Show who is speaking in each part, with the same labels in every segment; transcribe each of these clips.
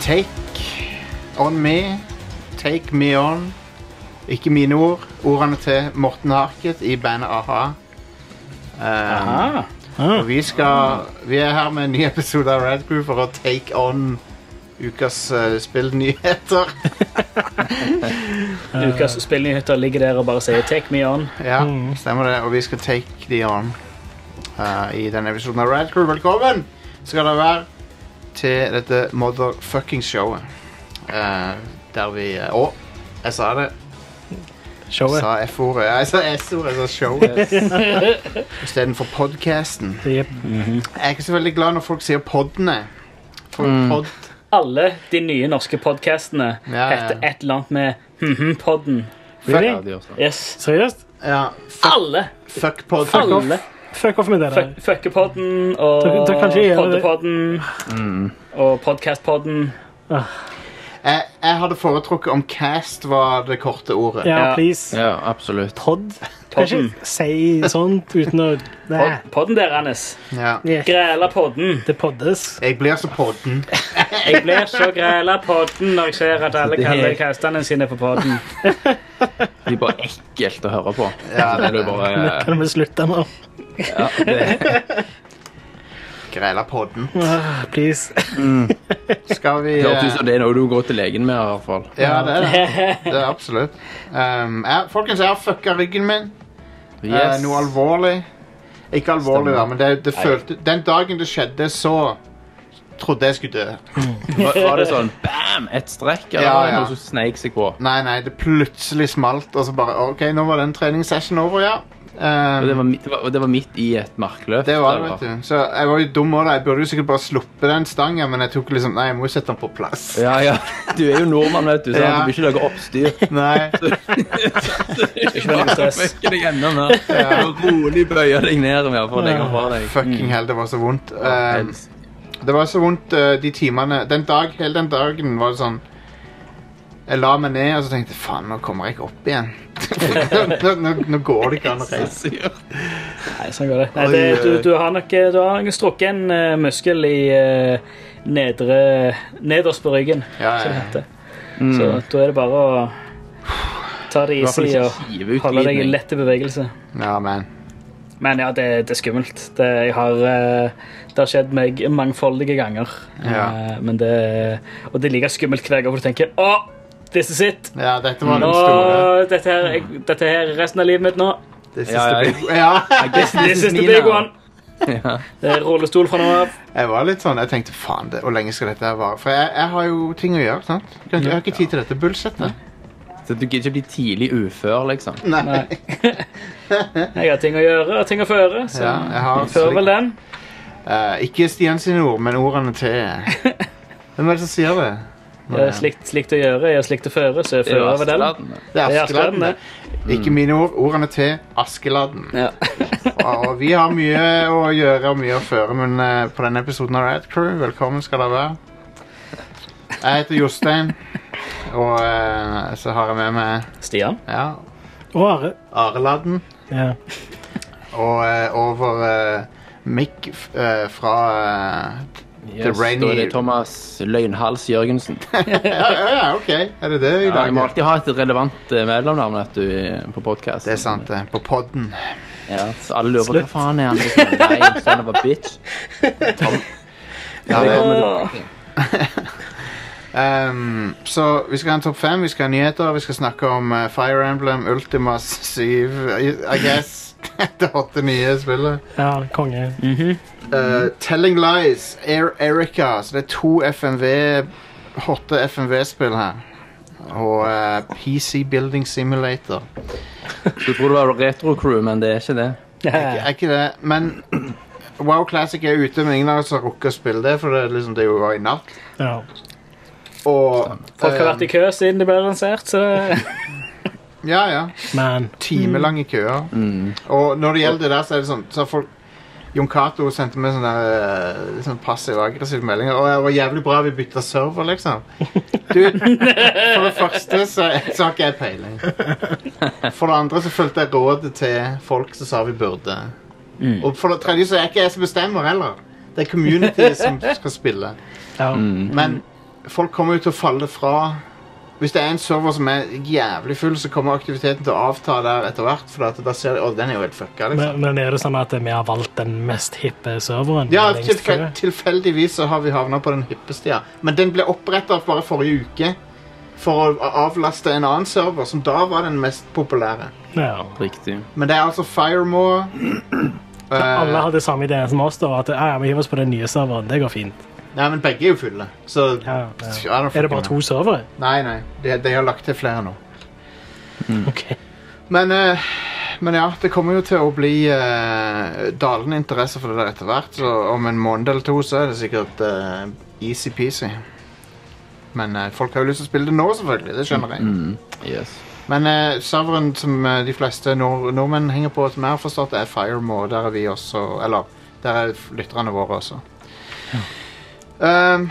Speaker 1: Take on me. Take me on. Ikke mine ord. Ordene til Morten Harket i bandet A-ha. Um,
Speaker 2: Ah,
Speaker 1: og vi, skal, vi er her med en ny episode av Red Crew for å take on ukas eh, spillnyheter.
Speaker 3: Eh.
Speaker 2: Ukas spillnyheter ligger der og bare sier 'take me on'.
Speaker 1: Ja, stemmer det. Og vi skal take de on eh, i denne episoden av Red Crew. Velkommen skal dere være til dette motherfucking showet. Eh, der vi eh, Å, jeg sa det. Jeg
Speaker 3: Showet.
Speaker 1: sa F-ordet. Ja, Jeg sa S-ordet, jeg sa showet. Istedenfor podcasten.
Speaker 3: Jep.
Speaker 4: Mhm.
Speaker 1: Jeg er ikke så veldig glad når folk sier poddene. For pod,
Speaker 2: Alle de nye norske podkastene
Speaker 1: Ja, ja.
Speaker 2: heter et eller annet med HMHM-podden.
Speaker 3: Really?
Speaker 2: Yes.
Speaker 3: Seriøst?
Speaker 1: ja,
Speaker 2: Alle!
Speaker 1: fuck pod. Fuck off.
Speaker 2: Alle.
Speaker 3: Fuck off med det der.
Speaker 2: Fuck- Fuckepodden og
Speaker 3: Dere- dere kan ikke gjøre det.
Speaker 2: Poddepodden
Speaker 1: Mm.
Speaker 2: og Podcastpodden.
Speaker 1: Jeg, jeg hadde foretrukket om cast var det korte ordet.
Speaker 3: Ja,
Speaker 2: Ja.
Speaker 3: please.
Speaker 4: Ja, absolutt.
Speaker 3: Pod. Kan
Speaker 2: Podden.
Speaker 3: ikke si sånt uten å Nei.
Speaker 2: Pod- Podden deres.
Speaker 1: Ja.
Speaker 3: Yeah.
Speaker 2: Grælapodden.
Speaker 3: Det poddes.
Speaker 1: Jeg blir så podden.
Speaker 2: Jeg blir så grælapodden når jeg ser at alle kaller kastene sine for podden.
Speaker 4: Det er bare ekkelt å høre på.
Speaker 1: Ja,
Speaker 4: det er
Speaker 1: det-
Speaker 4: jo bare eh,
Speaker 3: Kan vi slutte nå?
Speaker 4: ja, det,
Speaker 1: Grela podden.
Speaker 3: Ah, please.
Speaker 1: Skal vi
Speaker 4: det
Speaker 1: eh,
Speaker 4: hørtes ut som det er sånn. noe du går til legen med, i hvert fall.
Speaker 1: Ja, det er det. Det er absolutt. Um, jeg, folkens, jeg har fucka ryggen min. Eh,
Speaker 4: Yes.
Speaker 1: noe alvorlig. Ikke alvorlig, da, men det, det følte, den dagen det skjedde, så trodde jeg skulle dø.
Speaker 4: Var, var det sånn bam, et strekk, eller
Speaker 1: Ja,
Speaker 4: var det
Speaker 1: ja.
Speaker 4: noe som sneik seg på?
Speaker 1: Nei, nei, det plutselig smalt, og så bare OK, nå var den treningssession over, ja. Um,
Speaker 4: Og det var, mi- det, var, og det var midt i et markløft.
Speaker 1: Det var det,
Speaker 4: eller?
Speaker 1: vet du. Så jeg var litt dum også da. Jeg burde jo sikkert bare sluppe den stangen, men jeg tok liksom Nei, jeg må jo sette den på plass.
Speaker 4: Ja, ja. Du er jo nordmann, vet du, så
Speaker 1: Ja.
Speaker 4: du vil ikke lage oppstyr.
Speaker 1: Nei.
Speaker 2: Ikke noe stress.
Speaker 4: Fucker deg enda mer. Rolig bøyer deg ned med for å legge den fra deg.
Speaker 1: Fucking hell, det var så vondt. Um,
Speaker 4: Helst.
Speaker 1: det var så vondt eh, de timene den dag, Hele den dagen var det sånn Jeg la meg ned og så tenkte jeg, faen, nå kommer jeg ikke opp igjen. nå, nå, nå går det ikke an å reise.
Speaker 2: Nei, sånn går det. Nei, det du, du har nok eh, du har nok strukket en eh, muskel i eh, nedre, nederst på ryggen,
Speaker 1: Ja,
Speaker 2: som det
Speaker 1: ja.
Speaker 2: heter.
Speaker 1: Mm.
Speaker 2: Så da er det bare å ta det
Speaker 4: I hvert fall
Speaker 2: easy
Speaker 4: ikke
Speaker 2: og
Speaker 4: hive ut
Speaker 2: holde deg i
Speaker 4: glidning.
Speaker 2: lett bevegelse.
Speaker 1: ja, man.
Speaker 2: Men ja, det, det er skummelt. Det, jeg har, eh, det har skjedd meg mangfoldige ganger.
Speaker 1: Ja.
Speaker 2: Eh, Men det, og det er like skummelt hver gang hvor du tenker Å, this is it!
Speaker 1: Ja, dette var
Speaker 2: Nå,
Speaker 1: den store.
Speaker 2: dette, her, jeg, dette her er resten av livet mitt nå.
Speaker 1: This is
Speaker 4: Ja, ja.
Speaker 1: the big ja.
Speaker 4: This,
Speaker 2: This is the big one.
Speaker 4: Ja.
Speaker 2: Det er rullestol fra nå av.
Speaker 1: Jeg var litt sånn, jeg tenkte faen, det, hvor lenge skal dette her vare? For jeg, jeg har jo ting å gjøre. sant? Jeg kan ikke- Jeg har ikke tid til dette bullsjettet.
Speaker 4: Så du gidder ikke bli tidlig ufør, liksom.
Speaker 1: Nei.
Speaker 2: Jeg har ting å gjøre og ting å føre, så
Speaker 1: Ja, jeg har
Speaker 2: jeg fører vel den.
Speaker 1: Eh, ikke Stian sine ord, men ordene til Hvem er det som sier det?
Speaker 2: Jeg har Eh, slikt, slikt å gjøre, jeg har slikt å føre, så jeg fører vel den.
Speaker 1: Det er
Speaker 2: Det er
Speaker 1: Askeladden.
Speaker 2: Askeladden,
Speaker 1: det. Ikke mine ord, ordene til Askeladden.
Speaker 2: Ja.
Speaker 1: Og vi har mye å gjøre og mye å føre, men eh, på denne episoden av Rad Crew, velkommen skal dere være. Jeg heter Jostein, og eh, så har jeg med meg
Speaker 2: Stian.
Speaker 1: ja,
Speaker 3: Og Are.
Speaker 1: Areladden.
Speaker 3: Ja.
Speaker 1: Og eh, over eh, Mick f- eh, fra eh, The
Speaker 4: Yes,
Speaker 1: Rainy-
Speaker 4: da er det Thomas Løgnhals Jørgensen.
Speaker 1: ja, ja, ja, OK. Er det det i
Speaker 4: Ja,
Speaker 1: dag?
Speaker 4: jeg må alltid ha et relevant eh, mellomnavn vet du, i- på podkast.
Speaker 1: det er sant, det. På podden.
Speaker 4: Ja, så alle lurer på hva
Speaker 3: Slutt.
Speaker 4: faen er han liksom. Nei, son of a bitch.
Speaker 1: Ja,
Speaker 4: det
Speaker 1: det-
Speaker 4: kommer til-
Speaker 1: Ehm, så vi skal ha en topp fem, vi skal ha nyheter, vi skal snakke om eh, Fire Emblem, Ultima 7, I, I guess. det åtte nye spillet.
Speaker 3: ja, konge.
Speaker 1: Eh,
Speaker 2: Mhm.
Speaker 1: Telling Lies, Air Erica. Så det er to FMV, hotte FMV-spill her. Og eh, PC Building Simulator.
Speaker 4: Du tror det var retro crew, men det er ikke det.
Speaker 1: Er ikke det, men Wow Classic er ute, men ingen av oss har rukket å spille det, for det, er liksom, det er jo var i natt.
Speaker 3: Ja.
Speaker 1: Og
Speaker 2: Folk har vært i kø siden det ble lansert, så
Speaker 1: eh, Ja, ja.
Speaker 3: Man.
Speaker 1: timelange køer.
Speaker 4: Mm.
Speaker 1: Og når det gjelder det der, så er det sånn så har folk, Jon Cato sendte meg sånne, eh, sånne passive og aggressive meldinger. Og det var jævlig bra vi bytta server, liksom. Du, for det første så, så har ikke jeg peiling. For det andre så fulgte jeg rådet til folk som sa vi burde. Og for det tredje så er ikke jeg som bestemmer heller. Det er community som skal spille.
Speaker 3: Ja.
Speaker 1: Men folk kommer jo til å falle fra Hvis det er en server som er jævlig full, så kommer aktiviteten til å avta der etter hvert. For at da ser de, å, den er jo helt fucka, liksom.
Speaker 3: Men, men er det sånn at vi har valgt den mest hippe serveren?
Speaker 1: Ja,
Speaker 3: lengst
Speaker 1: tilfel
Speaker 3: før?
Speaker 1: tilfeldigvis så har vi havna på den hyppeste, ja. Men den ble oppretta bare forrige uke for å avlaste en annen server, som da var den mest populære.
Speaker 3: Ja.
Speaker 4: Riktig.
Speaker 1: Men det er altså Firemore eh,
Speaker 3: Alle hadde samme ideen som oss, da, at ja, ja, vi hiver oss på den nye serveren. Det går fint.
Speaker 1: Nei, men begge er jo fulle, så
Speaker 3: Ja, ja.
Speaker 1: I don't
Speaker 3: Er det
Speaker 1: fucking
Speaker 3: bare
Speaker 1: know.
Speaker 3: to servere?
Speaker 1: Nei, nei. De, de har lagt til flere nå.
Speaker 3: Ok.
Speaker 1: Men, eh, men ja, det kommer jo til å bli eh, dalende interesse for det der etter hvert. Så om en måned eller to så er det sikkert eh, easy-peasy. Men eh, folk har jo lyst til å spille det nå, selvfølgelig. Det skjønner jeg.
Speaker 4: Mm. Yes.
Speaker 1: Men eh, serveren som eh, de fleste nord nordmenn henger på, som jeg har forstått, er Firemore. Der er vi også Eller der er f- lytterne våre også. Um,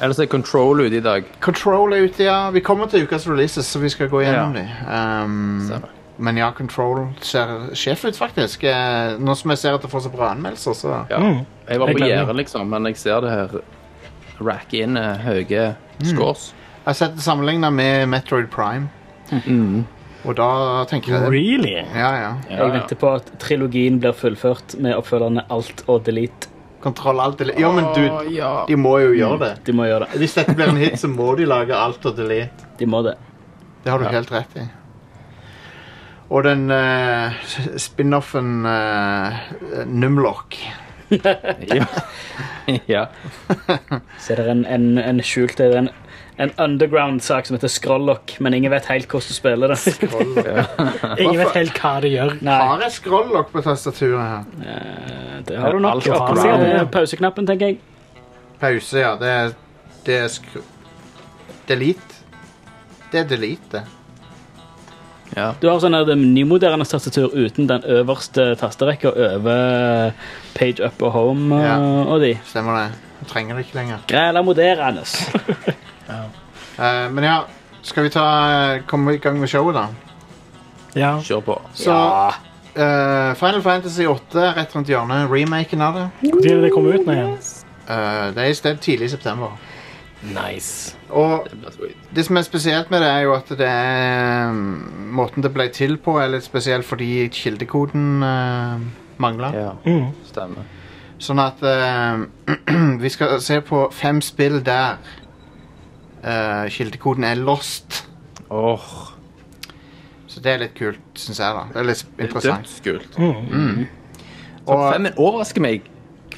Speaker 4: Ellers er Control ute i dag.
Speaker 1: Control er ute, ja. Vi kommer til ukas releases, så vi skal gå gjennom
Speaker 4: Ja.
Speaker 1: dem.
Speaker 4: Stemmer.
Speaker 1: Um, men ja, Control ser sjef ut, faktisk. Eh, Nå som jeg ser at det får så bra anmeldelser, så
Speaker 4: Ja.
Speaker 3: Mm.
Speaker 4: Jeg var
Speaker 3: Jeg
Speaker 4: på
Speaker 3: glemmer.
Speaker 4: gjerdet, liksom, men jeg ser det her rack inn eh, høye
Speaker 1: Mm.
Speaker 4: scores.
Speaker 1: Jeg har sett det sammenligna med Metroid Prime,
Speaker 4: Mm.
Speaker 1: og da tenker jeg det.
Speaker 3: Really?
Speaker 1: Ja, ja.
Speaker 4: Ja,
Speaker 2: Jeg
Speaker 4: ja.
Speaker 2: venter på at trilogien blir fullført med oppfølgerne Alt og Delete.
Speaker 1: Kontroll alt eller Jo, men
Speaker 4: Å,
Speaker 1: du,
Speaker 4: ja. Mm.
Speaker 1: de må jo gjøre det.
Speaker 2: De må gjøre det.
Speaker 1: Hvis dette blir en hit, så må de lage alt og delete.
Speaker 2: De må det.
Speaker 1: Det har du
Speaker 4: Ja.
Speaker 1: helt rett i. Og den eh, s- spin-offen eh, Numlock.
Speaker 4: ja. ja.
Speaker 2: Så er det en, en, en skjult det er en, en underground-sak som heter Skrollock, men ingen vet helt hvordan du spiller det.
Speaker 3: Ingen vet helt hva det gjør.
Speaker 2: Nei,
Speaker 1: Har jeg scroll-lock på tastaturet her?
Speaker 2: eh, det har du nok.
Speaker 4: Alt og
Speaker 2: Oppe på
Speaker 3: faen.
Speaker 2: siden er pauseknappen, tenker jeg.
Speaker 1: Pause, ja. Det er, det er skru... Delete. Det er delete, det.
Speaker 4: ja.
Speaker 2: Du har sånn her, det nymoderne tastatur uten den øverste tasterekka over page up og home og,
Speaker 1: Ja.
Speaker 2: og de.
Speaker 1: Stemmer det. Jeg trenger det ikke lenger.
Speaker 2: Græla moderende.
Speaker 1: Eh, men ja, skal vi ta eh, komme i gang med showet, da?
Speaker 3: Ja.
Speaker 4: Kjør på.
Speaker 1: Så eh, Final Fantasy 8 er rett rundt hjørnet. Remaken av det.
Speaker 3: Når er det det kommer ut nå igjen?
Speaker 1: Eh, det er i sted tidlig i september.
Speaker 3: Nice.
Speaker 1: Og
Speaker 4: Det blir sweet.
Speaker 1: det som er spesielt med det, er jo at det er mm, Måten det ble til på, er litt spesiell fordi kildekoden uh, mangla.
Speaker 4: Ja,
Speaker 3: Mm.
Speaker 4: stemmer.
Speaker 1: Sånn at eh, vi skal se på fem spill der eh, kildekoden er lost.
Speaker 4: Åh,
Speaker 1: Så det er litt kult, syns jeg. da. Det er litt
Speaker 4: det er
Speaker 1: interessant.
Speaker 4: dødskult.
Speaker 3: Mm.
Speaker 1: Og,
Speaker 4: Topp fem, men overrasker meg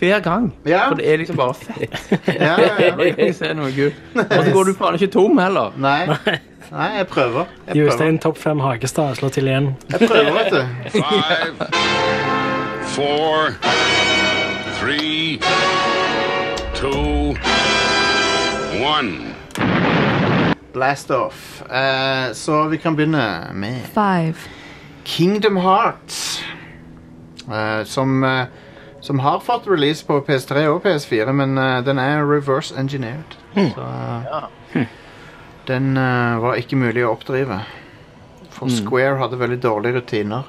Speaker 4: hver gang.
Speaker 1: Ja.
Speaker 4: For det er liksom bare fett.
Speaker 1: ja, ja, ja.
Speaker 4: Jeg kan ikke se noe kult. Og så går du faen ikke tom heller.
Speaker 1: Nei. Nei, jeg prøver. Jeg prøver,
Speaker 3: Jostein Topp 5 Hagestad slår til igjen.
Speaker 1: jeg prøver vet du.
Speaker 5: Five, four, three, two, one.
Speaker 1: Blast off. Eh, så vi kan begynne med
Speaker 6: Five.
Speaker 1: Kingdom Hearts. eh, som, eh, som har fått release på PS3 og PS4, men eh, den er reverse engineered. Så eh, den eh, var ikke mulig å oppdrive. For Square hadde veldig dårlige rutiner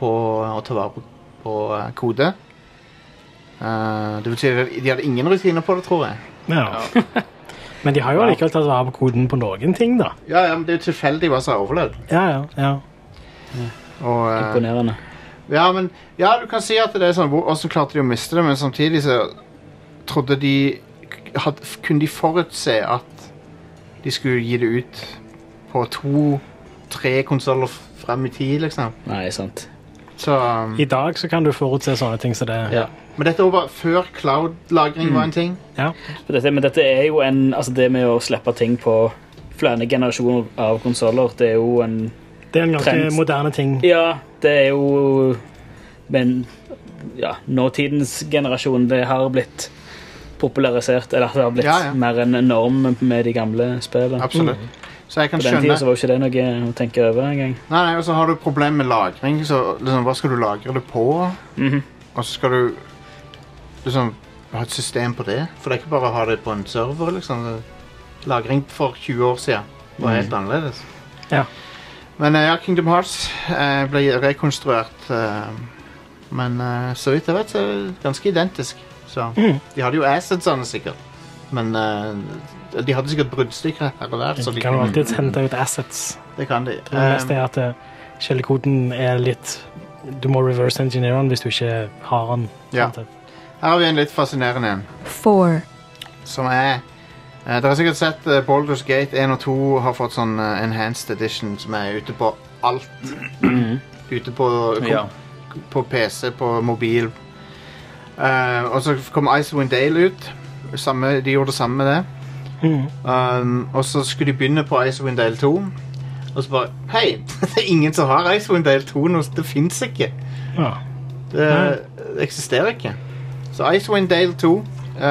Speaker 1: på å ta vare på, på eh, kode. Eh, det betyr at de hadde ingen rutiner på det, tror jeg.
Speaker 3: Ja. Men de har jo allikevel tatt vare på koden på noen ting, da.
Speaker 1: Ja, ja, men Det er jo tilfeldig hva som har overlevd.
Speaker 3: Ja, ja, ja.
Speaker 1: Og, eh,
Speaker 2: Imponerende.
Speaker 1: Ja, men ja, du kan si at det er sånn hvor- Hvordan klarte de å miste det, men samtidig så trodde de had, Kunne de forutse at de skulle gi det ut på to-tre konsoller frem i tid, liksom?
Speaker 2: Nei, sant.
Speaker 1: Så, um,
Speaker 3: I dag så kan du forutse sånne ting som det.
Speaker 2: Ja.
Speaker 1: men dette var bare før cloud-lagring var
Speaker 2: Mm.
Speaker 1: en ting.
Speaker 3: Ja.
Speaker 2: For dette, men dette er jo en Altså, det med å slippe ting på flere generasjoner av konsoller, det er jo en
Speaker 3: Det er en ganske
Speaker 2: Trend.
Speaker 3: moderne ting.
Speaker 2: Ja, det er jo Men ja, nåtidens generasjon, det har blitt popularisert, eller det har blitt
Speaker 1: Ja, ja.
Speaker 2: mer en norm med de gamle spillene.
Speaker 1: Absolutt. Så jeg kan
Speaker 2: Mm. På den tida
Speaker 1: skjønne
Speaker 2: så var jo ikke det noe å tenke over engang.
Speaker 1: Nei, nei, og så har du problem med lagring, så liksom, hva skal du lagre det på?
Speaker 2: Mhm.
Speaker 1: Og så skal du liksom ha et system på det. For det er ikke bare å ha det på en server, liksom. Det- Lagring for 20 år siden var helt annerledes.
Speaker 3: Mm. Ja.
Speaker 1: Men eh, ja, Kingdom Hearts eh, ble rekonstruert. eh,
Speaker 3: Mm.
Speaker 1: men eh, så vidt jeg vet, så er det ganske identisk. Så de hadde jo assetsene, sikkert. Men eh, de hadde sikkert bruddstykker her og der. Så
Speaker 3: Du
Speaker 1: de,
Speaker 3: kan jo alltid hente ut assets.
Speaker 1: det kan de.
Speaker 3: Det meste
Speaker 1: Eh,
Speaker 3: er at eh, kildekoden er litt Du må reverse engineere den hvis du ikke har den.
Speaker 1: Ja.
Speaker 3: sant?
Speaker 1: Eh, her har vi en litt fascinerende en,
Speaker 6: four,
Speaker 1: som er eh, Dere har sikkert sett uh, Boulders Gate 1 og 2 har fått sånn eh, enhanced edition som er ute på alt. Ute på,
Speaker 4: Ja.
Speaker 1: på PC, på mobil. Eh, og så kom Icewind Dale ut. Samme, de gjorde det samme med det.
Speaker 3: Mhm.
Speaker 1: Um, og så skulle de begynne på Icewind Dale 2. Og så bare Hei, det er ingen som har Icewind Dale 2 nå. så Det fins ikke.
Speaker 3: Ja.
Speaker 1: Det, det eksisterer ikke. Så Icewind Dale 2, eh,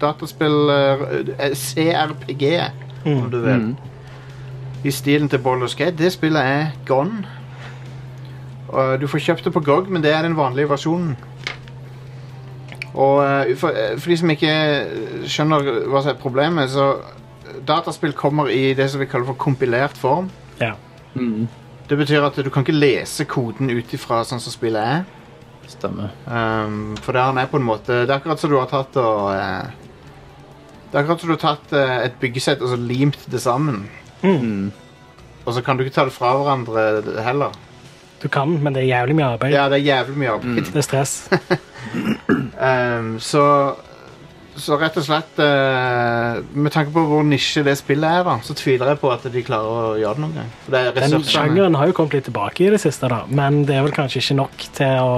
Speaker 1: dataspill eh, CRPG, om du vil,
Speaker 4: Mm.
Speaker 1: i stilen til Baldur's Gate, det spillet er gone. Og du får kjøpt det på GOG, men det er den vanlige versjonen. Og eh, for, eh, for de som ikke skjønner hva som er problemet, så eh, Dataspill kommer i det som vi kaller for kompilert form.
Speaker 3: ja.
Speaker 4: Mm.
Speaker 1: Det betyr at du kan ikke lese koden ut ifra sånn som spillet er.
Speaker 4: Stemmer.
Speaker 1: Um, for det han er på en måte Det er akkurat som du har tatt og eh, Det er akkurat som du har tatt eh, et byggesett og så limt det sammen.
Speaker 4: Mm.
Speaker 1: Og så kan du ikke ta det fra hverandre heller.
Speaker 3: Du kan, men det er jævlig mye arbeid.
Speaker 1: Ja, det er jævlig mye arbeid.
Speaker 3: Det er stress.
Speaker 1: Um, så så rett og slett eh, Med tanke på hvor nisje det spillet er, da, så tviler jeg på at de klarer å gjøre det noen gang. For det er
Speaker 3: Den
Speaker 1: ressursene.
Speaker 3: sjangeren har jo kommet litt tilbake i det siste, da. men det er vel kanskje ikke nok til å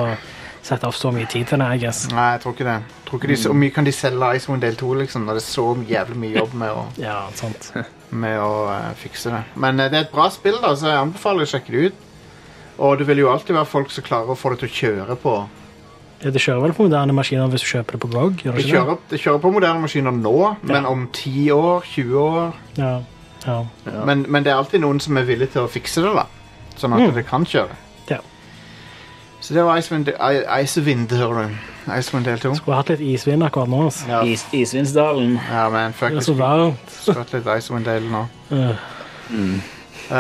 Speaker 3: sette opp så mye tid til det. I guess.
Speaker 1: Nei, jeg tror ikke det. Jeg Tror ikke de, Hvor mye kan de selge Icewind Del 2 liksom, når det er så jævlig mye jobb med å
Speaker 3: Ja, sant.
Speaker 1: med å eh, fikse det. Men eh, det er et bra spill, da, så jeg anbefaler å sjekke det ut. Og det vil jo alltid være folk som klarer å få det til å kjøre på.
Speaker 3: Det kjører vel på moderne maskiner hvis du kjøper det på GOG? Gjør
Speaker 1: Det
Speaker 3: det ikke det?
Speaker 1: kjører, det kjører på moderne maskiner nå, men om 10 år, 20 år
Speaker 3: Ja. Ja.
Speaker 1: men, men det er alltid noen som er villig til å fikse det, da. Sånn at
Speaker 3: Mm.
Speaker 1: det kan kjøre.
Speaker 3: Ja.
Speaker 1: Så det var Icewind, I- Icewind, hører du. Icewind del 2.
Speaker 3: Skulle hatt litt isvind akkurat nå. Altså.
Speaker 1: Ja.
Speaker 2: Is Isvindsdalen.
Speaker 1: Ja, men fuck,
Speaker 3: Det
Speaker 1: vi
Speaker 3: er så varmt.
Speaker 1: skulle hatt litt Icewind del nå.
Speaker 3: Øh,
Speaker 4: Mm.
Speaker 1: Um,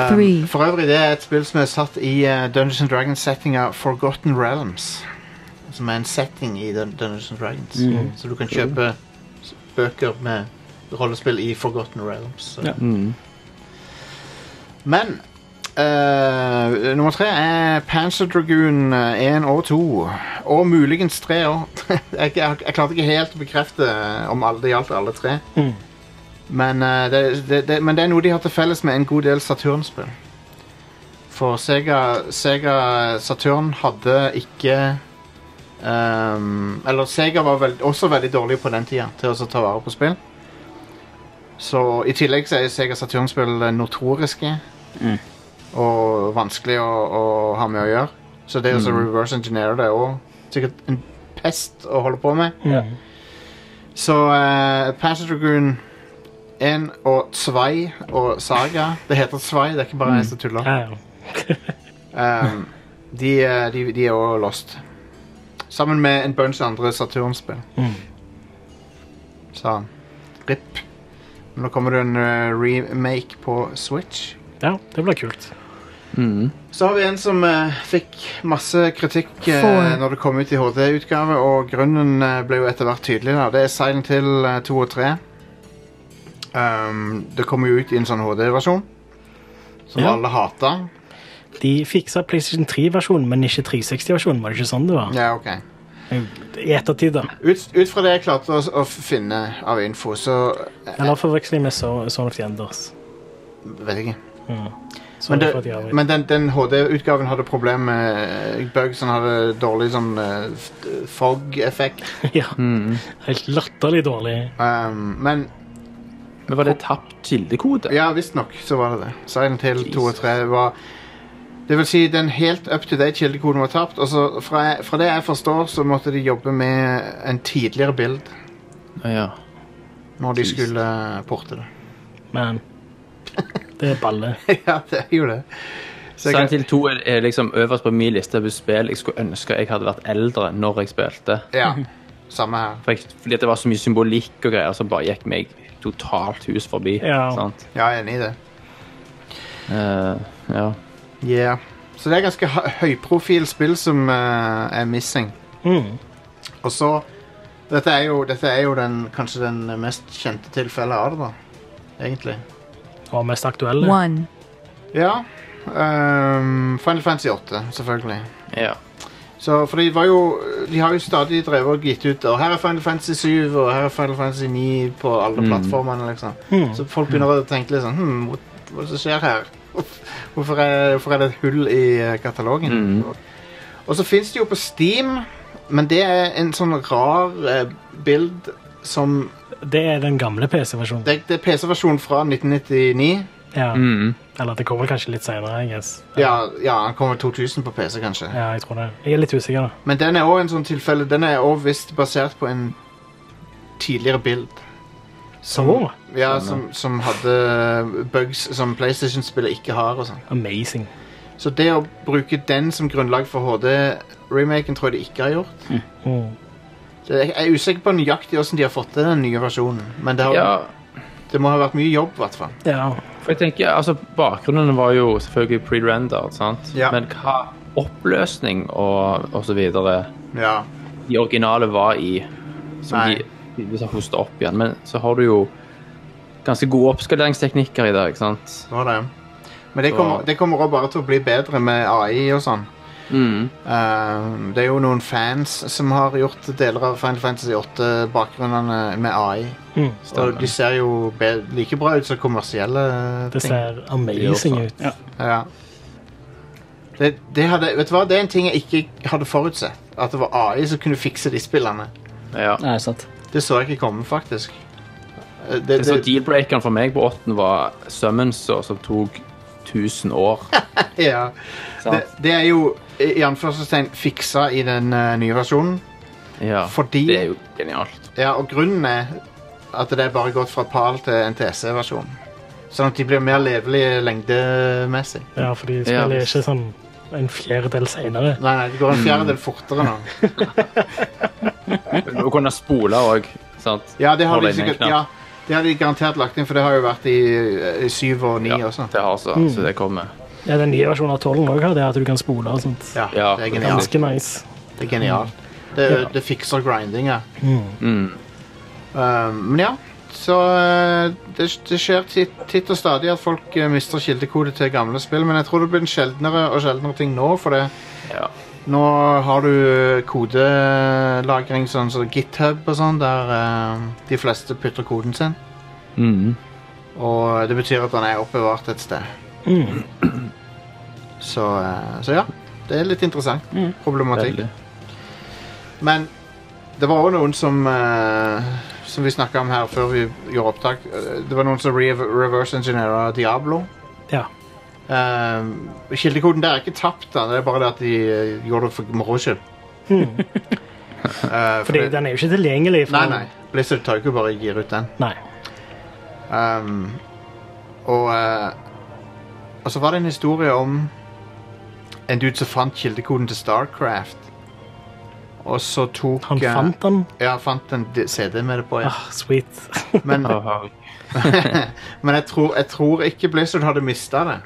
Speaker 6: Three.
Speaker 1: for øvrig, det er et spill som er satt i eh, Dungeons and Dragons-settinga Forgotten Realms. Som er en setting i Dun Dungeons and Dragons. Så du kan kjøpe s- bøker med rollespill i Forgotten Realms. Så.
Speaker 2: Ja.
Speaker 4: Mm.
Speaker 1: Men eh, nummer tre er Panzer Dragoon 1 og 2. Og muligens 3 òg. jeg, jeg, jeg klarte ikke helt å bekrefte eh, om alle, det gjaldt alle tre.
Speaker 3: Mhm.
Speaker 1: Men, eh, det, det, det, men det er noe de har til felles med en god del Saturn-spill. For Sega, Sega eh, Saturn hadde ikke ehm, Eller Sega var vel, også veldig dårlig på den tida til å ta vare på spill. Så I tillegg så er Sega Saturn-spill eh, notoriske og vanskelig å, å ha med å gjøre. Så det å så reverse engineere det er også sikkert en pest å holde på med.
Speaker 3: ja.
Speaker 1: Så uh, Panzer Dragoon 1 og Svei og Saga Det heter Svei, det er ikke bare jeg som tuller.
Speaker 3: Ja, ja.
Speaker 1: Um, de, eh, de, de er også lost. Sammen med en bunch andre Saturn-spill.
Speaker 3: Mm.
Speaker 1: Så RIP. Men nå kommer det en eh, remake på Switch.
Speaker 3: ja, det blir kult.
Speaker 4: Mm.
Speaker 1: Så har vi en som eh, fikk masse kritikk eh,
Speaker 6: Får.
Speaker 1: når det kom ut i HD-utgave, og grunnen eh, ble jo etter hvert tydelig. da. Det er Silent Hill eh, 2 og 3. Um, det kommer jo ut i en sånn HD-versjon, som
Speaker 3: Ja.
Speaker 1: alle hata.
Speaker 3: De fiksa PlayStation 3-versjonen, men ikke 360-versjonen. Var det ikke sånn det var?
Speaker 1: Ja, ok.
Speaker 3: I ettertid, da.
Speaker 1: Ut, ut fra det jeg klarte å, s- å finne av info, så eh,
Speaker 3: Eller forveksling med So- Son of the Enders. Mm.
Speaker 1: vet jeg ikke.
Speaker 3: Sorry
Speaker 1: Men,
Speaker 3: Sånn for at jeg
Speaker 1: det,
Speaker 3: avbryter.
Speaker 1: men den, den HD-utgaven hadde problemer med eh, bugs. Den hadde dårlig sånn eh, f- fog-effekt.
Speaker 3: ja,
Speaker 4: Mm.
Speaker 3: helt latterlig dårlig.
Speaker 1: Um, men
Speaker 4: Men var det tapt kildekode?
Speaker 1: Ja, visstnok så var det det. Silent Hill 2 og
Speaker 4: Jesus.
Speaker 1: 3 var Det vil si, den helt up to date kildekoden var tapt. Og så fra, fra det jeg forstår, så måtte de jobbe med en tidligere bild
Speaker 4: ja.
Speaker 1: når de
Speaker 4: Jesus.
Speaker 1: skulle porte det.
Speaker 3: Men det er balle.
Speaker 1: ja, det er jo det. Så jeg,
Speaker 4: Silent
Speaker 1: kan-
Speaker 4: Hill 2 er, er liksom øverst på min liste over spill jeg skulle ønske jeg hadde vært eldre når jeg spilte.
Speaker 1: ja, samme her.
Speaker 4: For jeg, fordi det var så mye symbolikk og greier som bare gikk meg totalt hus forbi.
Speaker 3: Ja.
Speaker 4: Sant?
Speaker 1: Ja, jeg er enig i det.
Speaker 4: Eh, ja.
Speaker 1: Yeah. Så det er ganske hø- høyprofil spill som eh, er missing.
Speaker 3: Mm.
Speaker 1: Og så Dette er jo, dette er jo den, kanskje den mest kjente tilfellet av det, da. Egentlig.
Speaker 3: Og mest aktuelle.
Speaker 6: One.
Speaker 1: Ja. ehm, Final Fantasy 8, selvfølgelig.
Speaker 4: Ja.
Speaker 1: Så, for de, var jo, de har jo stadig drevet og gitt ut Og her er Final Fantasy 7 og her er Final Fantasy 9 på alle plattformene. liksom
Speaker 3: Hmm.
Speaker 1: Så folk begynner å tenke litt sånn hm, hva, hva er det som skjer her? Hvorfor er, hvorfor er det et hull i eh, katalogen?
Speaker 4: Mm.
Speaker 1: Og så fins det jo på Steam, men det er en sånn rar eh, bild som
Speaker 3: Det er den gamle PC-versjonen.
Speaker 1: Det, det er PC-versjonen fra 1999.
Speaker 3: Ja.
Speaker 4: Mm.
Speaker 3: Eller det kommer kanskje litt senere. Jeg guess.
Speaker 1: Ja, ja han kommer 2000 på PC, kanskje.
Speaker 3: ja, jeg tror det. Jeg er litt usikker. da.
Speaker 1: Men den er òg en sånn tilfelle Den er også visst basert på en tidligere bild.
Speaker 3: Så
Speaker 1: Ja, som, som hadde bugs som PlayStation-spillet ikke har. og sånn.
Speaker 3: amazing.
Speaker 1: Så det å bruke den som grunnlag for HD-remaken tror jeg de ikke har gjort.
Speaker 3: Mm.
Speaker 1: Det, jeg er usikker på nøyaktig hvordan de har fått til den nye versjonen, men det, har,
Speaker 4: ja.
Speaker 1: det må ha vært mye jobb. Hvertfall.
Speaker 3: Ja.
Speaker 4: For jeg tenker, altså Bakgrunnen var jo selvfølgelig pre-rendered, sant?
Speaker 1: Ja.
Speaker 4: Men hva oppløsning og, og så videre
Speaker 1: Ja.
Speaker 4: de originale var i, som
Speaker 1: Nei.
Speaker 4: de tydeligvis har hosta opp igjen. Men så har du jo ganske gode oppskaleringsteknikker i dag, ikke sant?
Speaker 1: Det var det. Men det kommer, det kommer også bare til å bli bedre med AI og sånn.
Speaker 4: Mm.
Speaker 1: Eh, det er jo noen fans som har gjort deler av Final Fantasy 8-bakgrunnene med AI.
Speaker 3: Mm.
Speaker 1: Og de ser jo be- like bra ut som kommersielle eh,
Speaker 3: Det
Speaker 1: ting.
Speaker 3: ser amazing
Speaker 4: Det gjør
Speaker 3: ut.
Speaker 2: Ja.
Speaker 1: Ja. Det, det, hadde, vet du hva? det er en ting jeg ikke hadde forutsett. At det var AI som kunne fikse de spillene.
Speaker 4: Ja.
Speaker 2: Nei, sant.
Speaker 1: Det så jeg ikke komme, faktisk. Eh, Det,
Speaker 4: Det som
Speaker 1: det,
Speaker 4: deal-breakeren for meg på åtten, var summonser som tok 1000 år.
Speaker 1: ja. det,
Speaker 4: Sant?
Speaker 1: det er jo i i anførselstegn fiksa i den eh, nye versjonen.
Speaker 4: Ja.
Speaker 1: Fordi
Speaker 4: Det er jo genialt.
Speaker 1: Ja, og grunnen er at det er bare gått fra PAL til NTSC-versjonen. Sånn at de blir mer levelige lengdemessig.
Speaker 3: Ja, for de
Speaker 4: Ja,
Speaker 3: spiller
Speaker 4: visst.
Speaker 3: ikke sånn en fjerdedel senere.
Speaker 1: Nei, nei, det går en fjerdedel
Speaker 4: Mm.
Speaker 1: fortere nå.
Speaker 4: Å kunne spole òg, sant?
Speaker 1: Ja, det har de
Speaker 4: Holde inn en
Speaker 1: sikkert
Speaker 4: knapp.
Speaker 1: ja, det har de garantert lagt inn, for det har jo vært i, eh, i syv og sånn. ni
Speaker 4: Ja,
Speaker 1: også.
Speaker 4: det har så, så det kommer.
Speaker 3: Ja, Den nye versjonen av tollen òg har det at du kan spole og sånt.
Speaker 1: Ja,
Speaker 4: Ja,
Speaker 1: det er
Speaker 4: ja.
Speaker 1: genialt.
Speaker 3: Ganske nice.
Speaker 1: Det, er genialt. det,
Speaker 3: Ja.
Speaker 1: det fikser grindinga.
Speaker 4: Mm.
Speaker 1: Um, men ja, så uh, det, det skjer titt, titt og stadig at folk uh, mister kildekode til gamle spill, men jeg tror det blir en sjeldnere og sjeldnere ting nå, for det
Speaker 4: Ja.
Speaker 1: Nå har du eh, kodelagring sånn som GitHub og sånn, der eh, de fleste putter koden sin.
Speaker 4: Mm.
Speaker 1: Og det betyr at den er oppbevart et sted.
Speaker 3: Mm.
Speaker 1: Så, eh, så ja, det er litt interessant
Speaker 3: Mm.
Speaker 1: problematikk.
Speaker 4: Veldig.
Speaker 1: Men det var òg noen som eh, Som vi snakka om her før vi gjorde opptak. eh, Det var noen som re reverse engineera Diablo.
Speaker 3: Ja.
Speaker 1: Eh, kildekoden der er ikke tapt, da. det er bare det at de eh, gjorde det for moro skyld. Eh, for
Speaker 3: Fordi
Speaker 1: det-
Speaker 3: den er jo ikke tilgjengelig. for-
Speaker 1: Nei, nei. Blizzard tar jo ikke bare og gir ut den.
Speaker 3: Nei.
Speaker 1: Um, og, eh, og så var det en historie om en dude som fant kildekoden til Starcraft. Og så tok
Speaker 3: Han
Speaker 1: eh,
Speaker 3: fant den.
Speaker 1: Ja, fant en d- CD med det på. Ja.
Speaker 3: Ah, sweet.
Speaker 1: Men,
Speaker 4: Aha.
Speaker 1: men jeg, tror, jeg tror ikke Blizzard hadde mista det.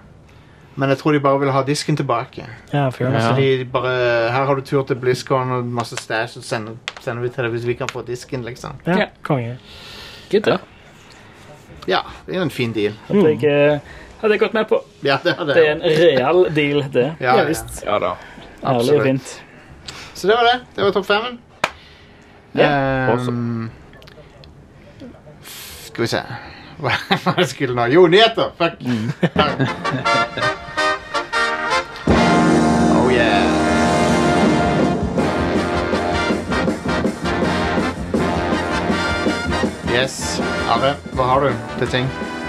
Speaker 1: Men jeg tror de bare ville ha disken tilbake.
Speaker 3: Ja, fair
Speaker 1: Så
Speaker 3: enough.
Speaker 1: de bare, Her har du tur til BlizzCon og masse stæsj, så sender, sender vi til deg hvis vi kan få disken. liksom
Speaker 3: Ja,
Speaker 2: Ja.
Speaker 3: konge.
Speaker 2: Good,
Speaker 4: Ja.
Speaker 2: ja.
Speaker 1: Ja, det er jo en fin deal.
Speaker 2: Hadde jeg, eh, hadde jeg gått med på.
Speaker 1: Ja, det er det.
Speaker 2: Det er en real deal, det.
Speaker 1: Ja, ja.
Speaker 2: visst.
Speaker 4: Ja da.
Speaker 2: Ærlig
Speaker 1: absolutt.
Speaker 2: og fint.
Speaker 1: Så det var det. Det var topp femmen. Ehm,
Speaker 4: Ja, awesome.
Speaker 1: f- Skal vi se Hva hva jeg skulle nå? Jo, nyheter! Fuck!
Speaker 2: Mm.
Speaker 1: oh yeah. Yes. Are, hva har du til ting?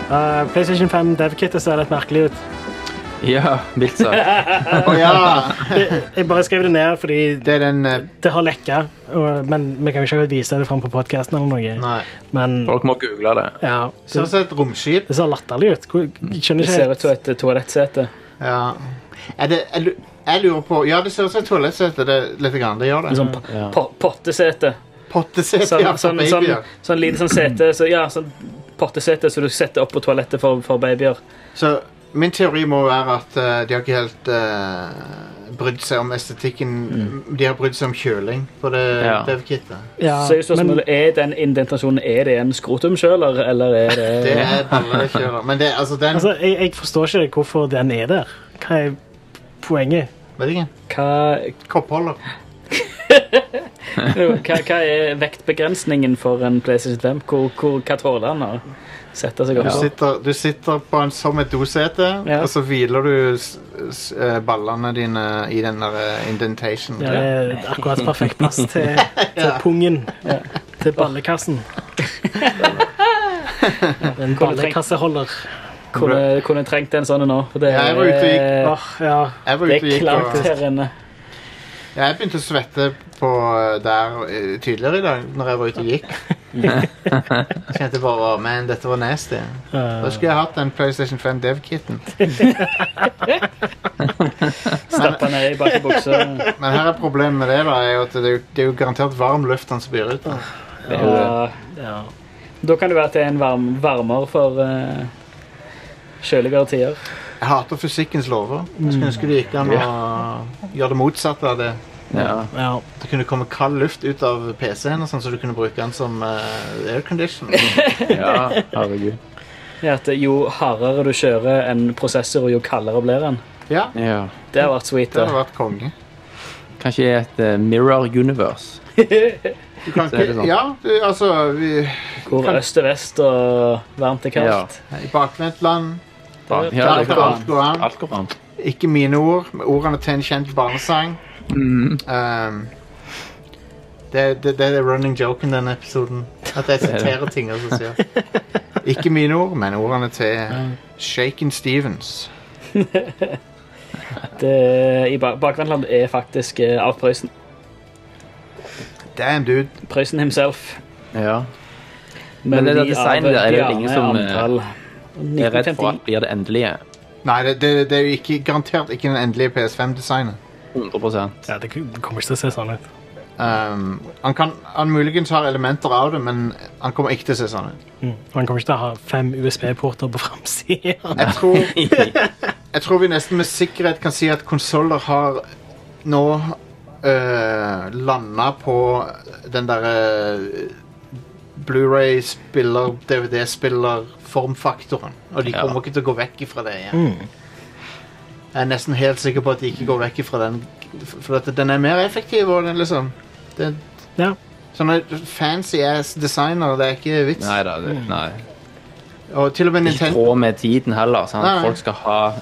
Speaker 3: Eh, PlayStation 5 DevKit ser litt merkelig ut.
Speaker 4: Ja, mildt sagt.
Speaker 1: Å ja!
Speaker 3: Jeg bare skrev det ned fordi
Speaker 1: Det er den eh,
Speaker 3: det har lekka. og- Men vi kan jo ikke akkurat vise det fram på podkasten eller noe.
Speaker 1: Nei.
Speaker 3: Men
Speaker 4: Folk må google det.
Speaker 3: ja,
Speaker 1: Ser
Speaker 3: det,
Speaker 1: ut som et romskip.
Speaker 3: det ser latterlig ut. Hvor- Jeg skjønner
Speaker 2: Det ser ut
Speaker 3: ikke
Speaker 2: som et eh, toalettsete.
Speaker 1: Ja. Er det, jeg, lu- jeg lurer på Ja, det ser ut som et toalettsete. Det, litt grann, det gjør det.
Speaker 2: En sånn po- po- pottesete.
Speaker 1: Pottesete,
Speaker 2: Sånn,
Speaker 1: Mm, ja. for
Speaker 2: sånn, sånn,
Speaker 1: babyer.
Speaker 2: sånn lite sånn sete, så, ja, sånn pottesete som du setter opp på toalettet for, for babyer.
Speaker 1: Så min teori må være at eh, de har ikke helt eh, brydd seg om estetikken.
Speaker 2: Mm.
Speaker 1: De har brydd seg om kjøling på det
Speaker 4: Ja.
Speaker 1: dev-kittet.
Speaker 3: Ja,
Speaker 2: Så er jo
Speaker 3: men,
Speaker 2: spørsmålet, er den indentasjonen er det en skrotumkjøler, eller er det,
Speaker 1: Det er ballekjøler. Men det, altså, den
Speaker 3: altså, jeg, jeg forstår ikke hvorfor den er der. Hva er poenget?
Speaker 1: Vet ikke.
Speaker 2: hva,
Speaker 1: Koppholder.
Speaker 2: hva, hva er vektbegrensningen for en PlayStation 5? Hvor, hvor, hva tåler han å sette seg opp
Speaker 1: Du
Speaker 2: på?
Speaker 1: sitter, du sitter på en som et dosete,
Speaker 2: Ja.
Speaker 1: og så hviler du s s eh, ballene dine i den der eh, indentation.
Speaker 3: Det er akkurat perfekt plass til, til pungen. Til ballekassen. En ballekasseholder.
Speaker 2: Kunne, kunne trengt en sånn nå. For det,
Speaker 1: Ja, jeg var ute og gikk.
Speaker 2: er-
Speaker 3: Åh, ja.
Speaker 1: Jeg var ute
Speaker 2: det
Speaker 1: og
Speaker 2: er
Speaker 1: gikk
Speaker 2: klart
Speaker 1: og
Speaker 2: her inne.
Speaker 1: Jeg begynte å svette på eh, der eh, tidligere i dag, når jeg var ute og gikk. Kjente bare «Å, Man, dette var nasty.
Speaker 3: Eh,
Speaker 1: Da skulle jeg hatt den PlayStation 5 Dev-kitten.
Speaker 2: Stappa ned i bakebuksa.
Speaker 1: Men her er problemet med det, da, er jo at det er jo, det er jo garantert varm luft han spyr ut. da.
Speaker 4: Det er jo det.
Speaker 2: Ja,
Speaker 3: ja.
Speaker 2: da kan det være at det er en varm, varmer for eh, kjøligere tider.
Speaker 1: Jeg hater fysikkens lover. Jeg skulle ønske det gikk an å gjøre det motsatte av det.
Speaker 4: Ja.
Speaker 3: ja.
Speaker 1: Det kunne komme kald luft ut av PC-en, og sånn, så du kunne bruke den som eh, aircondition.
Speaker 4: ja, herregud.
Speaker 2: Ja, at jo hardere du kjører en prosessor, jo kaldere blir den.
Speaker 1: Ja,
Speaker 4: Ja.
Speaker 2: Det har vært sweet.
Speaker 1: det hadde
Speaker 2: da.
Speaker 1: vært konge.
Speaker 4: Kanskje i et eh, mirror universe.
Speaker 1: Du kan
Speaker 4: Så er det
Speaker 1: ikke,
Speaker 4: sånn.
Speaker 1: ja, du, altså vi,
Speaker 2: Hvor øst er vest og varmt er kaldt.
Speaker 1: I bakvendtland
Speaker 4: Ja,
Speaker 2: Det-
Speaker 1: Der
Speaker 4: det
Speaker 1: kan
Speaker 4: går an.
Speaker 1: alt gå an.
Speaker 4: Alt går an.
Speaker 1: Ikke mine ord, men ordene til en kjent barnesang. Um, det, det, det er running joken denne episoden. At jeg siterer ting og så sier Ikke mine ord, men ordene til Shaken Stevens.
Speaker 2: Det, i bak Bakvendtland er faktisk eh, av Prøysen.
Speaker 1: Damn, dude.
Speaker 2: Prøysen himself.
Speaker 4: Ja. Men det der
Speaker 2: de
Speaker 4: designet
Speaker 2: av
Speaker 4: der, er det vel
Speaker 2: Bjarne
Speaker 4: ingen som, eh,
Speaker 2: Antall.
Speaker 4: Jeg er redd
Speaker 2: 1959.
Speaker 4: for at blir det endelige.
Speaker 1: Nei, det, det, det er jo ikke, garantert ikke den endelige PS5-designet.
Speaker 4: 100
Speaker 3: ja det kun- det kommer ikke til å se sånn ut.
Speaker 1: Um, han, kan, han muligens har elementer av det, men han kommer ikke til å se sånn ut.
Speaker 3: Mm. Han kommer ikke til å ha fem USB-porter på framsida.
Speaker 1: Jeg tror, jeg tror vi nesten med sikkerhet kan si at konsoller har nå øh, landa på den derre øh, Blu-ray-spiller, DVD-spiller-formfaktoren. Og de
Speaker 4: Ja.
Speaker 1: kommer ikke til å gå vekk ifra det igjen. Jeg er nesten helt sikker på at de ikke går vekk ifra den, for at den er mer effektiv. Og den liksom det,
Speaker 3: Ja.
Speaker 1: Sånne fancy ass designer, det er ikke vits.
Speaker 4: Nei da, det, nei.
Speaker 1: Og til og med
Speaker 4: Ikke i
Speaker 1: Nintendo
Speaker 4: tråd Mm. med tiden heller. Sant?
Speaker 1: Nei, nei.
Speaker 4: Folk skal ha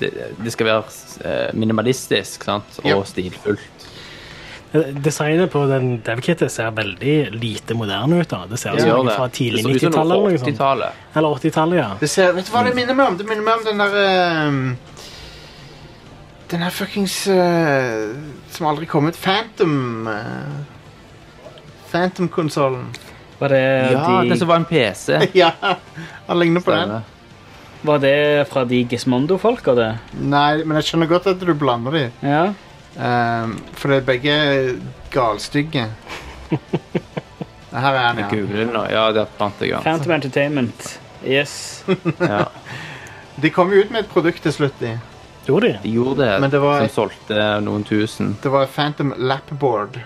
Speaker 4: Det, det skal være eh, minimalistisk sant? og
Speaker 1: Ja.
Speaker 4: stilfullt.
Speaker 3: Designet på den dev-kittet ser veldig lite moderne ut. da. Det ser ut som
Speaker 4: Gjør
Speaker 3: noe
Speaker 4: det.
Speaker 3: fra
Speaker 4: Det
Speaker 3: tidlig
Speaker 4: ser ut som
Speaker 3: 90-tallet.
Speaker 4: noe fra
Speaker 3: eller noe sånt.
Speaker 4: 80-tallet.
Speaker 3: Eller 80-tallet, ja.
Speaker 1: Det ser, vet du hva det minner meg om? Det minner meg om den der ehm, Den her fuckings eh, Som aldri kom ut. Phantom eh, Phantom-konsollen.
Speaker 2: Var det,
Speaker 4: Ja, det som
Speaker 2: de,
Speaker 4: var en PC.
Speaker 1: ja, han ligner på den.
Speaker 4: Stemmer.
Speaker 2: var det fra de Gismondo-folka, det?
Speaker 1: Nei, men jeg skjønner godt at du blander de.
Speaker 2: Ja.
Speaker 1: Ehm, for det er begge galstygge. Her er han,
Speaker 4: Jeg
Speaker 1: ja.
Speaker 4: googler det nå. Ja, der fant jeg den.
Speaker 2: Phantom Entertainment. Yes.
Speaker 4: Ja.
Speaker 1: De kom jo ut med et produkt til slutt, de.
Speaker 3: Gjorde de?
Speaker 4: De gjorde det,
Speaker 1: Men det var-
Speaker 4: som solgte noen tusen.
Speaker 1: Det var Phantom Lapboard.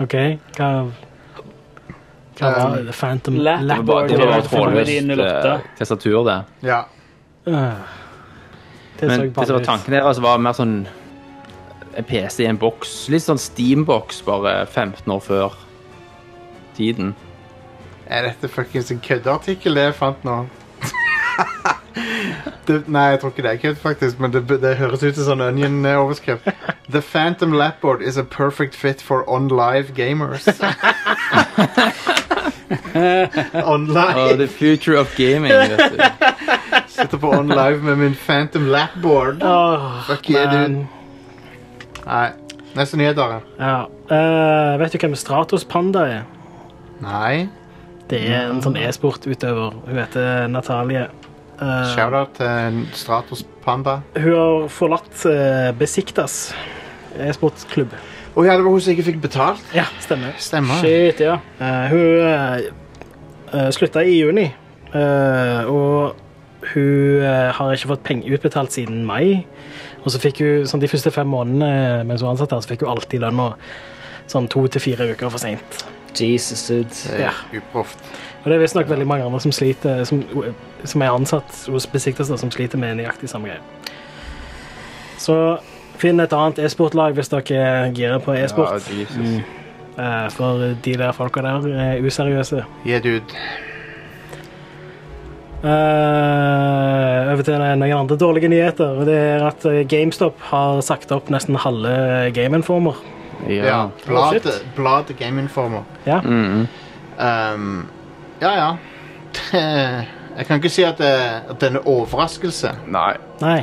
Speaker 3: OK. Hva, hva var det? Phantom
Speaker 2: Lap-
Speaker 4: Eh, Det var bare, det var
Speaker 2: Ja,
Speaker 4: bare
Speaker 2: det var med de
Speaker 4: trådløst
Speaker 2: 08.
Speaker 4: eh, tastatur, det.
Speaker 1: Ja.
Speaker 3: Øh. Det så
Speaker 4: Men
Speaker 3: jeg
Speaker 4: det som
Speaker 3: bare
Speaker 4: var
Speaker 3: ut.
Speaker 4: tanken deres, var mer sånn en PC i en boks. Litt sånn Steam-boks, bare 15 år før tiden.
Speaker 1: Er dette fuckings en køddeartikkel det jeg fant nå? det, nei, jeg tror ikke det er kødd, faktisk, men det, det høres ut som sånn Onion-overskrift. eh, The Phantom Lapboard is a perfect fit for on-live gamers.
Speaker 4: Oh,
Speaker 1: on-live.
Speaker 4: the future of gaming, vet du.
Speaker 1: Sitter på on-live med min Phantom Lapboard.
Speaker 3: Åh,
Speaker 1: Fuck you,
Speaker 3: men-
Speaker 1: dude. Nei. Neste nyhet, Are.
Speaker 3: Ja. Eh, vet du hvem Stratos Panda er?
Speaker 1: Nei.
Speaker 3: Det er en sånn e-sportutøver. Hun heter Natalie. Eh,
Speaker 1: Shoutout til Stratos Panda.
Speaker 3: hun har forlatt eh, Besiktas e-sportklubb.
Speaker 1: Å ja, det var hun som ikke fikk betalt.
Speaker 3: Ja, stemmer.
Speaker 1: Stemmer.
Speaker 2: Shit, ja.
Speaker 3: Eh, hun eh, eh, slutta i juni, eh, og hun eh, har ikke fått penger utbetalt siden mai. Og så fikk hun, sånn, De første fem månedene eh, mens hun var ansatt der, så fikk hun alltid lønna sånn to til fire uker for seint.
Speaker 2: Jesus, dude.
Speaker 1: Det er uproft.
Speaker 3: Og det er visstnok veldig mange andre som sliter, som, som er ansatt hos Besiktas, da, som sliter med nøyaktig samme greie. Så finn et annet e-sportlag hvis dere girer på
Speaker 4: Ja,
Speaker 3: e-sport.
Speaker 4: Jesus.
Speaker 3: eh, For de der folka der er useriøse.
Speaker 1: Yeah, dude.
Speaker 3: Eh, over til noen andre dårlige nyheter. og Det er at eh, GameStop har sagt opp nesten halve eh, Game Informer.
Speaker 1: Ja.
Speaker 4: Ja.
Speaker 1: Bladet
Speaker 3: shit.
Speaker 1: bladet Game Informer.
Speaker 3: Ja.
Speaker 4: Mm,
Speaker 1: Ehm, ja, ja. Jeg kan ikke si at det, at det er en overraskelse,
Speaker 4: Nei.
Speaker 3: Nei.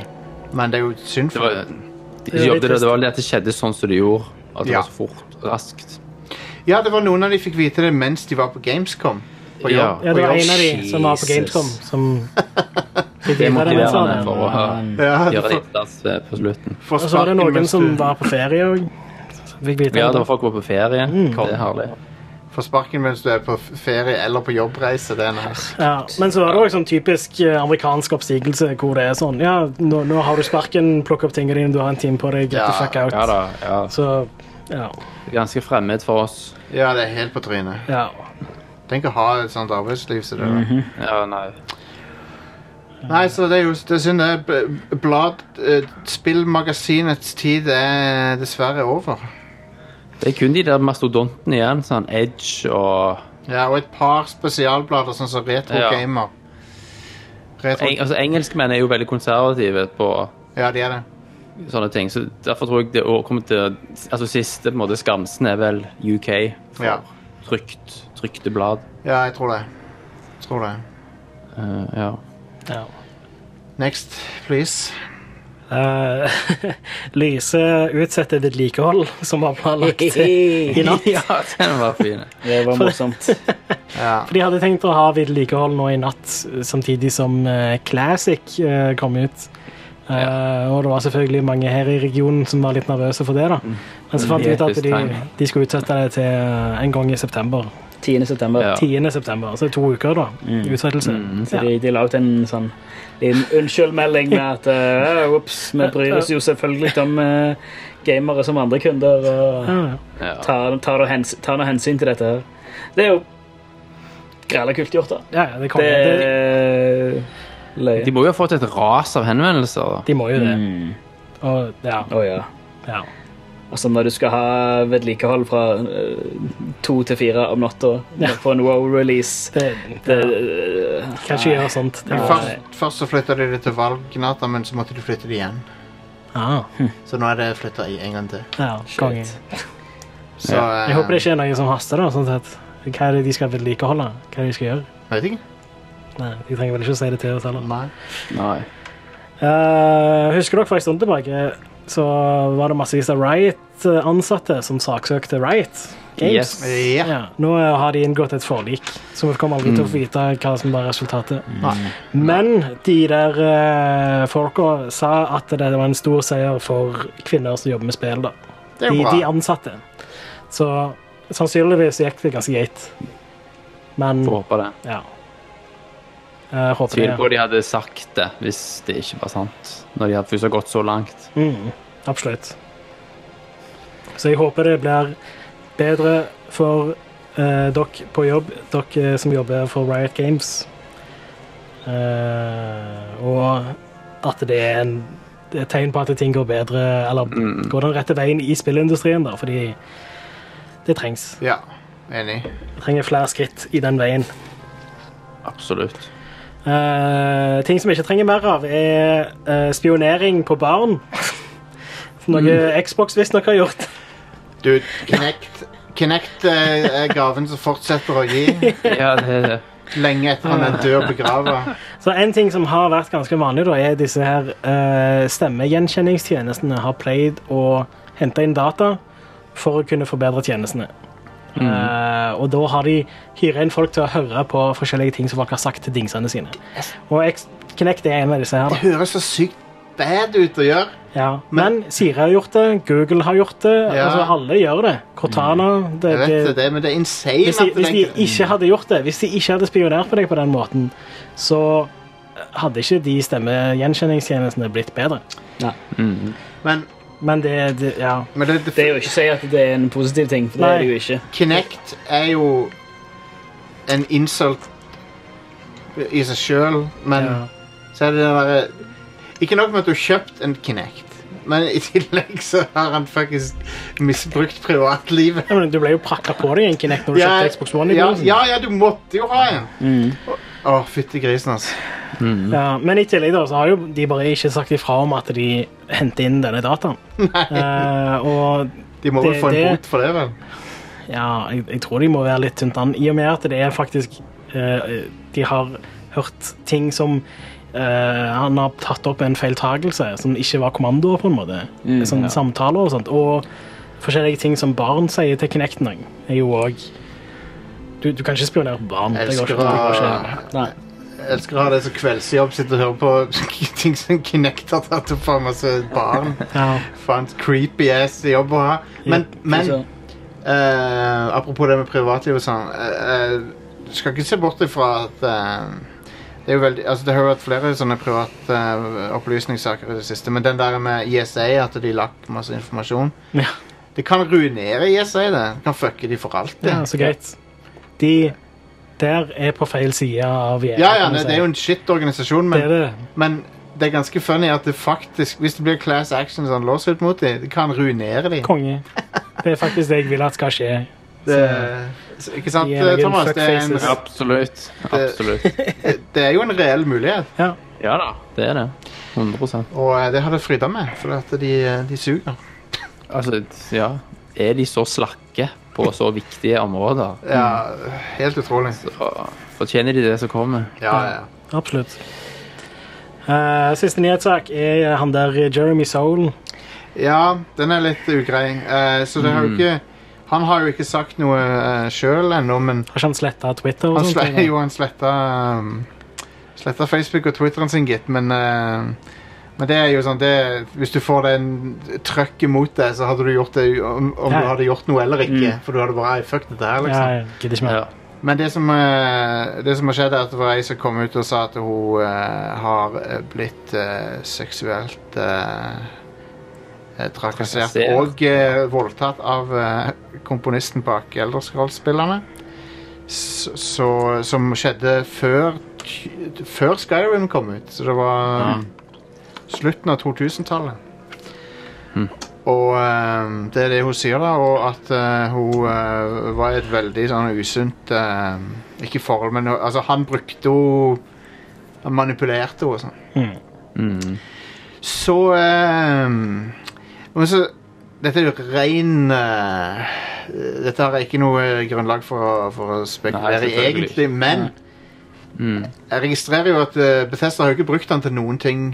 Speaker 1: men det er jo synd
Speaker 4: Det
Speaker 1: for
Speaker 4: var,
Speaker 1: det.
Speaker 4: de
Speaker 3: litt
Speaker 4: jobbet, det,
Speaker 3: trist.
Speaker 4: det var det at det skjedde sånn som det gjorde. At det
Speaker 1: Ja.
Speaker 4: var så fort og raskt.
Speaker 1: Ja, det var noen av de fikk vite det mens de var på Gamescom. På
Speaker 4: Ja.
Speaker 1: jobb.
Speaker 3: Ja, det
Speaker 1: på
Speaker 3: var
Speaker 1: jobb.
Speaker 3: en av de som var på
Speaker 2: Jesus.
Speaker 3: Gamescom, som fikk
Speaker 4: Det er
Speaker 3: vite det mens han
Speaker 4: motiverende
Speaker 3: var der.
Speaker 4: for å ha,
Speaker 1: Ja,
Speaker 4: gjøre
Speaker 1: for-
Speaker 4: innsats eh, på slutten.
Speaker 1: for
Speaker 3: Og så altså, var det
Speaker 1: sparken
Speaker 3: noen
Speaker 1: mens
Speaker 3: som
Speaker 1: du-
Speaker 3: var på ferie òg. Fikk vite
Speaker 4: Ja, Mm.
Speaker 3: om
Speaker 4: det var folk var på ferie. Det er herlig.
Speaker 1: Får sparken mens du er på f- ferie eller på jobbreise. Det er nice.
Speaker 3: Ja, men så var det også sånn typisk eh, amerikansk oppsigelse hvor det er sånn Ja, nå, nå har du sparken, plukk opp tingene dine, du har en time på deg, get the
Speaker 1: Ja,
Speaker 3: fuck out.
Speaker 4: Ja da. Ja.
Speaker 3: Så ja.
Speaker 4: Ganske fremmed for oss.
Speaker 1: Ja, det er helt på trynet.
Speaker 3: ja.
Speaker 1: Tenk å ha et sånt arbeidsliv som det der.
Speaker 3: Mhm.
Speaker 4: Ja, nei.
Speaker 1: Nei, så det er jo det er synd. det. B- Blad, eh, spillmagasinets tid er dessverre over.
Speaker 4: Det er kun de der mastodontene igjen. Sånn Edge og
Speaker 1: Ja, og et par spesialblader, sånn som Retro
Speaker 4: Ja.
Speaker 1: Gamer. Retro,
Speaker 4: Eng, altså, Engelskmenn er jo veldig konservative på
Speaker 1: ja, de er det.
Speaker 4: sånne ting. Så derfor tror jeg det å- kommer til Altså siste på en måte skansen er vel UK for
Speaker 1: Ja.
Speaker 4: trykt, trykte blad.
Speaker 1: Ja, jeg tror det. Jeg tror det.
Speaker 4: Eh, ja.
Speaker 3: ja.
Speaker 1: Next, please.
Speaker 3: Eh, Lyse utsetter vedlikehold som var planlagt i i natt.
Speaker 4: ja, den var fin.
Speaker 2: Det var morsomt.
Speaker 1: Ja.
Speaker 3: For de hadde tenkt å ha vedlikehold nå i natt, samtidig som eh, Classic eh, kom ut. Eh, Og det var selvfølgelig mange her i regionen som var litt nervøse for det. da. Men så fant de ut at
Speaker 4: Episk
Speaker 3: de,
Speaker 4: timing.
Speaker 3: de skulle utsette det til eh, en gang i september.
Speaker 2: 10. september.
Speaker 4: Ja.
Speaker 3: 10. september, altså to uker da, utsettelse.
Speaker 2: Så
Speaker 3: Ja.
Speaker 2: de, de la ut en sånn liten unnskyldmelding med at uh, Ops, vi bryr oss jo selvfølgelig om eh, gamere som andre kunder. Og
Speaker 3: Ja, ja.
Speaker 4: Ja.
Speaker 2: tar, tar, noe hensyn, tar noe hensyn til dette her. Det er jo grella kult gjort, da.
Speaker 3: ja, ja, det kom.
Speaker 2: Det
Speaker 3: Det,
Speaker 2: er eh, løye.
Speaker 4: De må jo ha fått et ras av henvendelser. da.
Speaker 3: de må jo det.
Speaker 2: Mm.
Speaker 3: Og, ja,
Speaker 2: Å ja.
Speaker 3: ja.
Speaker 2: Altså når du skal ha vedlikehold fra eh, to til fire om natta på en wow-release
Speaker 3: Det,
Speaker 2: det, eh,
Speaker 3: det, kan ikke gjøre sånt. Det
Speaker 1: Men
Speaker 3: var,
Speaker 1: først, først så flytta de det til valgnata, men så måtte de flytte det igjen.
Speaker 3: ah,
Speaker 1: Så nå er det flytta en gang til.
Speaker 3: ja, konge.
Speaker 1: Så
Speaker 3: Jeg håper det
Speaker 1: eh,
Speaker 3: ikke er noe som haster. da, sånn sett. Hva er det de skal vedlikeholde? Hva er det de skal gjøre?
Speaker 1: eh, Vet ikke.
Speaker 3: Nei, De trenger vel ikke å si det til oss heller.
Speaker 1: Nei.
Speaker 4: Nei.
Speaker 3: Eh, husker dere for en stund tilbake så var det massevis av Riot-ansatte som saksøkte Riot Games?
Speaker 4: Yes.
Speaker 1: Ja.
Speaker 3: Ja, nå eh, har de inngått et forlik, så vi kommer aldri til å få vite hva som var resultatet.
Speaker 1: Nei.
Speaker 3: Men de der eh, folka sa at det var en stor seier for kvinner som jobber med spill. da.
Speaker 1: Det er
Speaker 3: De,
Speaker 1: jo
Speaker 3: de
Speaker 1: bra.
Speaker 3: ansatte. Så sannsynligvis gikk det ganske greit. Men
Speaker 4: Får håpe det.
Speaker 3: ja. Jeg håper
Speaker 4: Tviler på
Speaker 3: det.
Speaker 4: at de hadde sagt det hvis det ikke var sant. Når de hadde først har gått så langt.
Speaker 3: Mm, absolutt. Så jeg håper det blir bedre for eh, dere på jobb, dere som jobber for Riot Games. Eh, og at det er en det er et tegn på at ting går bedre, eller går den rette veien i spillindustrien, da, fordi det trengs.
Speaker 1: Ja, enig.
Speaker 3: Vi trenger flere skritt i den veien.
Speaker 4: Absolutt.
Speaker 3: Eh, ting som vi ikke trenger mer av, er eh, spionering på barn. Noe
Speaker 1: Mm.
Speaker 3: Xbox visstnok har gjort.
Speaker 1: Du, Kinect, Kinect eh, er gaven som fortsetter å gi
Speaker 4: Ja, det er det.
Speaker 1: lenge etter han er død og begrava.
Speaker 3: Så en ting som har vært ganske vanlig, da, er disse her eh, stemmegjenkjenningstjenestene har pleid å hente inn data for å kunne forbedre tjenestene.
Speaker 1: Mm.
Speaker 3: Eh, og da har de hyret inn folk til å høre på forskjellige ting som folk har sagt til dingsene sine. Og X Kinect er en av disse her.
Speaker 1: Det
Speaker 3: da.
Speaker 1: høres så sykt bad ut å gjøre.
Speaker 3: Ja. Men Siri har gjort det, Google har gjort det,
Speaker 1: Ja. Mm.
Speaker 3: altså alle gjør det. Cortana det,
Speaker 1: Jeg vet det, det, men det er insane
Speaker 3: Eh, hvis de,
Speaker 1: at
Speaker 3: hvis
Speaker 1: det
Speaker 3: de ikke hadde gjort det, hvis de ikke hadde spionert på deg på den måten, så eh, hadde ikke de stemmegjenkjenningstjenestene blitt bedre.
Speaker 2: Nei.
Speaker 1: Men,
Speaker 3: Men det, det Ja.
Speaker 1: men det, det,
Speaker 2: Det er jo ikke å si at det er en positiv ting, for det
Speaker 3: Nei.
Speaker 2: er det jo ikke.
Speaker 1: Kinect er jo en insult i seg sjøl, men
Speaker 3: Ja.
Speaker 1: så er det den derre Ikke nok med at du har kjøpt en Kinect, men i tillegg så har han fuckings misbrukt privatlivet.
Speaker 3: Ja, men du ble jo prakka på deg i en Kinect når du
Speaker 1: Ja,
Speaker 3: kjøpte Xbox One. i
Speaker 1: ja,
Speaker 3: begynnelsen.
Speaker 1: ja, ja, du måtte jo ha en. Å, fytti grisen, altså.
Speaker 3: Mm. Ja, men i tillegg da, så har jo de bare ikke sagt ifra om at de henter inn denne dataen. Eh, og
Speaker 1: De må
Speaker 3: Det-
Speaker 1: vel få en
Speaker 3: det-
Speaker 1: bot for det, vel?
Speaker 3: ja, jeg, jeg tror de må være litt tynt an, i og med at det er faktisk eh, De har hørt ting som eh, Han har tatt opp en feiltagelse som ikke var kommandoer, på en måte.
Speaker 1: Mm,
Speaker 3: sånn Samtaler og sånt. Og forskjellige ting som barn sier til Kinecten òg, er jo òg du, du kan ikke spionere på barn. Det går
Speaker 1: Elsker
Speaker 3: ikke. Det går ikke.
Speaker 1: å-
Speaker 2: Nei.
Speaker 1: elsker å ha det som kveldsjobb, sitte og høre på ting som Kinect har tatt opp for masse barn.
Speaker 3: Ja.
Speaker 1: Faen, creepy ass jobb å ha. Men, men
Speaker 2: altså,
Speaker 1: eh, apropos det med privatliv og sånn eh, eh, Du skal ikke se bort ifra at eh, det, er jo veldig, altså det har jo vært flere sånne private eh, opplysningssaker i det siste, men den der med ISA, at de lakk masse informasjon
Speaker 3: Ja.
Speaker 1: Det kan ruinere ISA, det. Det kan fucke de for alt. det.
Speaker 3: Ja, altså. så greit. De der er på feil side av gjerdet.
Speaker 1: ja, ja,
Speaker 3: kan du
Speaker 1: det,
Speaker 3: si.
Speaker 1: det er jo en shit-organisasjon, men
Speaker 3: Det er det.
Speaker 1: Men det er ganske funny at det faktisk, hvis det blir class action sånn lawsuit mot dem, det kan ruinere dem.
Speaker 3: Konge. Det er faktisk det jeg vil at skal skje.
Speaker 1: Ikke sant,
Speaker 3: De er noen
Speaker 1: Thomas? Det er,
Speaker 3: fuckfaces.
Speaker 1: en,
Speaker 4: Absolutt. Absolutt.
Speaker 1: det er jo en reell mulighet,
Speaker 3: Ja.
Speaker 4: Ja da, det er det. 100
Speaker 1: og eh, det har det fryda med, for at de, eh, de suger.
Speaker 4: Altså, ja. Er de så slakke på så viktige områder,
Speaker 1: Ja, helt utrolig.
Speaker 4: så fortjener de det som kommer.
Speaker 1: Ja, ja.
Speaker 3: Absolutt. Eh, siste nyhetssak er han der Jeremy Soul.
Speaker 1: ja, den er litt ugrei. Eh, så det har jo ikke Han har jo ikke sagt noe uh, sjøl ennå, men
Speaker 3: Har ikke han sletta Twitter? og
Speaker 1: han
Speaker 3: sånt,
Speaker 1: sletta
Speaker 3: eller?
Speaker 1: jo han sletta um, Sletta Facebook og Twitteren sin, gitt, men eh, men det er jo sånn, det, hvis du får den trøkket mot deg, så hadde du gjort det om, om
Speaker 3: Ja.
Speaker 1: du hadde gjort noe eller ikke. For du hadde bare «Ei, fuck dette her,
Speaker 3: Mm. Ja,
Speaker 1: liksom.
Speaker 3: jeg gidder ikke mer.
Speaker 4: Ja.
Speaker 1: Men det som, eh, det som har skjedd, er at det var ei som kom ut og sa at hun eh, har eh, blitt eh, seksuelt eh, eh, trakassert
Speaker 4: Trakassert.
Speaker 1: og eh, voldtatt av eh, komponisten bak Elderscroll-spillerne. S- Så, som skjedde før, ty- før Skyrim kom ut. Så det var
Speaker 4: Ja.
Speaker 1: slutten av 2000-tallet. Og eh, det er det hun sier, da. Og at eh, hun eh, var i et veldig sånn usunt eh, Ikke forhold, men hun- altså, han brukte henne Han manipulerte henne og sånn.
Speaker 4: Mm.
Speaker 1: Så eh, Men så Dette er jo ren eh, Dette har jeg ikke noe grunnlag for å, for å spekulere
Speaker 4: Nei,
Speaker 1: i,
Speaker 4: selvfølgelig.
Speaker 1: egentlig, men
Speaker 4: Mm.
Speaker 1: jeg registrerer jo at eh, Bethesda har jo ikke brukt den til noen ting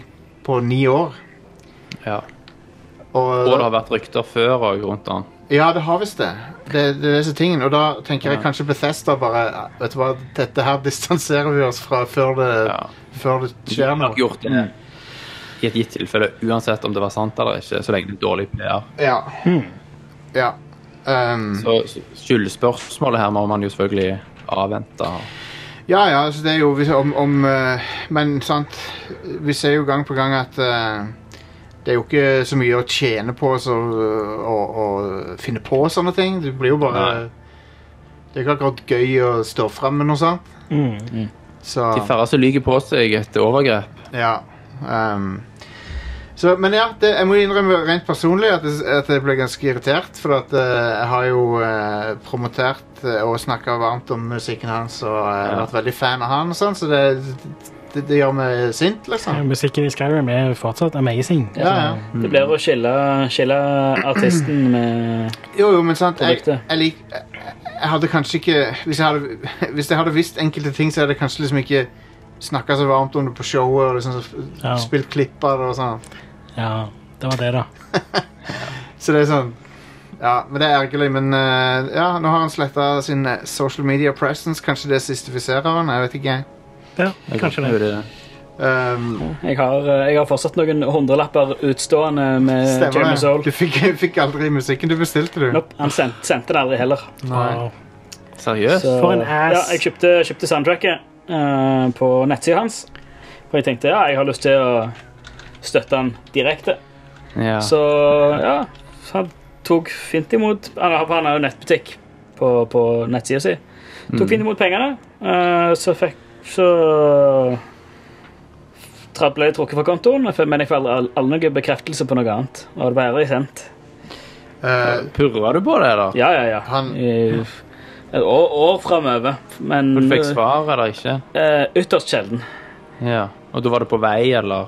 Speaker 1: på ni år.
Speaker 4: Ja.
Speaker 1: Og,
Speaker 4: Og det har vært rykter før òg rundt den.
Speaker 1: Ja, det har visst det. Det, det er disse tingene. Og da tenker jeg kanskje Bethesda bare Vet du hva, dette her distanserer vi oss fra før det,
Speaker 4: Ja.
Speaker 1: før det
Speaker 4: De
Speaker 1: skjer
Speaker 4: har nok
Speaker 1: noe.
Speaker 4: gjort det Mm. i et gitt tilfelle, uansett om det var sant eller ikke, så lenge det er dårlig PR.
Speaker 1: Ja. ja. Um,
Speaker 4: Så skyldspørsmålet her må man jo selvfølgelig avvente.
Speaker 1: ja, ja, altså det er jo hvis- om, om eh, Men sant, vi ser jo gang på gang at eh, det er jo ikke så mye å tjene på så, å, å finne på sånne ting. Du blir jo bare
Speaker 4: Nei.
Speaker 1: Det er ikke akkurat gøy å stå fram med noe sånt.
Speaker 3: Mm.
Speaker 1: Så,
Speaker 2: Ah.
Speaker 4: De færreste lyver på seg et overgrep.
Speaker 1: Ja. ehm. så, men ja, det, jeg må innrømme rent personlig at, jeg- at jeg ble ganske irritert. For at eh, jeg har jo eh, promotert eh, og snakka varmt om musikken hans og eh,
Speaker 4: Ja.
Speaker 1: vært veldig fan av han, og sånn, så det, det, det gjør meg sint,
Speaker 3: Ja,
Speaker 1: liksom.
Speaker 3: Musikken i Skyrim er fortsatt amazing.
Speaker 1: Ja, ja.
Speaker 2: det blir å skille, skille artisten med
Speaker 1: Jo, jo, men sant Jeg,
Speaker 2: Produktet.
Speaker 1: jeg, lik, jeg, jeg hadde kanskje ikke hvis jeg hadde, hvis jeg hadde visst enkelte ting, så hadde jeg kanskje liksom ikke snakka så varmt om det på showet og liksom, f-
Speaker 3: Ja.
Speaker 1: spilt klipper og sånn.
Speaker 3: Ja, det var det, da.
Speaker 1: Så det er sånn Ja, men det er ergerlig. Men eh, ja, nå har han sletta sin eh, social media presence. Kanskje det sistifiserer han? Jeg vet ikke.
Speaker 3: Ja, kanskje det.
Speaker 1: Um,
Speaker 2: Jeg har, jeg har fortsatt noen hundrelapper utstående med
Speaker 1: stemmer
Speaker 2: Jeremy Eh, Soul.
Speaker 1: det? Du fikk, fikk aldri musikken du bestilte, du.
Speaker 2: Nope, han sendte, sendte den aldri heller.
Speaker 3: Wow.
Speaker 4: Seriøst?
Speaker 2: Så-
Speaker 3: For en ass.
Speaker 2: Ja, jeg kjøpte, kjøpte soundtracket eh, på nettsida hans. For jeg tenkte ja, jeg har lyst til å støtte han direkte.
Speaker 4: Ja.
Speaker 2: Så ja, han tok fint imot Han har, han har jo nettbutikk på, på nettsida si. Tok
Speaker 4: Mm.
Speaker 2: fint imot pengene, eh, så fikk Så tra- ble jeg trukket fra kontoen, men jeg fikk aldri, aldri noen bekreftelse på noe annet. Og det ble aldri sendt.
Speaker 1: Eh,
Speaker 4: Purra du på det, da?
Speaker 2: Ja, ja, ja.
Speaker 1: Han-
Speaker 2: I, et år, år framover, men
Speaker 4: Du fikk svar eller ikke?
Speaker 2: eh, ytterst sjelden.
Speaker 4: Ja. Og da var det på vei, eller?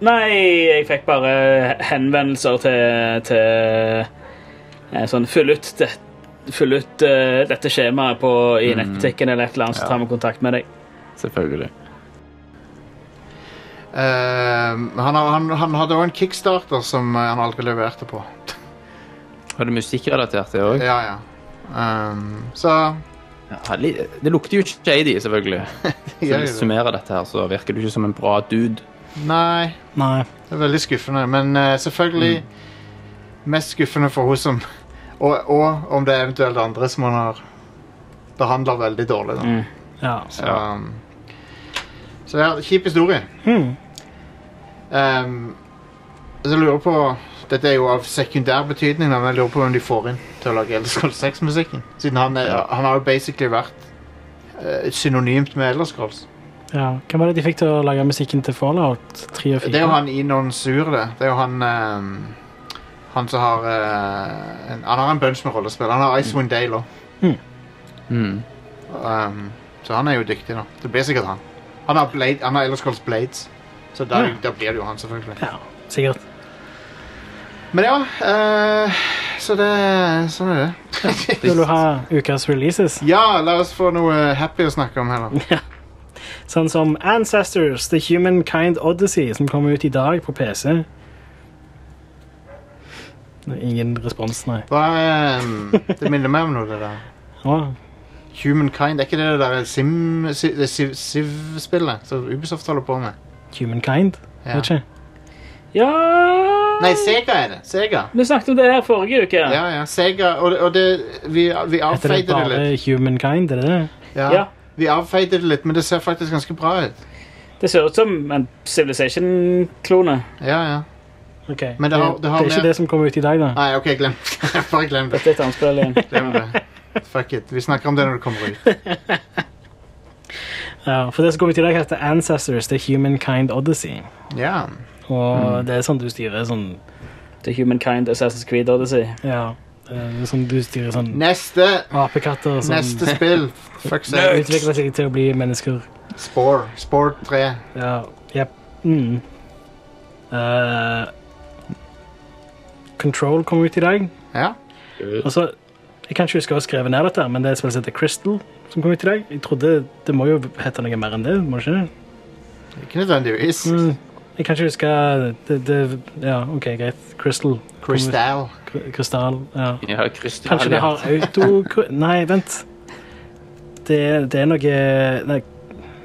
Speaker 2: Nei, jeg fikk bare henvendelser til, til eh, sånn Fyll ut, det, fyll ut eh, dette skjemaet på, i
Speaker 3: Mm.
Speaker 2: nettbutikken eller et eller annet, så tar vi kontakt med deg.
Speaker 4: Selvfølgelig.
Speaker 1: eh, han, har- han, han hadde òg en kickstarter som eh, han aldri leverte på.
Speaker 4: Var det musikkrelatert, det òg?
Speaker 1: Ja, ja. Ehm, så
Speaker 4: Ja, li- det lukter jo ikke shady, selvfølgelig. Så
Speaker 1: gjør
Speaker 4: hvis
Speaker 1: jeg
Speaker 4: du
Speaker 1: det.
Speaker 4: summerer dette her, så virker du ikke som en bra dude.
Speaker 1: Nei,
Speaker 3: Nei.
Speaker 1: det er veldig skuffende. Men eh, selvfølgelig mest skuffende for hun som og, og om det er eventuelt andre som han har behandla veldig dårlig. Da.
Speaker 2: Mm.
Speaker 3: Ja.
Speaker 1: Så, um, så ja, kjip historie.
Speaker 3: Hmm.
Speaker 1: Um, så jeg lurer på Dette er jo av sekundær betydning, da, men jeg lurer på hvem de får inn til å lage Elderskål 6-musikken. Siden han, er, han har jo basically vært eh, synonymt med Elderskåls.
Speaker 3: ja. Hvem var det de fikk til å lage musikken til Fallout 3 og 4?
Speaker 1: Det er jo han Inon Sur, det. Det er jo han ehm, Han som har eh, en, Han har en bunch med rollespill. Han har Icewind Dale òg.
Speaker 4: Mm.
Speaker 1: så han er jo dyktig, da. Det blir sikkert han. Han har, Blade, han har Elder Scrolls Blades, så da,
Speaker 3: Ja.
Speaker 1: da blir det jo han, selvfølgelig.
Speaker 3: Ja, sikkert.
Speaker 1: Men ja, eh, så det Sånn er det.
Speaker 3: Vil du ha ukas releases?
Speaker 1: Ja, la oss få noe eh, happy å snakke om heller.
Speaker 3: Sånn som Ancestors, The Humankind Odyssey, som kommer ut i dag på PC. Det er Ingen respons, nei.
Speaker 1: Hva, ehm, det minner meg om noe, det der.
Speaker 3: Å,
Speaker 1: Humankind, er ikke det det der Sim- Si- det Civ- Civ-spillet som Ubisoft holder på med?
Speaker 3: Humankind?
Speaker 1: Ja.
Speaker 3: Vet ikke.
Speaker 2: Ja
Speaker 1: Nei, Sega er det. Sega.
Speaker 2: Vi snakket om det her forrige uke.
Speaker 1: Ja, ja. Sega Og, og det, vi, vi
Speaker 3: Heter det
Speaker 1: avfeide det
Speaker 3: bare
Speaker 1: litt.
Speaker 3: Humankind, er det det?
Speaker 1: Ja.
Speaker 2: Ja.
Speaker 1: Vi avfeide det litt, men det ser faktisk ganske bra ut.
Speaker 2: Det ser ut som en Civilization-klone.
Speaker 1: Ja, ja.
Speaker 3: Ok.
Speaker 1: Men det har- det har
Speaker 3: er ikke
Speaker 1: mer-
Speaker 3: det som kommer ut i dag, da.
Speaker 1: Nei, OK, glem det. Bare glem det.
Speaker 2: Dette er et annet spill igjen.
Speaker 1: Glem det. Fuck it. Vi snakker om det når det kommer ut.
Speaker 3: Ja, for det som kommer ut i dag, heter Ancestors, The Humankind Odyssey.
Speaker 1: Ja. Mm.
Speaker 3: Og det er sånn du styrer sånn
Speaker 2: The Humankind Assassin's Creed Odyssey.
Speaker 3: Ja. Det er sånn du styrer sånn
Speaker 1: Neste
Speaker 3: apekatter som
Speaker 1: Neste spill. Fuck sake.
Speaker 3: utvikler seg til å bli mennesker.
Speaker 1: Spore. Spore 3.
Speaker 3: Ja. Jepp. Mm. Eh, Control kom ut i dag.
Speaker 1: Ja.
Speaker 3: Og så, Jeg kan ikke huske å ha skrevet ned dette, men det er et spill som heter Crystal. som kom ut i dag. Jeg trodde Det må jo hete noe mer enn det. må det ikke det?
Speaker 1: Ikke nødvendigvis.
Speaker 3: Mm. Jeg kan ikke huske det, det, Ja, OK, greit. Crystal.
Speaker 1: Crystal.
Speaker 3: Kry- Krystall. Ja.
Speaker 4: Ja, Christian,
Speaker 3: Kanskje det
Speaker 4: ja.
Speaker 3: har auto... Nei, vent. Det, det er noe Nei,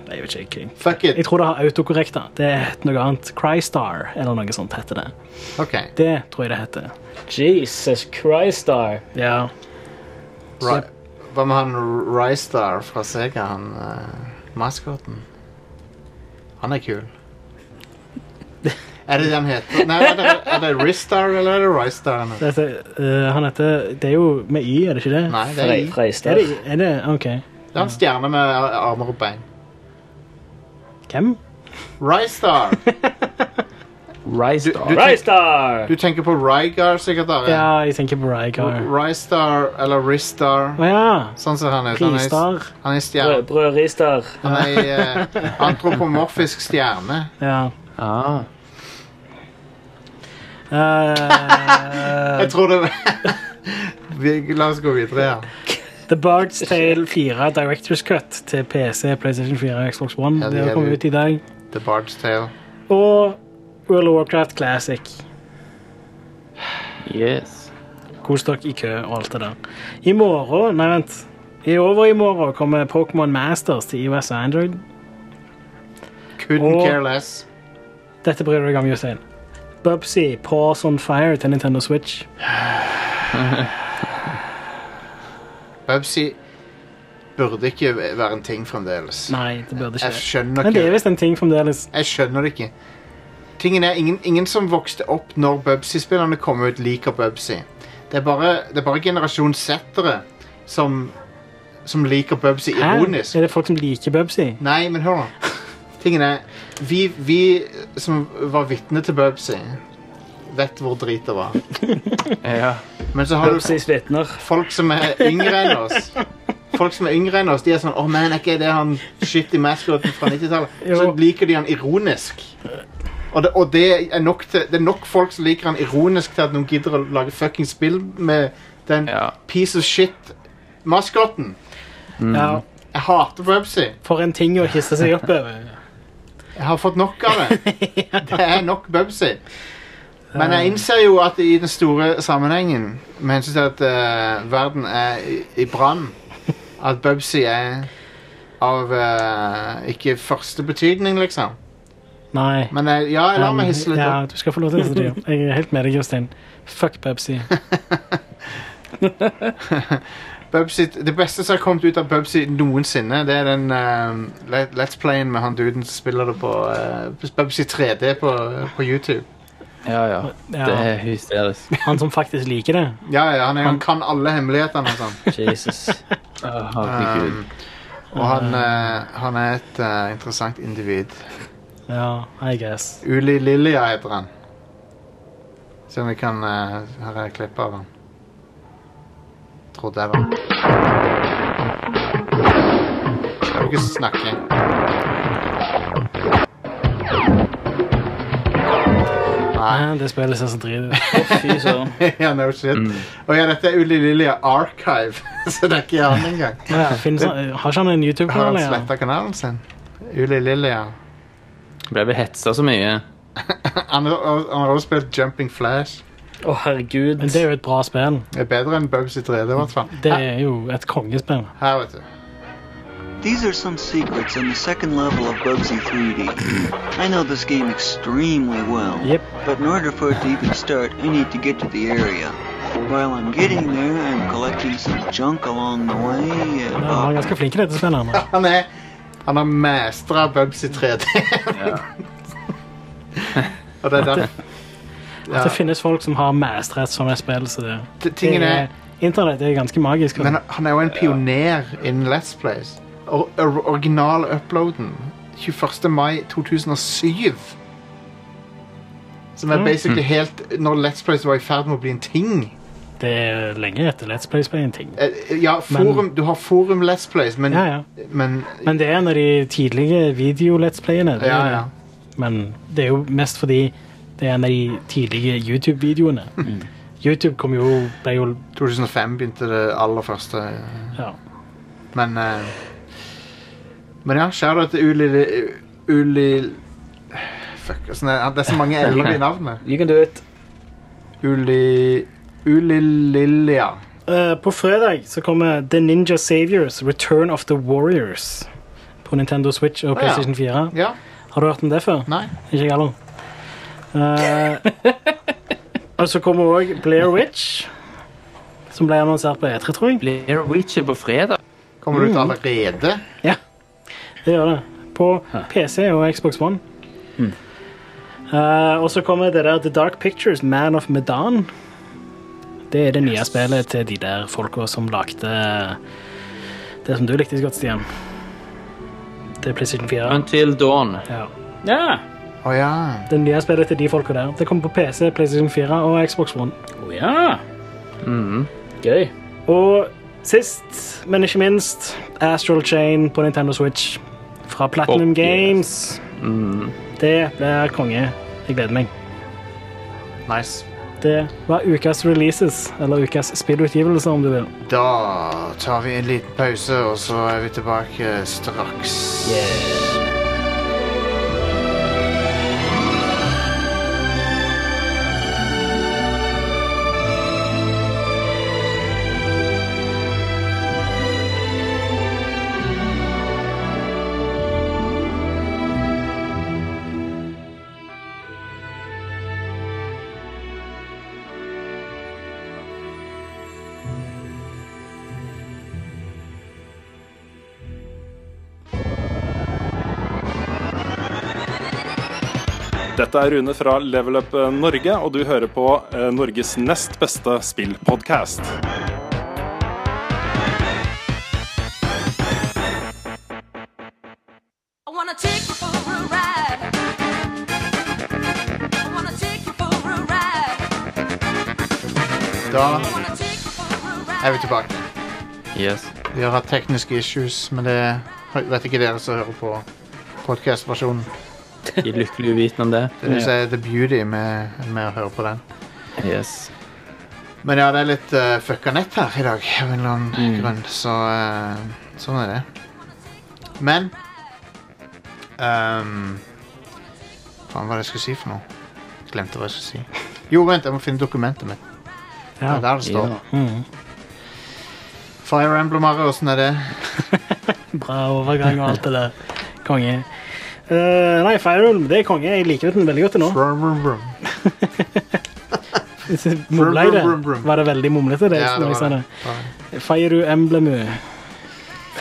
Speaker 3: nei, jeg vet ikke. Jeg,
Speaker 1: Fuck it.
Speaker 3: jeg tror det har autokorrekt. da. Det heter noe annet. Crystar eller noe sånt heter det.
Speaker 1: OK.
Speaker 3: Det tror jeg det heter.
Speaker 2: Jesus Christar.
Speaker 3: Ja.
Speaker 1: Ri- Hva med han Rystar fra Sega, han uh, maskoten? Han er kul. Er det det han heter? Nei, er det, er det Ristar eller er det Rystar? han heter?
Speaker 3: Dette, eh, han heter Det er jo med Y, er det ikke det?
Speaker 1: Nei, det er,
Speaker 2: Frei-
Speaker 1: I.
Speaker 3: Er
Speaker 2: Freistar.
Speaker 3: det, er det OK.
Speaker 1: det er en stjerne med ar- armer og bein.
Speaker 3: Hvem?
Speaker 1: Rystar!
Speaker 4: Rise
Speaker 1: du-
Speaker 4: Star.
Speaker 2: Freistar!
Speaker 1: Du tenker på Rygar, sikkert? Are.
Speaker 3: Ja, jeg tenker på Rygar.
Speaker 1: Rystar eller Ristar.
Speaker 3: Å ja.
Speaker 1: Sånn som han er. Han er,
Speaker 3: Pristar.
Speaker 1: han er
Speaker 2: Brød,
Speaker 1: stjerne.
Speaker 2: brød Ristar.
Speaker 1: Han er eh, antropomorfisk stjerne.
Speaker 3: Ja.
Speaker 4: Ah.
Speaker 3: Eh,
Speaker 1: Jeg tror det Vi- La oss gå videre her.
Speaker 3: The Bard's Tale 4 Directors Cut til PC, PlayStation 4 og Xbox
Speaker 1: Ja,
Speaker 3: One.
Speaker 1: det
Speaker 3: det har
Speaker 1: er
Speaker 3: kommet
Speaker 1: det.
Speaker 3: ut i dag.
Speaker 1: The Bard's Tale.
Speaker 3: Og World of Warcraft Classic.
Speaker 4: Yes.
Speaker 3: Kos dere i kø og alt det der. I morgen Nei, vent. I over i morgen kommer Pokémon Masters til iOS og Android.
Speaker 1: Couldn't
Speaker 3: Og-
Speaker 1: care less.
Speaker 3: Dette bryr du deg om, Jostein. Bubsy, Paws on Fire til Nintendo Switch.
Speaker 1: Bubsy burde ikke være en ting fremdeles.
Speaker 3: Nei, det burde
Speaker 1: Jeg
Speaker 3: ikke.
Speaker 1: skjønner
Speaker 3: Men det er
Speaker 1: ikke.
Speaker 3: visst en ting fremdeles.
Speaker 1: Jeg skjønner det ikke. Tingen er, ingen, ingen som vokste opp når Bubsy-spillerne kom ut, liker Bubsy. Det er bare, det er bare generasjon Z-ere som, som liker Bubsy
Speaker 3: Hæ?
Speaker 1: ironisk.
Speaker 3: Er det folk som liker Bubsy?
Speaker 1: Nei, men hør nå. Tingen er, vi, vi som var vitne til Bubsy, vet hvor drit det var.
Speaker 4: Ja.
Speaker 1: Men så har du
Speaker 2: Bubsys vitner.
Speaker 1: folk som er yngre enn oss. Folk som er yngre enn oss, de er sånn Å, man, er ikke det han shitty maskoten fra 90-tallet? Så
Speaker 3: Jo.
Speaker 1: liker de han ironisk. Og, det, og det, er nok til, det er nok folk som liker han ironisk til at noen gidder å lage fucking spill med den
Speaker 4: Ja.
Speaker 1: piece of shit-maskoten.
Speaker 3: Ja,
Speaker 1: Jeg hater Bubsy.
Speaker 3: For en ting å hisse seg opp over.
Speaker 1: Jeg har fått nok av det. Det er nok Bubsy. Men jeg innser jo at i den store sammenhengen, med hensyn til at eh, verden er i, i brann, at Bubsy er av eh, ikke første betydning, liksom.
Speaker 3: Nei.
Speaker 1: Men jeg, ja, jeg lar meg hisse litt
Speaker 3: Um, ja,
Speaker 1: opp.
Speaker 3: du skal få lov til å hisse deg opp. Jeg er helt med deg, Jostein. Fuck Bubsy.
Speaker 1: Bubsy, det beste som har kommet ut av Bubsy noensinne, det er den eh, let- Let's Playen med han duden som spiller det på eh, Bubsy 3D på, på YouTube.
Speaker 4: ja, ja.
Speaker 3: Ja.
Speaker 4: Det er hysterisk.
Speaker 3: Han som faktisk liker det.
Speaker 1: Ja, ja, han, er, han kan alle hemmelighetene og sånn.
Speaker 4: Jesus. Å, Herregud.
Speaker 1: Og han, eh, han er et eh, interessant individ.
Speaker 3: Ja, I guess.
Speaker 1: Uli Lilja heter han. Se om vi kan eh, Her er et klipp av han. Trodde jeg var Skal du ikke snakke? Nei.
Speaker 3: Nei, det spillet ser så drit ut.
Speaker 2: Fy søren.
Speaker 1: ja, no shit. Og ja, dette er Uli Lilja Archive, så det er ikke han engang.
Speaker 3: Ja, finnes han- har ikke han en
Speaker 1: Har
Speaker 3: YouTube-kanal
Speaker 1: han
Speaker 3: lenger?
Speaker 1: sletta kanalen sin? Uli Lilja.
Speaker 4: Ble vi hetsa så mye?
Speaker 1: Han har han har også spilt Jumping Flash.
Speaker 2: Å, herregud.
Speaker 3: Men det er jo et bra spill.
Speaker 1: Det er bedre enn Bubsy 3D, i hvert fall.
Speaker 3: Det er jo et kongespill.
Speaker 1: Her, vet du.
Speaker 6: These are some secrets on the second level of Bubsy 3D. I know this game extremely well,
Speaker 3: Yep.
Speaker 6: but in order for it to even start, I need to get to the area. While I'm getting there, I'm collecting some junk along the way.
Speaker 3: Ja, Han var
Speaker 6: Uh,
Speaker 3: ganske flink i dette spillet. han. altså.
Speaker 1: Han er Han har mestra Bubsy 3D. Og det er der ja.
Speaker 3: Det finnes folk som har mastret som et spill, så det,
Speaker 1: T-
Speaker 3: det
Speaker 1: Tingen er
Speaker 3: er Internett er ganske magisk. og-
Speaker 1: Men han er jo en pioner innen Let's Plays. Or, or, original uploaden 21. mai 2007. Som
Speaker 3: Mm.
Speaker 1: er basically helt når Let's Plays var i ferd med å bli en ting.
Speaker 3: Det er lenge etter Let's Play Play en ting.
Speaker 1: Eh, Ja, forum, Du har forum Let's Plays, men,
Speaker 3: Ja, ja.
Speaker 1: men
Speaker 3: Men det er en av de tidlige video-Let's Playene. det er
Speaker 1: Ja,
Speaker 3: det.
Speaker 1: ja.
Speaker 3: Men det er jo mest fordi det er en av de tidlige YouTube-videoene. YouTube kom jo, ble jo
Speaker 1: 2005 begynte det aller første.
Speaker 3: ja.
Speaker 1: Men eh, Men ja, kjære til Uli Uli Fuck, hvordan er det? det er så mange l-er i navnet.
Speaker 2: You can do it.
Speaker 1: Uli Ulililja.
Speaker 3: Eh, På fredag så kommer The Ninja Saviors Return of the Warriors på Nintendo Switch og
Speaker 1: Å, ja.
Speaker 3: PlayStation 4.
Speaker 1: Ja?
Speaker 3: Har du hørt om det før?
Speaker 1: Nei?
Speaker 3: Ikke jeg heller. Eh, og så kommer òg Blair Witch, som ble annonsert på E3, tror jeg.
Speaker 4: Blair Witch er på fredag.
Speaker 1: Kommer det ut allerede?
Speaker 3: Det gjør det. På PC og Xbox One. Eh, og så kommer det der The Dark Pictures, Man of Medan. Det er det nye spillet til de der folka som lagde eh, det som du likte så godt, Stian. Det er PlayStation 4.
Speaker 4: Until Dawn.
Speaker 3: Ja.
Speaker 2: Ja.
Speaker 1: Å ja.
Speaker 3: Det nye spillet til de folka der. Det kommer på PC, PlayStation 4 og Xbox One.
Speaker 2: Å ja.
Speaker 4: Mm-hmm.
Speaker 2: Gøy.
Speaker 3: Og sist, men ikke minst, Astral Chain på Nintendo Switch fra Platinum
Speaker 4: Oh, yes.
Speaker 3: Games.
Speaker 1: Mm.
Speaker 3: Det blir konge. Jeg gleder meg.
Speaker 1: Nice.
Speaker 3: Det var ukas releases, eller ukas spillutgivelser, om du vil.
Speaker 1: Da tar vi en liten pause, og så er vi tilbake straks.
Speaker 7: Dette er Rune fra Level Up eh, Norge, og du hører på eh, Norges nest beste spillpodkast.
Speaker 8: I wanna take you for a ride. I wanna take you for a ride.
Speaker 1: Da
Speaker 8: I wanna take you for a ride.
Speaker 1: er vi tilbake.
Speaker 4: Yes.
Speaker 1: Vi har hatt tekniske issues, men det vet ikke dere som hører på podcast-versjonen.
Speaker 4: De er lykkelig uvitende om det.
Speaker 1: Det synes jeg er the beauty med, med å høre på den.
Speaker 4: Yes.
Speaker 1: Men ja, det er litt uh, fucka nett her i dag, av en eller annen grunn. Så eh, sånn er det. Men ehm, Faen, hva var det jeg skulle si for noe? Glemte hva jeg skulle si. Jo, vent, jeg må finne dokumentet mitt. Ja, der det står.
Speaker 4: Ja.
Speaker 1: Fire Emblem Mario, åssen er det?
Speaker 3: Bra overgang og alt det der. Konge. Eh, nei, Firehulm, det er konge. Jeg liker den veldig godt til nå.
Speaker 1: Brum, brum, brum.
Speaker 3: Mumla i det.
Speaker 1: brum, brum.
Speaker 3: Var det veldig mumlete, det?
Speaker 1: Ja, det
Speaker 3: når jeg
Speaker 1: var
Speaker 3: sa
Speaker 1: det.
Speaker 3: det. Fire Emblemu.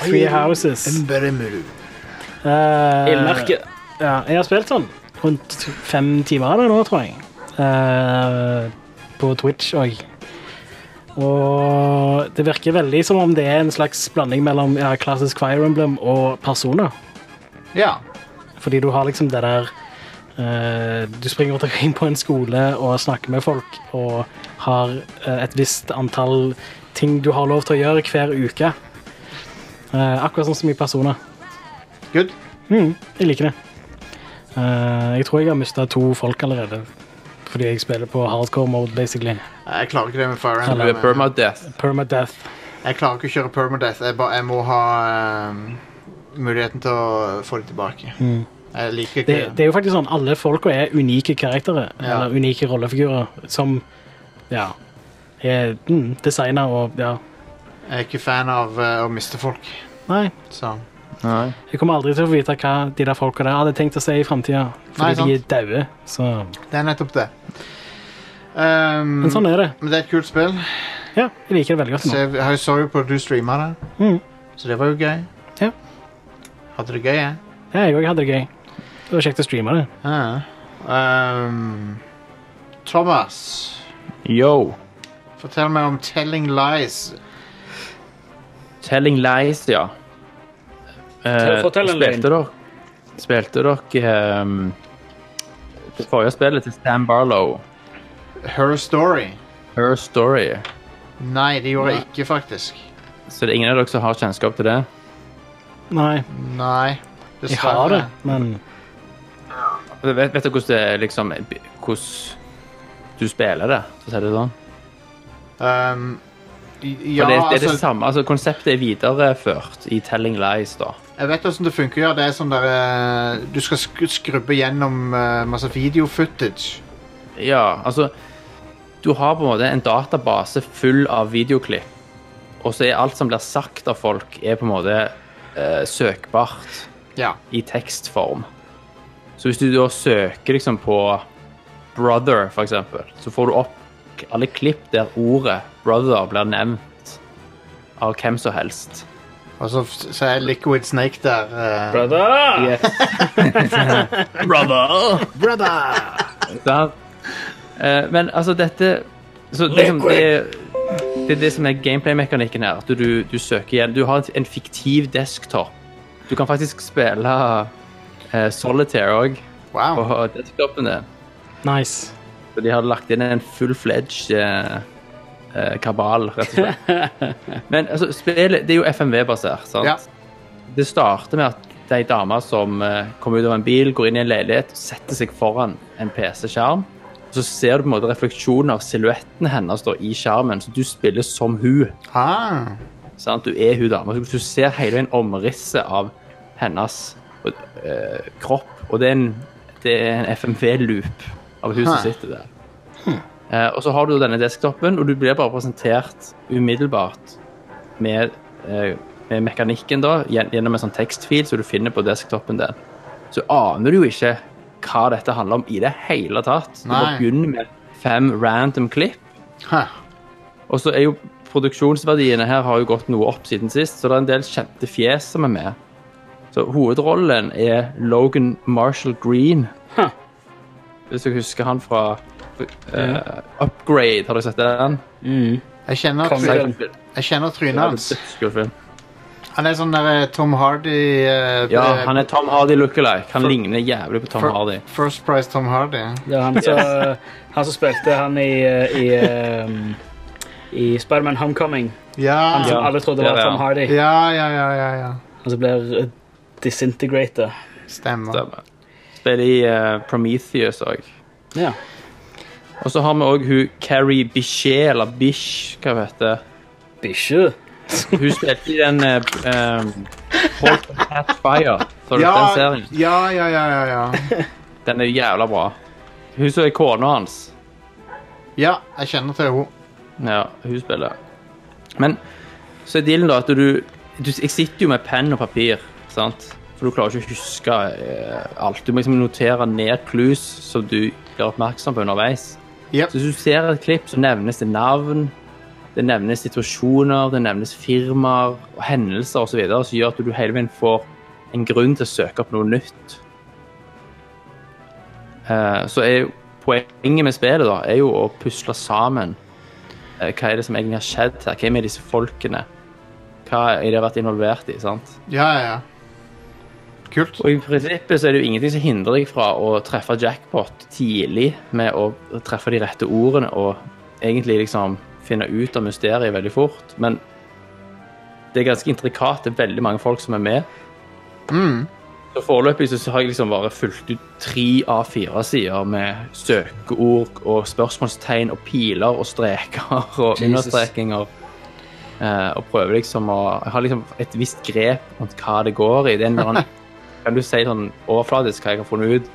Speaker 3: Three Houses.
Speaker 1: Emberemuru.
Speaker 3: Eh,
Speaker 2: Ildmerket.
Speaker 3: Ja, jeg har spilt sånn rundt fem timer av det nå, tror jeg. Eh, på Twitch òg. Og det virker veldig som om det er en slags blanding mellom ja, klassisk Fire Emblem og Persona.
Speaker 1: Ja.
Speaker 3: Fordi du har liksom det der eh, Du springer rundt omkring på en skole og snakker med folk og har eh, et visst antall ting du har lov til å gjøre hver uke. Eh, akkurat sånn som i Persona.
Speaker 1: Good.
Speaker 3: Mm, jeg liker det. Eh, jeg tror jeg har mista to folk allerede. Fordi jeg spiller på hardcore mode, basically.
Speaker 1: Jeg klarer ikke det med Fire
Speaker 4: Du er
Speaker 1: Emblem.
Speaker 4: permadeath.
Speaker 3: Permadeath.
Speaker 1: Jeg klarer ikke å kjøre permadeath. Jeg, bare, jeg må ha ehm, muligheten til å få det tilbake. Jeg liker ikke
Speaker 3: Det, det er jo faktisk sånn alle folka er unike karakterer,
Speaker 1: Ja.
Speaker 3: eller unike rollefigurer, som ja, er mm, designa og ja.
Speaker 1: Jeg er ikke fan av eh, å miste folk,
Speaker 3: Nei,
Speaker 1: så
Speaker 4: Nei.
Speaker 3: jeg kommer aldri til å vite hva de der folka der hadde tenkt å si i framtida.
Speaker 1: Nei,
Speaker 3: Fordi de er daue, så
Speaker 1: det er nettopp det. Um,
Speaker 3: Men sånn er det.
Speaker 1: men det er et kult spill.
Speaker 3: Ja, jeg liker det veldig godt
Speaker 1: Så
Speaker 3: nå.
Speaker 1: jeg, jeg så jo på at du streama det,
Speaker 3: Mm.
Speaker 1: så det var jo gøy.
Speaker 3: Ja.
Speaker 1: Hadde det gøy, jeg.
Speaker 3: Ja, jeg òg hadde det gøy. Det var kjekt å streame det.
Speaker 1: Ja. Um, Thomas,
Speaker 4: Yo.
Speaker 1: fortell meg om Telling Lies.
Speaker 4: Telling lies, ja. Eh,
Speaker 2: Fortell en løgn.
Speaker 4: spilte dere Spilte dere ehm, det forrige spillet til Stan Barlow,
Speaker 1: Her Story.
Speaker 4: Her Story?
Speaker 1: Nei, det gjorde jeg ikke, faktisk.
Speaker 4: Så det er ingen av dere som har kjennskap til det?
Speaker 3: Nei,
Speaker 1: Nei.
Speaker 3: jeg har det, men
Speaker 4: Vet, vet dere hvordan det er, liksom Hvordan du spiller det, for å si det sånn?
Speaker 1: Um, i-
Speaker 4: For
Speaker 1: ja,
Speaker 4: det, det er det
Speaker 1: altså,
Speaker 4: samme. Altså, konseptet er videreført i Telling Lies, da.
Speaker 1: jeg vet hvordan det funker. Ja. Det er sånn der eh, Du skal sk skrubbe gjennom eh, masse video-footage.
Speaker 4: Ja, altså Du har på en måte en database full av videoklipp. Og så er alt som blir sagt av folk, er på en måte eh, søkbart
Speaker 1: Ja.
Speaker 4: i tekstform. Så hvis du da søker liksom på 'brother', for eksempel, så får du opp alle klipp der ordet 'brother' blir nevnt av hvem som helst.
Speaker 1: Og så, så er Liquid Snake der. eh,
Speaker 2: Brother!
Speaker 4: Brother! Sant? Eh, Men altså, dette så det, som, det, det er det som er gameplay-mekanikken her. At du, du søker igjen. Du har en fiktiv desktop. Du kan faktisk spille eh, solitaire òg på
Speaker 1: Wow.
Speaker 4: desktopen din.
Speaker 3: nice.
Speaker 4: Så de har lagt inn en full-fledged eh, eh, kabal, rett og slett. Men altså, spillet det er jo FMV-basert, sant?
Speaker 1: Ja.
Speaker 4: Det starter med at det er ei dame som eh, kommer ut av en bil, går inn i en leilighet, setter seg foran en PC-skjerm. Og Så ser du på en måte refleksjonen av silhuetten hennes da, i skjermen, så du spiller som hun.
Speaker 1: Ah.
Speaker 4: Sant? Du er hun dama. Du ser hele veien omrisset av hennes eh, kropp. Og det er en, det er en FMV-loop av hun som
Speaker 1: Hæ.
Speaker 4: sitter der. Eh, og så har du denne desktopen, og du blir bare presentert umiddelbart med, eh, med mekanikken da, gjen- gjennom en sånn tekstfil som du finner på desktopen din. Så aner du jo ikke hva dette handler om i det hele tatt. Du
Speaker 1: Nei.
Speaker 4: må begynne med fem random klipp.
Speaker 1: Huh.
Speaker 4: Og så er jo produksjonsverdiene her har jo gått noe opp siden sist, så det er en del kjente fjes som er med. Så hovedrollen er Logan Marshall Green. Hvis jeg husker han fra eh, Upgrade, har du sett den?
Speaker 2: mm.
Speaker 1: Jeg kjenner,
Speaker 2: Kongen.
Speaker 1: try- jeg kjenner trynet hans.
Speaker 4: Dødskulfilm.
Speaker 1: Han er sånn der eh, Tom Hardy eh,
Speaker 4: Ja,
Speaker 1: eh,
Speaker 4: han er Tom Hardy lookalike. Han ligner jævlig på Tom
Speaker 1: fir-
Speaker 4: Hardy.
Speaker 1: First Price Tom Hardy.
Speaker 2: Det er han som, eh, han som spilte han i, eh, i, um, i Spiderman Homecoming. Han
Speaker 1: Ja,
Speaker 2: som alle trodde
Speaker 4: Ja,
Speaker 2: var
Speaker 4: ja.
Speaker 2: Tom Hardy.
Speaker 1: ja, ja, ja. ja, ja.
Speaker 2: Han som blir eh, disintegrated.
Speaker 1: Stemmer.
Speaker 4: Stemmer. Spiller i eh, Prometheus òg.
Speaker 2: Ja.
Speaker 4: Og så har vi òg hun Carrie Bichet, eller Bish, hva hun heter.
Speaker 2: Bikkje.
Speaker 4: Hun spilte i den eh, um, Halt and Catch Fire. Så du
Speaker 1: Ja,
Speaker 4: den serien?
Speaker 1: ja, ja, ja, ja, ja.
Speaker 4: Den er jævla bra. Hun som er kona hans.
Speaker 1: Ja, jeg kjenner til henne.
Speaker 4: Ja, hun spiller. Men så er dealen da at du, du Jeg sitter jo med penn og papir, sant? For du klarer ikke å huske eh, alt. Du må liksom notere ned clues som du blir oppmerksom på underveis.
Speaker 1: Yep.
Speaker 4: Så hvis du ser et klipp, så nevnes det navn, det nevnes situasjoner, det nevnes firmaer og hendelser osv., som gjør at du hele veien får en grunn til å søke opp noe nytt. Eh, så er jo poenget med spillet da, er jo å pusle sammen eh, hva er det som egentlig har skjedd her, hvem er disse folkene, hva er det jeg har vært involvert i, sant?
Speaker 1: Ja, ja, ja. Kult.
Speaker 4: Og i prinsippet så er det jo ingenting som hindrer deg fra å treffe jackpot tidlig med å treffe de rette ordene og egentlig liksom finne ut av mysteriet veldig fort. Men det er ganske intrikat. Det er veldig mange folk som er med. Så foreløpig så har jeg liksom bare fulgt ut tre av fire sider med søkeord og spørsmålstegn og piler og streker og understrekinger. Eh, og prøver liksom å Jeg har liksom et visst grep om hva det går i. Det er en eller annen kan du si sånn overfladisk hva jeg har funnet ut?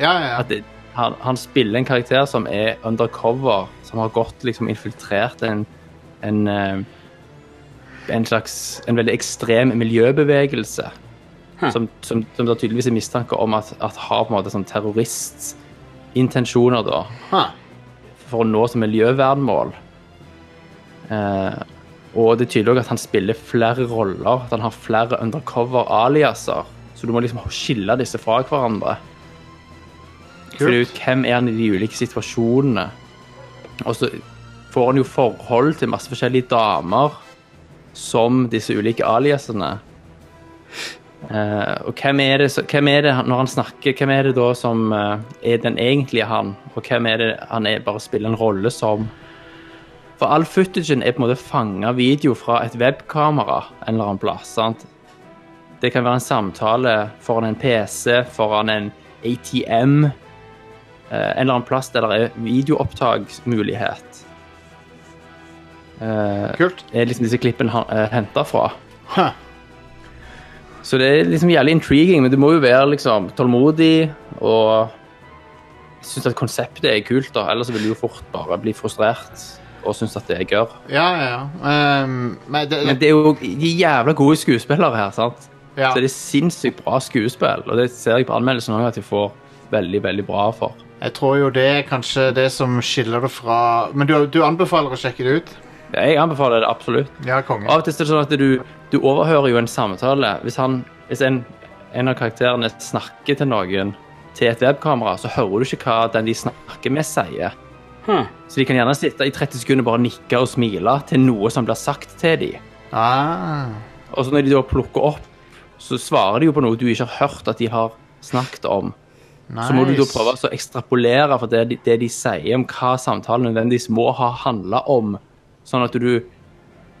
Speaker 1: Ja, ja,
Speaker 4: At det, han, han spiller en karakter som er undercover, som har gått liksom infiltrert en en, eh, en slags en veldig ekstrem miljøbevegelse. Som, som, som det tydeligvis er mistanke om at, at har på en måte sånn terroristintensjoner, da.
Speaker 1: ja.
Speaker 4: For å nå som miljøvernmål. Eh, og det er tydelig også at han spiller flere roller, at han har flere undercover-aliaser. Så du må liksom skille disse fra hverandre. Finne ut hvem er han i de ulike situasjonene. Og så får han jo forhold til masse forskjellige damer som disse ulike aliasene. Eh, og hvem er, det, så- hvem er det han- når han snakker, hvem er det da som eh, er den egentlige han? Og hvem er det han er, bare spiller en rolle som? For all footagen er på en måte fanga video fra et webkamera en eller annen plass. sant? Det kan være en samtale foran en PC, foran en ATM. eh, En eller annen plass der det er videoopptaksmulighet. Eh,
Speaker 1: Kult.
Speaker 4: er liksom disse klippene han- eh, hentet fra.
Speaker 1: Huh.
Speaker 4: Så det er liksom jævlig intriguing, men du må jo være liksom tålmodig og synes at konseptet er kult, da. Ellers vil du jo fort bare bli frustrert og synes at det er gørr.
Speaker 1: Ja, ja, ja. Um, men det,
Speaker 4: Men det er jo de jævla gode skuespillere her, sant?
Speaker 1: ja.
Speaker 4: Så det er sinnssykt bra skuespill, og det ser jeg på anmeldelsen også at de får veldig, veldig bra for.
Speaker 1: Jeg tror jo det er kanskje det som skiller det fra Men du, du anbefaler å sjekke det ut?
Speaker 4: Jeg anbefaler det absolutt.
Speaker 1: Ja, konge.
Speaker 4: Av og til er det sånn at du, du overhører jo en samtale. Hvis, han, hvis en, en av karakterene snakker til noen til et webkamera, så hører du ikke hva den de snakker med, sier.
Speaker 2: Hm.
Speaker 4: Så de kan gjerne sitte i 30 sekunder og bare nikke og smile til noe som blir sagt til dem.
Speaker 1: Ah,
Speaker 4: Og så når de da plukker opp, så svarer de jo på noe du ikke har hørt at de har snakket om.
Speaker 1: nice.
Speaker 4: Så må du da prøve å ekstrapolere for det, de- det de sier om hva samtalen nødvendigvis må ha handla om, sånn at du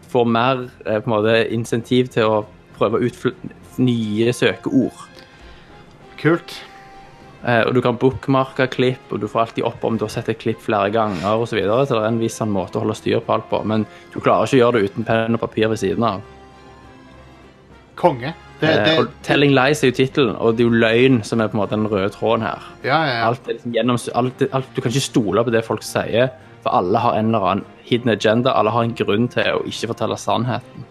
Speaker 4: får mer eh, på en måte, insentiv til å prøve ut fl- nye søkeord.
Speaker 1: Kult.
Speaker 4: Eh, og Du kan bookmarke klipp, og du får alltid opp om du har sett et klipp flere ganger osv. Så, videre, så det er en viss sånn måte å holde styr på alt på, men du klarer ikke å gjøre det uten penn og papir ved siden av.
Speaker 1: Konge. Det,
Speaker 4: Eh,
Speaker 1: det,
Speaker 4: og 'Telling Lies' er jo tittelen, og det er jo løgn som er på en måte den røde tråden her.
Speaker 1: ja, ja, ja.
Speaker 4: Alt er liksom gjennoms- alt, alt, du kan ikke stole på det folk sier, for alle har en eller annen hidden agenda. Alle har en grunn til å ikke fortelle sannheten.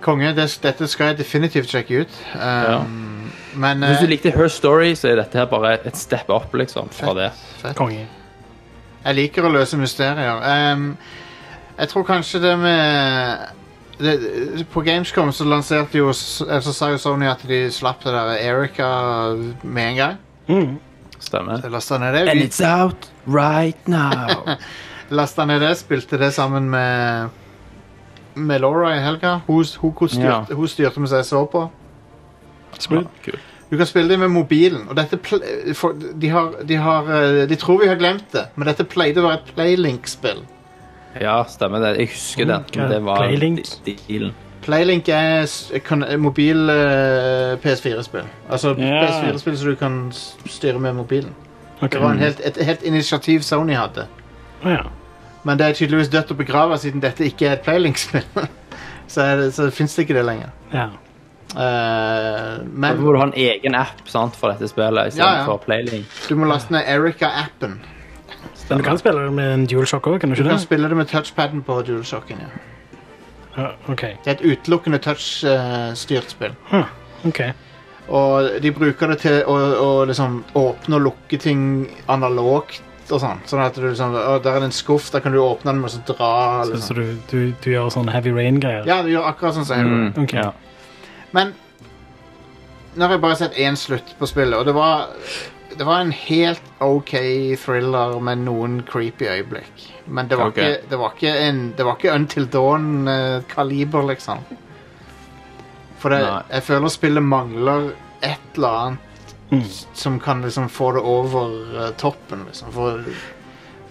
Speaker 1: Konge. Det, dette skal jeg definitivt sjekke ut. Um, Men
Speaker 4: Hvis du
Speaker 1: eh,
Speaker 4: likte Her Story, så er dette her bare et step up liksom, fra det.
Speaker 3: Konge.
Speaker 1: jeg liker å løse mysterier. Um, jeg tror kanskje det med det, På Gamescom så lanserte jo Så sa jo Sony at de slapp det der Erika med en gang.
Speaker 4: stemmer.
Speaker 1: Lasta ned det.
Speaker 4: And
Speaker 1: Vi
Speaker 4: it's out right now.
Speaker 1: lasta ned det, spilte det sammen med med Laura i helga. Hun, hun, hun, styrte, hun styrte mens jeg så på.
Speaker 4: Smooth. Kult.
Speaker 1: Du kan spille det med mobilen. Og dette pl- for, de, har, de, har, eh, de tror vi har glemt det, men dette pleide å være et Playlink-spill.
Speaker 4: Ja, stemmer det. Jeg husker den.
Speaker 3: Mm,
Speaker 4: Det var
Speaker 3: Playlink.
Speaker 4: de- dealen.
Speaker 1: Playlink er s- kan- eh, mobil eh, PS4-spill. Altså
Speaker 2: Ja.
Speaker 1: PS4-spill som du kan s- styre med mobilen.
Speaker 3: Ok.
Speaker 1: Det var en helt, et helt initiativ Sony hadde.
Speaker 3: Ja.
Speaker 1: Men det er tydeligvis dødt å begrave siden dette ikke er et Playlink-spill. så er det- så fins det ikke det lenger.
Speaker 3: Ja.
Speaker 1: Eh,
Speaker 4: Da
Speaker 1: men
Speaker 4: må du ha en egen app sant, for dette spillet
Speaker 1: Ja,
Speaker 4: istedenfor
Speaker 1: ja.
Speaker 4: for Playlink.
Speaker 1: du må laste ned Erica-appen.
Speaker 3: Men du kan spille det med en DualShock òg, kan du
Speaker 1: Du
Speaker 3: ikke
Speaker 1: kan
Speaker 3: det?
Speaker 1: spille det med touchpaden på DualShocken. Ja.
Speaker 3: Ja, OK.
Speaker 1: Det er et utelukkende touch-styrt spill.
Speaker 3: ok.
Speaker 1: Og de bruker det til å, å liksom åpne og lukke ting analogt. Og sånn, sånn at du liksom, å, Der er det en skuff, der kan du åpne den og så dra.
Speaker 3: Så, så
Speaker 1: Liksom.
Speaker 3: du, du, du gjør sånn heavy rain-greier?
Speaker 1: Ja, du gjør akkurat sånn som jeg gjorde.
Speaker 3: Ok.
Speaker 4: Ja.
Speaker 1: Men nå har jeg bare sett én slutt på spillet, og det var, det var en helt OK thriller med noen creepy øyeblikk. Men det var,
Speaker 4: Ok.
Speaker 1: ikke, det var, ikke, en, det var ikke Until Dawn-kaliber, liksom. For det,
Speaker 4: Nei.
Speaker 1: jeg føler spillet mangler et eller annet
Speaker 4: Mm.
Speaker 1: s- som kan liksom få det over eh, toppen, liksom. For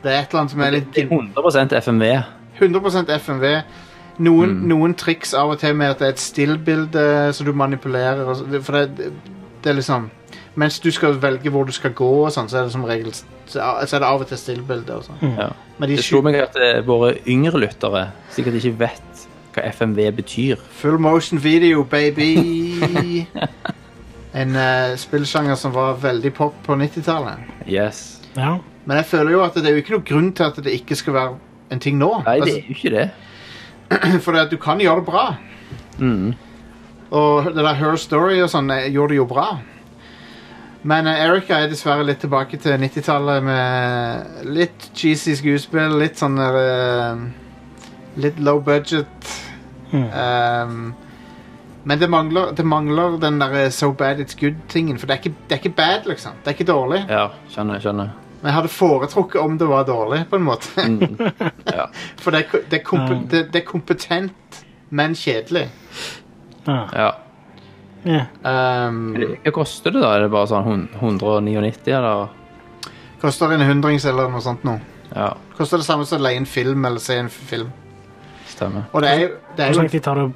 Speaker 1: det er et eller annet som er litt
Speaker 4: Det er 100 FMV.
Speaker 1: 100 FMV. Noen,
Speaker 4: Mm.
Speaker 1: noen triks av og til med at det er et stillbilde som du manipulerer. Og så, det- for det, det er liksom Mens du skal velge hvor du skal gå, og sånn, så er det som regel så er det av og til stillbilde. Og sånn.
Speaker 4: Ja.
Speaker 1: Men de
Speaker 4: Det slo
Speaker 1: skyter
Speaker 4: meg at eh, våre yngre lyttere sikkert ikke vet hva FMV betyr.
Speaker 1: full motion video, baby! en eh, spillsjanger som var veldig pop på 90-tallet.
Speaker 4: Yes.
Speaker 3: Ja.
Speaker 1: Men jeg føler jo at det er jo ikke noen grunn til at det ikke skal være en ting nå.
Speaker 4: Nei, det
Speaker 1: Altså,
Speaker 4: er jo ikke det.
Speaker 1: For det at du kan gjøre det bra.
Speaker 4: Mm.
Speaker 1: Og det der Her Story og sånn eh, gjorde det jo bra. Men eh, Erika er dessverre litt tilbake til 90-tallet med litt cheesy skuespill, litt sånn eh, Litt low budget. Ehm, men det mangler, det mangler den der eh, so bad it's good-tingen. For det er, ikke, det er ikke bad, liksom. Det er ikke dårlig.
Speaker 4: Ja, skjønner, skjønner.
Speaker 1: Men jeg hadde foretrukket om det var dårlig, på en måte.
Speaker 4: Mm, Ja.
Speaker 1: For det er, ko- det, er kompe,
Speaker 3: Ja.
Speaker 1: det, det er kompetent, men kjedelig.
Speaker 3: Ja.
Speaker 4: ja.
Speaker 3: Ja.
Speaker 1: Um,
Speaker 4: Hva koster det, da? Er det bare sånn hun- 199, eller?
Speaker 1: koster en hundrings eller noe sånt nå.
Speaker 4: Ja,
Speaker 1: Koster det samme som å leie en film eller se en f- film.
Speaker 4: stemmer.
Speaker 1: Og det er jo, det
Speaker 3: Hvor
Speaker 1: er
Speaker 3: lang
Speaker 1: jo
Speaker 3: tid tar det å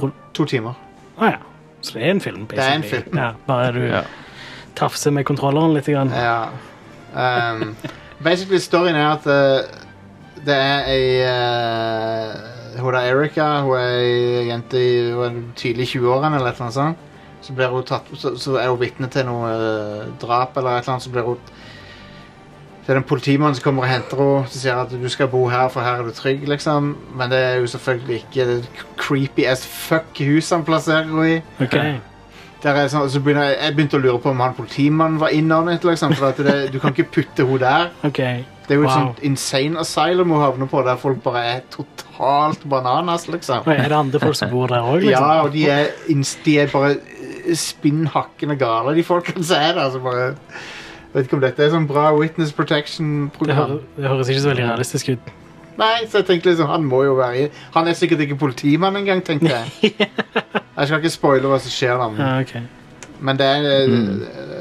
Speaker 1: to, to timer.
Speaker 3: Å ja. Så det er en film,
Speaker 1: er en
Speaker 3: basically.
Speaker 1: film.
Speaker 3: Ja, bare du
Speaker 4: Ja.
Speaker 3: tafser med kontrolleren litt. Grann.
Speaker 1: Ja. Um, basically, storyen er at eh, det er ei eh, Hun er Erika. Hun er ei jente i hun er tidlig i 20-årene eller et eller annet sånt. Så, blir hun tatt, så, så er hun vitne til noe eh, drap eller et eller annet. Så blir hun Det er den politimannen som kommer og henter henne og sier at du skal bo her, for her er du trygg. liksom. Men det er jo selvfølgelig ikke det er creepy as fuck hus han plasserer henne i.
Speaker 3: Ok.
Speaker 1: Der er sånn, så begynner jeg, jeg begynte å lure på om han politimannen var innåndet. Liksom, for at det, du kan ikke putte henne der.
Speaker 3: ok.
Speaker 1: Det er jo et
Speaker 3: Wow.
Speaker 1: sånt insane asylum hun havner på, der folk bare er totalt bananas. liksom.
Speaker 3: Oi, er det andre folk som bor der
Speaker 1: Ja,
Speaker 3: òg? Liksom?
Speaker 1: og de er, ins- de er bare eh, spinnhakkende gale, de folkene som er der. Så bare, vet ikke om dette er sånn bra witness
Speaker 3: Det, hører,
Speaker 1: protection-program.
Speaker 3: det høres ikke så veldig realistisk ut.
Speaker 1: Nei, så jeg tenkte liksom, han må jo være i Han er sikkert ikke politimann engang, tenkte jeg. Jeg skal ikke spoile hva som skjer, da. men-
Speaker 3: Ja, ok.
Speaker 1: Men det er eh,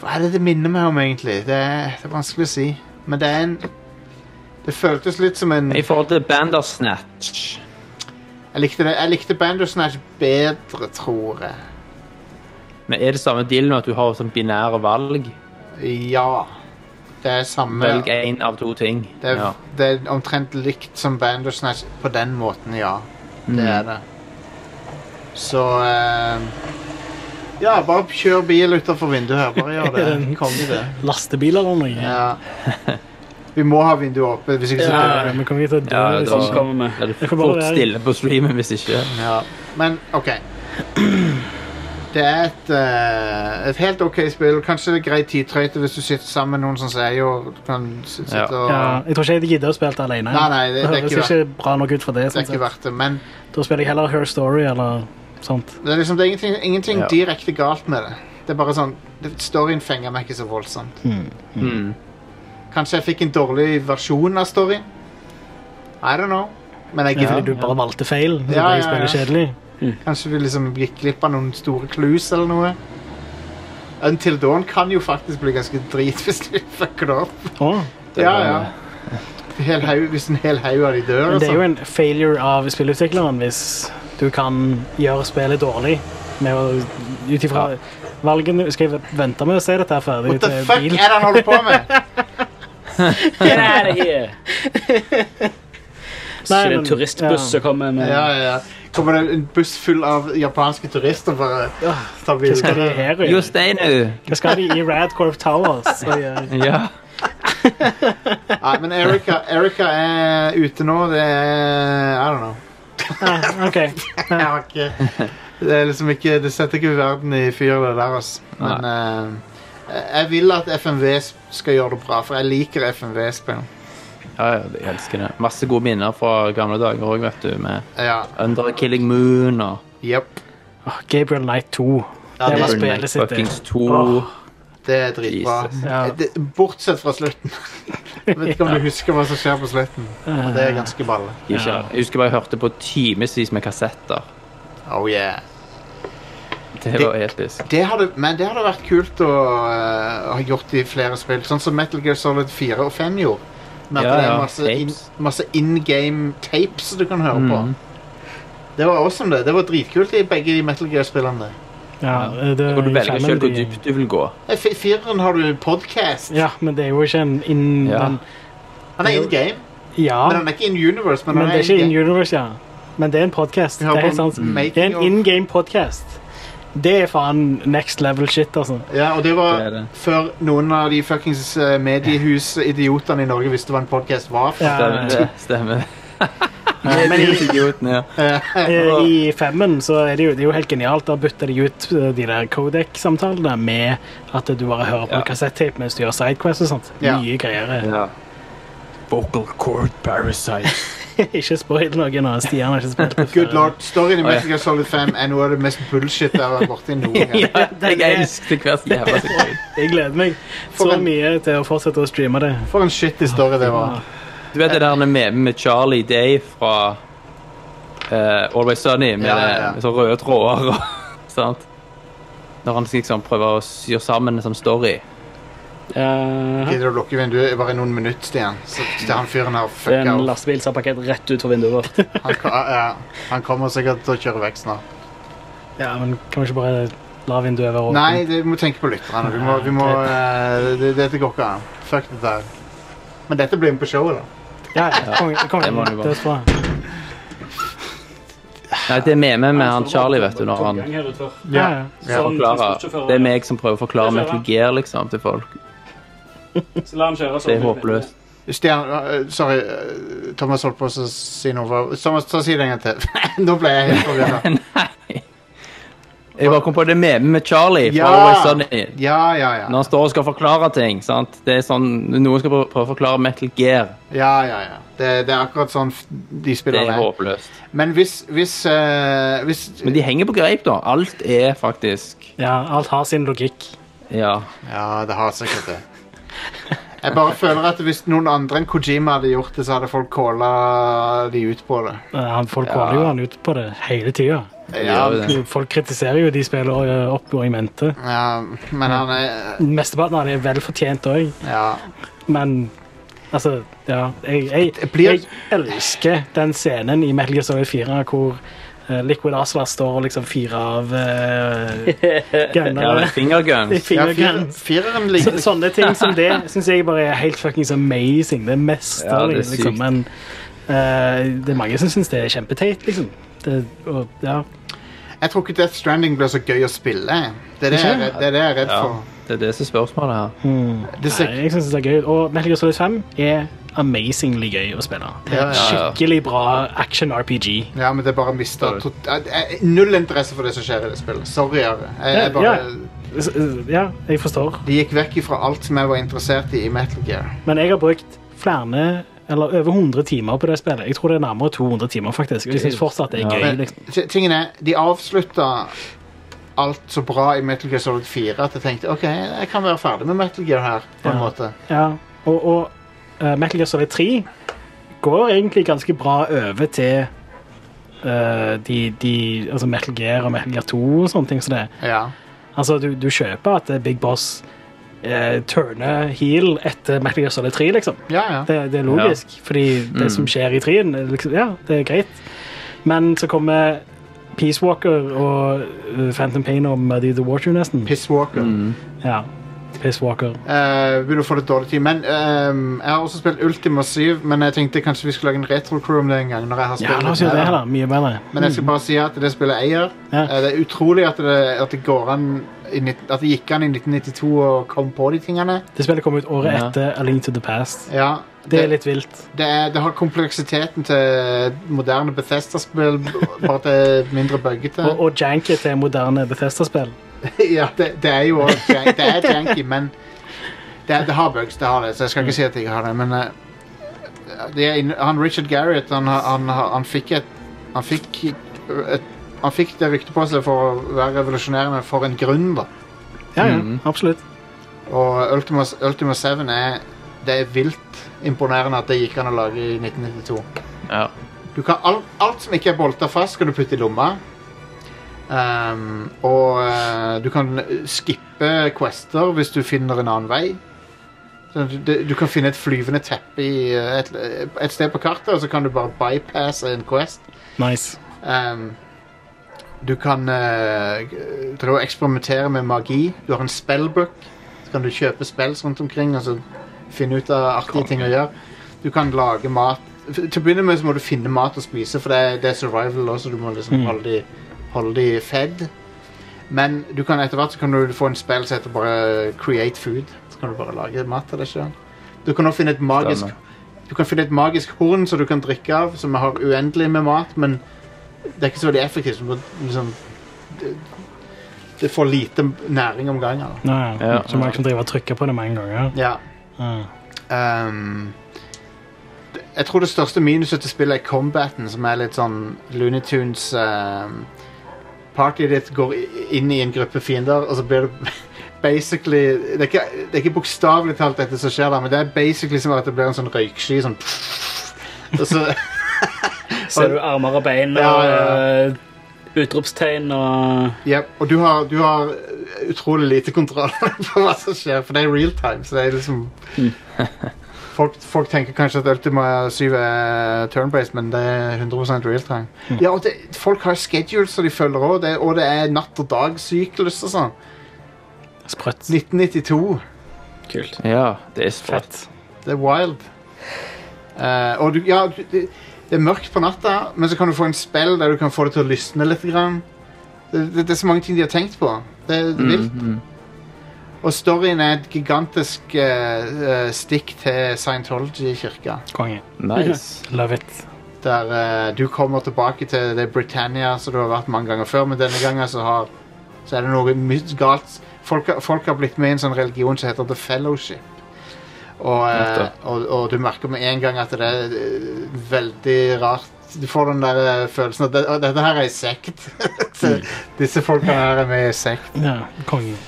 Speaker 1: Hva er det det minner meg om, egentlig? Det er, det er vanskelig å si. Men det er en Det føltes litt som en
Speaker 4: I forhold til Bandersnatch
Speaker 1: Jeg likte, det, jeg likte Bandersnatch bedre, tror jeg.
Speaker 4: Men er det samme dealen med at du har sånn binære valg?
Speaker 1: Ja. Det er samme
Speaker 4: Velg
Speaker 1: det er,
Speaker 4: én av to ting. Ja.
Speaker 1: det er omtrent likt som Bandersnatch på den måten, ja. Det er det. Så eh, Ja, bare kjør bil utafor vinduet her. Bare gjør det. Kom i det.
Speaker 3: Lastebiler eller noe?
Speaker 1: Ja. Vi må ha vinduet oppe. Hvis ikke så
Speaker 3: Ja, ja, Vi kommer ikke til å dø.
Speaker 4: Ja, det
Speaker 3: liksom.
Speaker 2: Sånn kommer vi.
Speaker 4: Er det
Speaker 3: får bare
Speaker 4: fort
Speaker 3: være-
Speaker 4: stille på streamen hvis ikke?
Speaker 1: Ja, men OK. Det er et, eh, et helt OK spill. Kanskje det er grei tidtrøyte hvis du sitter sammen med noen som sier og du kan s- sitte
Speaker 4: Ja.
Speaker 1: og
Speaker 3: Ja, jeg tror ikke jeg gidder å spille det alene.
Speaker 1: Nei, nei, det- det er
Speaker 3: høres
Speaker 1: ikke
Speaker 3: ikke bra nok ut for det.
Speaker 1: Det
Speaker 3: Sånn
Speaker 1: er ikke
Speaker 3: sett.
Speaker 1: verdt det. Men
Speaker 3: Da spiller jeg heller Her Story eller sånt.
Speaker 1: det er liksom det er ingenting, ingenting
Speaker 4: Ja.
Speaker 1: direkte galt med det. Det er bare sånn det- Storyen fenger meg ikke så voldsomt.
Speaker 4: Mm.
Speaker 1: Kanskje jeg fikk en dårlig versjon av storyen. I don't know. Men jeg
Speaker 3: Det er
Speaker 1: gidder
Speaker 3: fordi du bare valgte feil. Så
Speaker 1: Ja,
Speaker 3: ble
Speaker 1: ja,
Speaker 3: spillet
Speaker 1: ja.
Speaker 3: kjedelig.
Speaker 1: Kanskje vi liksom gikk glipp av noen store clues eller noe. Until Dawn kan jo faktisk bli ganske drit hvis du fucker det opp.
Speaker 3: Åh.
Speaker 4: Det
Speaker 1: ja,
Speaker 4: var-
Speaker 1: ja. Hel haug- hvis en hel haug av de dør,
Speaker 3: Men det er jo
Speaker 1: altså.
Speaker 3: en failure av spillutvikleren hvis du kan gjøre spillet dårlig med å ut ifra valgene Skal jeg vente med å si dette her ferdig
Speaker 1: What the
Speaker 3: til
Speaker 1: fuck er
Speaker 3: eh, bil?
Speaker 1: det han holder på med?
Speaker 2: Get out of here! Så er det
Speaker 3: men-
Speaker 2: en turistbuss
Speaker 3: ja.
Speaker 2: som kommer med
Speaker 1: Ja, ja, ja. Kommer det en buss full av japanske turister bare ta
Speaker 3: Hva skal de
Speaker 1: bilder?
Speaker 3: her
Speaker 4: Jo,
Speaker 3: gjøre?
Speaker 4: Steinu!
Speaker 3: Hva skal de i Radcorp Towers? og gjøre?
Speaker 4: Ja.
Speaker 1: Nei, men Erika, Erika er ute nå. Det er I don't know.
Speaker 3: Ah, OK.
Speaker 1: Jeg har ikke Det er liksom ikke Det setter ikke verden i fyr, det der, altså. Men eh, jeg vil at FMV skal gjøre det bra, for jeg liker FMV-spill.
Speaker 4: Ja, ja, jeg elsker det. Masse gode minner fra gamle dager òg, vet du. Med
Speaker 1: Ja.
Speaker 4: Under a Killing Moon og
Speaker 1: Jepp.
Speaker 3: Åh, Gabriel Knight 2.
Speaker 1: Ja,
Speaker 3: Det var
Speaker 1: det,
Speaker 3: spennende.
Speaker 4: Burning
Speaker 3: spillet sitt, det.
Speaker 4: Fuckings 2.
Speaker 1: det er dritbra.
Speaker 4: Jesus.
Speaker 3: Ja.
Speaker 1: Det, bortsett fra slutten. Jeg vet ikke om du husker hva som skjer på slutten. Og
Speaker 3: eh,
Speaker 1: det er ganske balle.
Speaker 4: Ikke, jeg husker bare jeg hørte på timevis med kassetter.
Speaker 1: Oh yeah.
Speaker 4: Det var episk.
Speaker 1: Det hadde, men det hadde vært kult å eh, ha gjort i flere spill. Sånn som Metal Gear Solid 4 og 5 gjorde. Med at
Speaker 4: Ja,
Speaker 1: det er
Speaker 4: ja,
Speaker 1: masse, in,
Speaker 4: tapes.
Speaker 1: masse in game tapes du kan høre
Speaker 4: Mm.
Speaker 1: på. Det var awesome, det. Det var dritkult i begge de Metal Gear-spillene.
Speaker 3: Ja, eh, det,
Speaker 4: Da kan du velge
Speaker 3: skjermen
Speaker 4: selv hvor
Speaker 3: de-
Speaker 4: dypt du vil gå.
Speaker 1: Eh, fi- Fireren har du podcast.
Speaker 3: Ja, men det er jo ikke en in...
Speaker 4: Ja.
Speaker 3: Men,
Speaker 1: Han er in game.
Speaker 3: ja,
Speaker 1: Men han er ikke in universe. Men,
Speaker 3: men
Speaker 1: han
Speaker 3: det er ikke
Speaker 1: in-game.
Speaker 3: in universe, ja. Men det er en podcast.
Speaker 1: Vi
Speaker 3: Det
Speaker 1: har
Speaker 3: er,
Speaker 1: på
Speaker 3: helt sant.
Speaker 1: making
Speaker 3: det er en
Speaker 1: of-
Speaker 3: in game podcast. Det er faen next level shit, altså.
Speaker 1: Ja, og det var
Speaker 4: Det er det.
Speaker 1: før noen av de fuckings eh, mediehus-idiotene i Norge visste hva en podcast var. for.
Speaker 3: Ja.
Speaker 4: Stemmer det. Stemmer. Men idioten, ja.
Speaker 3: Eh, I femmen så er det jo, det er jo helt genialt. Da bytter de ut eh, de der Codec-samtalene med at du bare hører på
Speaker 4: Ja.
Speaker 3: kassettape mens du gjør sidequest og sånt.
Speaker 1: Ja.
Speaker 3: Mye greier.
Speaker 4: ja.
Speaker 3: Vocal cord parasite. ikke spoil noe nå. Stian har ikke spilt det
Speaker 1: Good
Speaker 3: før.
Speaker 1: lord, Storyen i
Speaker 4: ja.
Speaker 1: Metal Gear Solid 5 er noe av det mest bullshit jeg har vært borti noen gang.
Speaker 4: ja jeg elsket hver jævla sekund.
Speaker 3: Jeg gleder meg
Speaker 1: For
Speaker 3: så
Speaker 1: en-
Speaker 3: mye til å fortsette å streame det.
Speaker 1: For en shit historie det var.
Speaker 4: Du vet det der med, med Charlie Day fra eh, Always Sunny med,
Speaker 1: Ja, ja, ja.
Speaker 4: med så røde tråder og sant? Når han liksom prøver å syr sammen en sånn story.
Speaker 2: Ja,
Speaker 1: Gidder du å lukke vinduet i bare noen minutter igjen? Så til han fyren her
Speaker 2: Det er
Speaker 1: fucka
Speaker 2: en
Speaker 1: opp.
Speaker 2: lastebil som har pakket rett ut for vinduet vårt.
Speaker 1: Han, ko- ja, han kommer sikkert til å kjøre vekk snart.
Speaker 3: Ja, men kan vi ikke bare la vinduet være åpent?
Speaker 1: Nei, det- vi må tenke på lytterne. Vi må, vi må, eh, det, dette går ikke an. Fuck det der. Men dette blir med på showet, da.
Speaker 3: Ja, ja, kom, kom,
Speaker 4: Det må du bare.
Speaker 3: det er bra.
Speaker 4: Nei, det er med med, med han Charlie, vet du, når han
Speaker 3: Ja, ja.
Speaker 1: Ja.
Speaker 2: Sånn
Speaker 4: forklarer. Det er meg som prøver å forklare Metal Gear liksom til folk.
Speaker 2: Så la han kjøre sånn.
Speaker 4: Det er håpløst.
Speaker 1: Stian, eh, sorry. eh, Thomas holdt på å si noe. hva- Thomas, ta si det en gang til. Nå ble jeg helt forvirra.
Speaker 4: Jeg bare kom på det med med Charlie fra
Speaker 1: Ja.
Speaker 4: Always Sunny.
Speaker 1: Ja, ja, ja.
Speaker 4: sånn- Når han står og skal forklare ting, sant. Det er sånn, Noen skal prøve prøve å forklare Metal Gear.
Speaker 1: ja, ja, ja. Det, det er akkurat sånn f- de
Speaker 4: Det
Speaker 1: spiller
Speaker 4: er
Speaker 1: det.
Speaker 4: håpløst.
Speaker 1: Men hvis, hvis, eh, hvis
Speaker 4: Men de henger på greip, da. Alt er faktisk
Speaker 3: ja, alt har sin logikk.
Speaker 4: Ja.
Speaker 1: Ja, det har sikkert det. Jeg bare føler at hvis noen andre enn Kojima hadde gjort det, så hadde folk calla de ut på det.
Speaker 3: Eh, Han, folk
Speaker 4: Ja.
Speaker 3: holder jo han ut på det hele tida.
Speaker 4: det
Speaker 1: Ja,
Speaker 4: gjør jo det.
Speaker 3: Folk kritiserer jo de spiller eh, opp og i mente.
Speaker 1: ja men han er
Speaker 3: Mesteparten av det er vel fortjent òg,
Speaker 1: Ja.
Speaker 3: men altså Ja. Jeg, jeg,
Speaker 1: Det blir-
Speaker 3: jeg elsker den scenen i Metal Gear Solid 4 hvor eh, Liquid Asla står og liksom firer av uh,
Speaker 4: Ja, det
Speaker 3: gunnere.
Speaker 4: er fingerguns.
Speaker 1: ja
Speaker 3: Finger
Speaker 1: fire,
Speaker 3: guns.
Speaker 1: fireren
Speaker 3: Så,
Speaker 1: ligner
Speaker 3: sånne ting som det syns jeg bare er helt fuckings amazing. Det er mesterlig,
Speaker 4: Ja, det er
Speaker 3: liksom.
Speaker 4: sykt.
Speaker 3: Men eh, det er mange som syns det er kjempeteit, liksom. Det, og, ja.
Speaker 1: Jeg tror ikke Death Stranding blir så gøy å spille. Det er det jeg er redd- det er det jeg er redd
Speaker 4: Ja.
Speaker 1: for.
Speaker 4: Det er det som er spørsmålet her.
Speaker 1: Det ser,
Speaker 3: Nei, jeg synes det er gøy. Og Metal Gear Solid 5 er amazingly gøy å spille. Det er et
Speaker 1: Ja,
Speaker 4: ja, ja.
Speaker 3: skikkelig bra action-RPG.
Speaker 1: ja, men det er bare mista Null interesse for det som skjer i det spillet. Sorry, Are. Jeg, jeg bare,
Speaker 3: Ja. S- Ja, jeg forstår.
Speaker 1: de gikk vekk ifra alt som jeg var interessert i i Metal Gear.
Speaker 3: Men jeg har brukt flere eller over 100 timer på det spillet. Jeg tror det er liksom. nærmere 200 timer, faktisk. Og jeg synes fortsatt det er gøy.
Speaker 1: Men
Speaker 3: Liksom.
Speaker 1: t- tingen er, de avslutta alt så bra i Metal Gear Solid 4 at jeg tenkte ok, jeg kan være ferdig med Metal Gear her. på en
Speaker 3: Ja.
Speaker 1: måte.
Speaker 3: Ja, og, og eh, Metal Gear Solid 3 går egentlig ganske bra over til eh, de, de, altså Metal Gear og Metal Gear 2 og sånne ting. Så det.
Speaker 1: Ja.
Speaker 3: Altså, du, du kjøper at eh, Big Boss eh, turner heel etter Metal Gear Solid 3, liksom.
Speaker 1: ja, ja.
Speaker 3: Det, det er logisk, fordi det som skjer i 3-en, er liksom, ja, det er greit. Men så kommer Peace Walker og eh, Phantom Pain og Muddy the Water, nesten.
Speaker 1: Piss Walker.
Speaker 4: Mm.
Speaker 3: Ja, Peace Walker.
Speaker 1: Eh, begynner å få litt dårlig tid. Men ehm, jeg har også spilt Ultima 7, men jeg tenkte kanskje vi skulle lage en retro-crew om det en gang. når jeg har
Speaker 3: Ja,
Speaker 1: spilt
Speaker 3: la oss gjøre det
Speaker 1: mer.
Speaker 3: her, da. Mye bedre.
Speaker 1: Men jeg skal bare si at det spillet jeg gjør.
Speaker 3: Ja.
Speaker 1: eh, Det er utrolig at det, at det går an i, nitt- At det gikk an i 1992 og kom på de tingene.
Speaker 3: Det spillet kom ut året
Speaker 4: Ja.
Speaker 3: etter A Link to the Past.
Speaker 1: Ja,
Speaker 3: Det er litt vilt.
Speaker 1: det, er, det har kompleksiteten til moderne Bethesda-spill, b- bare at det er mindre buggete.
Speaker 3: Og, og janket til moderne Bethesda-spill.
Speaker 1: ja, det, det er jo også jank, det er janky, men det, er- det har bugs, det har det, så jeg skal ikke si at det ikke har det, men eh, det er, inn- han Richard Garriott, han, har- han, har- han fikk et han fikk, et han fikk det ryktet på seg for å være revolusjonerende for en grunn, da.
Speaker 3: Ja, ja,
Speaker 1: Mm.
Speaker 3: absolutt.
Speaker 1: Og Ultima, Ultima 7 er Det er vilt imponerende at det gikk an å lage i 1992.
Speaker 4: Ja.
Speaker 1: Du kan, alt, alt som ikke er bolta fast, kan du putte i lomma. Ehm, og eh, du kan skippe quester hvis du finner en annen vei. Så Du, du- du kan finne et flyvende teppe i eh, et, et sted på kartet, og så kan du bare bypasse en quest.
Speaker 3: Nice.
Speaker 1: Ehm, du kan eh, g- drive og eksperimentere med magi. Du har en spellbook. Så kan du kjøpe spells rundt omkring og så finne ut av artige ting å gjøre. Du kan lage mat. F- Til å begynne med så må du finne mat å spise, for det er, det er survival også. Du må liksom holde de, holde de fed. Men du kan etter hvert så kan du få en spill som heter bare Create Food. Så kan du bare lage mat til deg sjøl. Du kan også finne et magisk
Speaker 4: Stemmer.
Speaker 1: Du kan finne et magisk horn som du kan drikke av, som har uendelig med mat, men det er ikke så veldig effektivt. Du må liksom det, det får lite næring om gangen. da.
Speaker 3: Nå, ja.
Speaker 4: Ja.
Speaker 3: Så må jeg liksom drive og trykke på det mange ganger.
Speaker 1: Ja.
Speaker 3: Ja.
Speaker 1: ehm, det- jeg tror det største minuset til spillet er combaten, som er litt sånn Looney Tunes ehm, Partyet ditt går i- inn i en gruppe fiender, og så blir det basically Det er ikke, det er ikke bokstavelig talt dette som skjer, der, men det er basically som at det blir en sånn røyksky. Sånn, og så
Speaker 2: Ser du armer og bein og
Speaker 1: Ja, ja,
Speaker 2: eh, utropstegn og
Speaker 1: Yep. Og du har, du har eh, utrolig lite kontroll på hva som skjer, for det er real time. Så det er liksom folk, folk tenker kanskje at Ultima 7 er turn-based, men det er 100 real time. Ja, og det, Folk har schedules som de følger òg, og det er natt- og dag-syklus og sånn.
Speaker 3: Sprøtt.
Speaker 1: 1992.
Speaker 2: Kult.
Speaker 4: ja, det er så fett.
Speaker 1: Det er wild. Eh, og du, ja, du, det, det er mørkt på natta, men så kan du få en spill der du kan få det til å lysne litt. Grann. Det, det, det er så mange ting de har tenkt på. Det er
Speaker 4: Mm.
Speaker 1: vilt. Og storyen er et gigantisk eh, eh, stikk til Scientology-kirka.
Speaker 3: Konge.
Speaker 4: Nice.
Speaker 3: Love it.
Speaker 1: Der eh, du kommer tilbake til det Britannia som du har vært mange ganger før, men denne gangen så, har, så er det noe mye galt. Folk, har- folk har blitt med i en sånn religion som heter The Fellowship. Og, eh,
Speaker 4: Nettopp.
Speaker 1: og, og du merker med en gang at det er eh, veldig rart. Du får den der eh, følelsen at det, å, dette her er en sekt. Så Disse folkene her er med i en sekt.
Speaker 3: Ja, konge.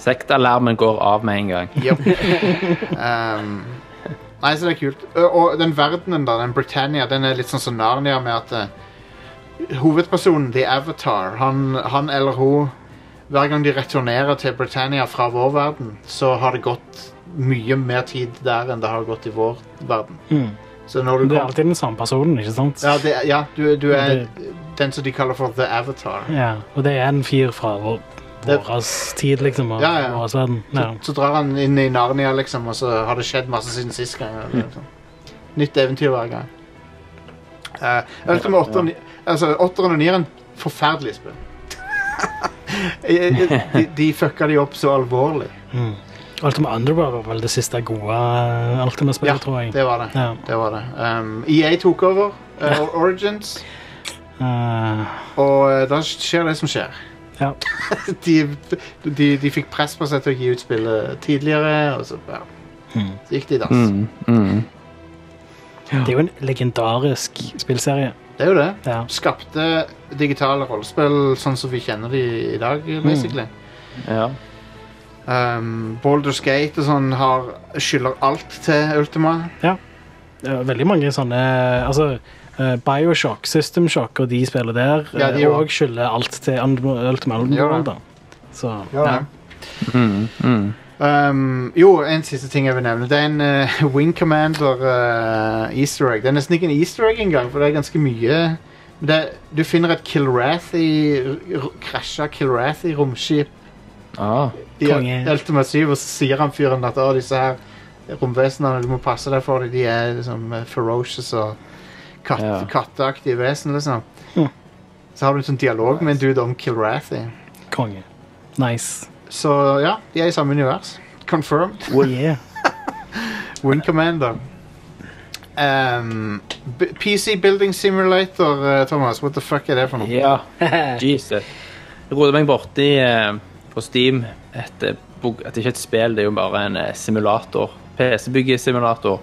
Speaker 4: Sektalarmen går av med en gang.
Speaker 1: Yep. um, nei, så det er kult. Ø- Og den verdenen, da, den Britannia, den er litt sånn som Narnia med at eh, hovedpersonen, The Avatar, han, han eller hun Hver gang de returnerer til Britannia fra vår verden, så har det gått mye mer tid der enn det har gått i vår verden.
Speaker 3: Mm.
Speaker 1: Så når du
Speaker 3: Det er
Speaker 1: kommer
Speaker 3: alltid den samme personen, ikke sant?
Speaker 1: Ja, det, ja du, du er den som de kaller for The Avatar.
Speaker 3: Ja, og det er en fyr fra vår
Speaker 1: Det-
Speaker 3: våres tid, liksom, og
Speaker 1: Ja, ja.
Speaker 3: våres verden. Ja.
Speaker 1: Så drar han inn i Narnia, liksom, og så har det skjedd masse siden sist gang. Eller, noe sånt. Nytt eventyr hver gang. Uh, Ultima 8 og 9, altså, 8 og 9 er en forferdelig spill. de, de fucka de opp så alvorlig.
Speaker 3: Mm. Ultima Underworld var vel det siste gode eh, Ultima-spillet,
Speaker 1: Ja,
Speaker 3: tror jeg.
Speaker 1: det var det.
Speaker 3: Ja.
Speaker 1: det, var det. Um, EA tok over eh, Origins,
Speaker 3: Eh,
Speaker 1: og eh, da skjer det som skjer.
Speaker 3: ja.
Speaker 1: De, de, de fikk press på seg til å gi ut
Speaker 4: Hmm.
Speaker 1: spillet tidligere, og så, ja. så gikk det i dass.
Speaker 4: Mm. Mm.
Speaker 3: Det er jo en legendarisk spillserie.
Speaker 1: Det er jo det.
Speaker 3: Ja.
Speaker 1: Skapte digitale rollespill sånn som vi kjenner de i dag, basically.
Speaker 4: Ja.
Speaker 1: Um, Baldur's Gate og sånn har, skylder alt til Ultima.
Speaker 3: Det er veldig mange sånne Altså, eh, Bioshock, System Shock og de spiller der.
Speaker 1: Ja, de
Speaker 3: eh,
Speaker 1: også.
Speaker 3: og skylder alt til Ultimate
Speaker 1: Ja.
Speaker 3: Underworld, da. Så
Speaker 1: Ja.
Speaker 4: Mm,
Speaker 1: Um, jo, en siste ting jeg vil nevne. Det er en eh, Wing Commander eh, easter egg. Det er nesten ikke en easter egg engang, for det er ganske mye. Men Det, du finner et Kilrath i r- krasja Kilrath i romskip
Speaker 4: Ah.
Speaker 1: i
Speaker 3: Konge.
Speaker 1: Ultima 7, og så sier han fyren at å, disse her romvesenene, du må passe deg for dem, de er liksom eh, ferocious og katt,
Speaker 4: Ja.
Speaker 1: katteaktige vesen, liksom.
Speaker 3: Hm.
Speaker 1: Så har du en sånn dialog med en dude om Kilrath i.
Speaker 3: konge. Nice.
Speaker 1: Så ja, de er i samme univers. Confirmed.
Speaker 3: Oh, Yeah.
Speaker 1: Wing Commander. Um, B- PC Building Simulator, eh, Thomas. What the fuck er det for noe?
Speaker 4: Ja. Jesus. Jeg rodet meg borti eh, på Steam et, eh, bok- at det ikke er et spill, det er jo bare en eh, simulator. PC-byggesimulator.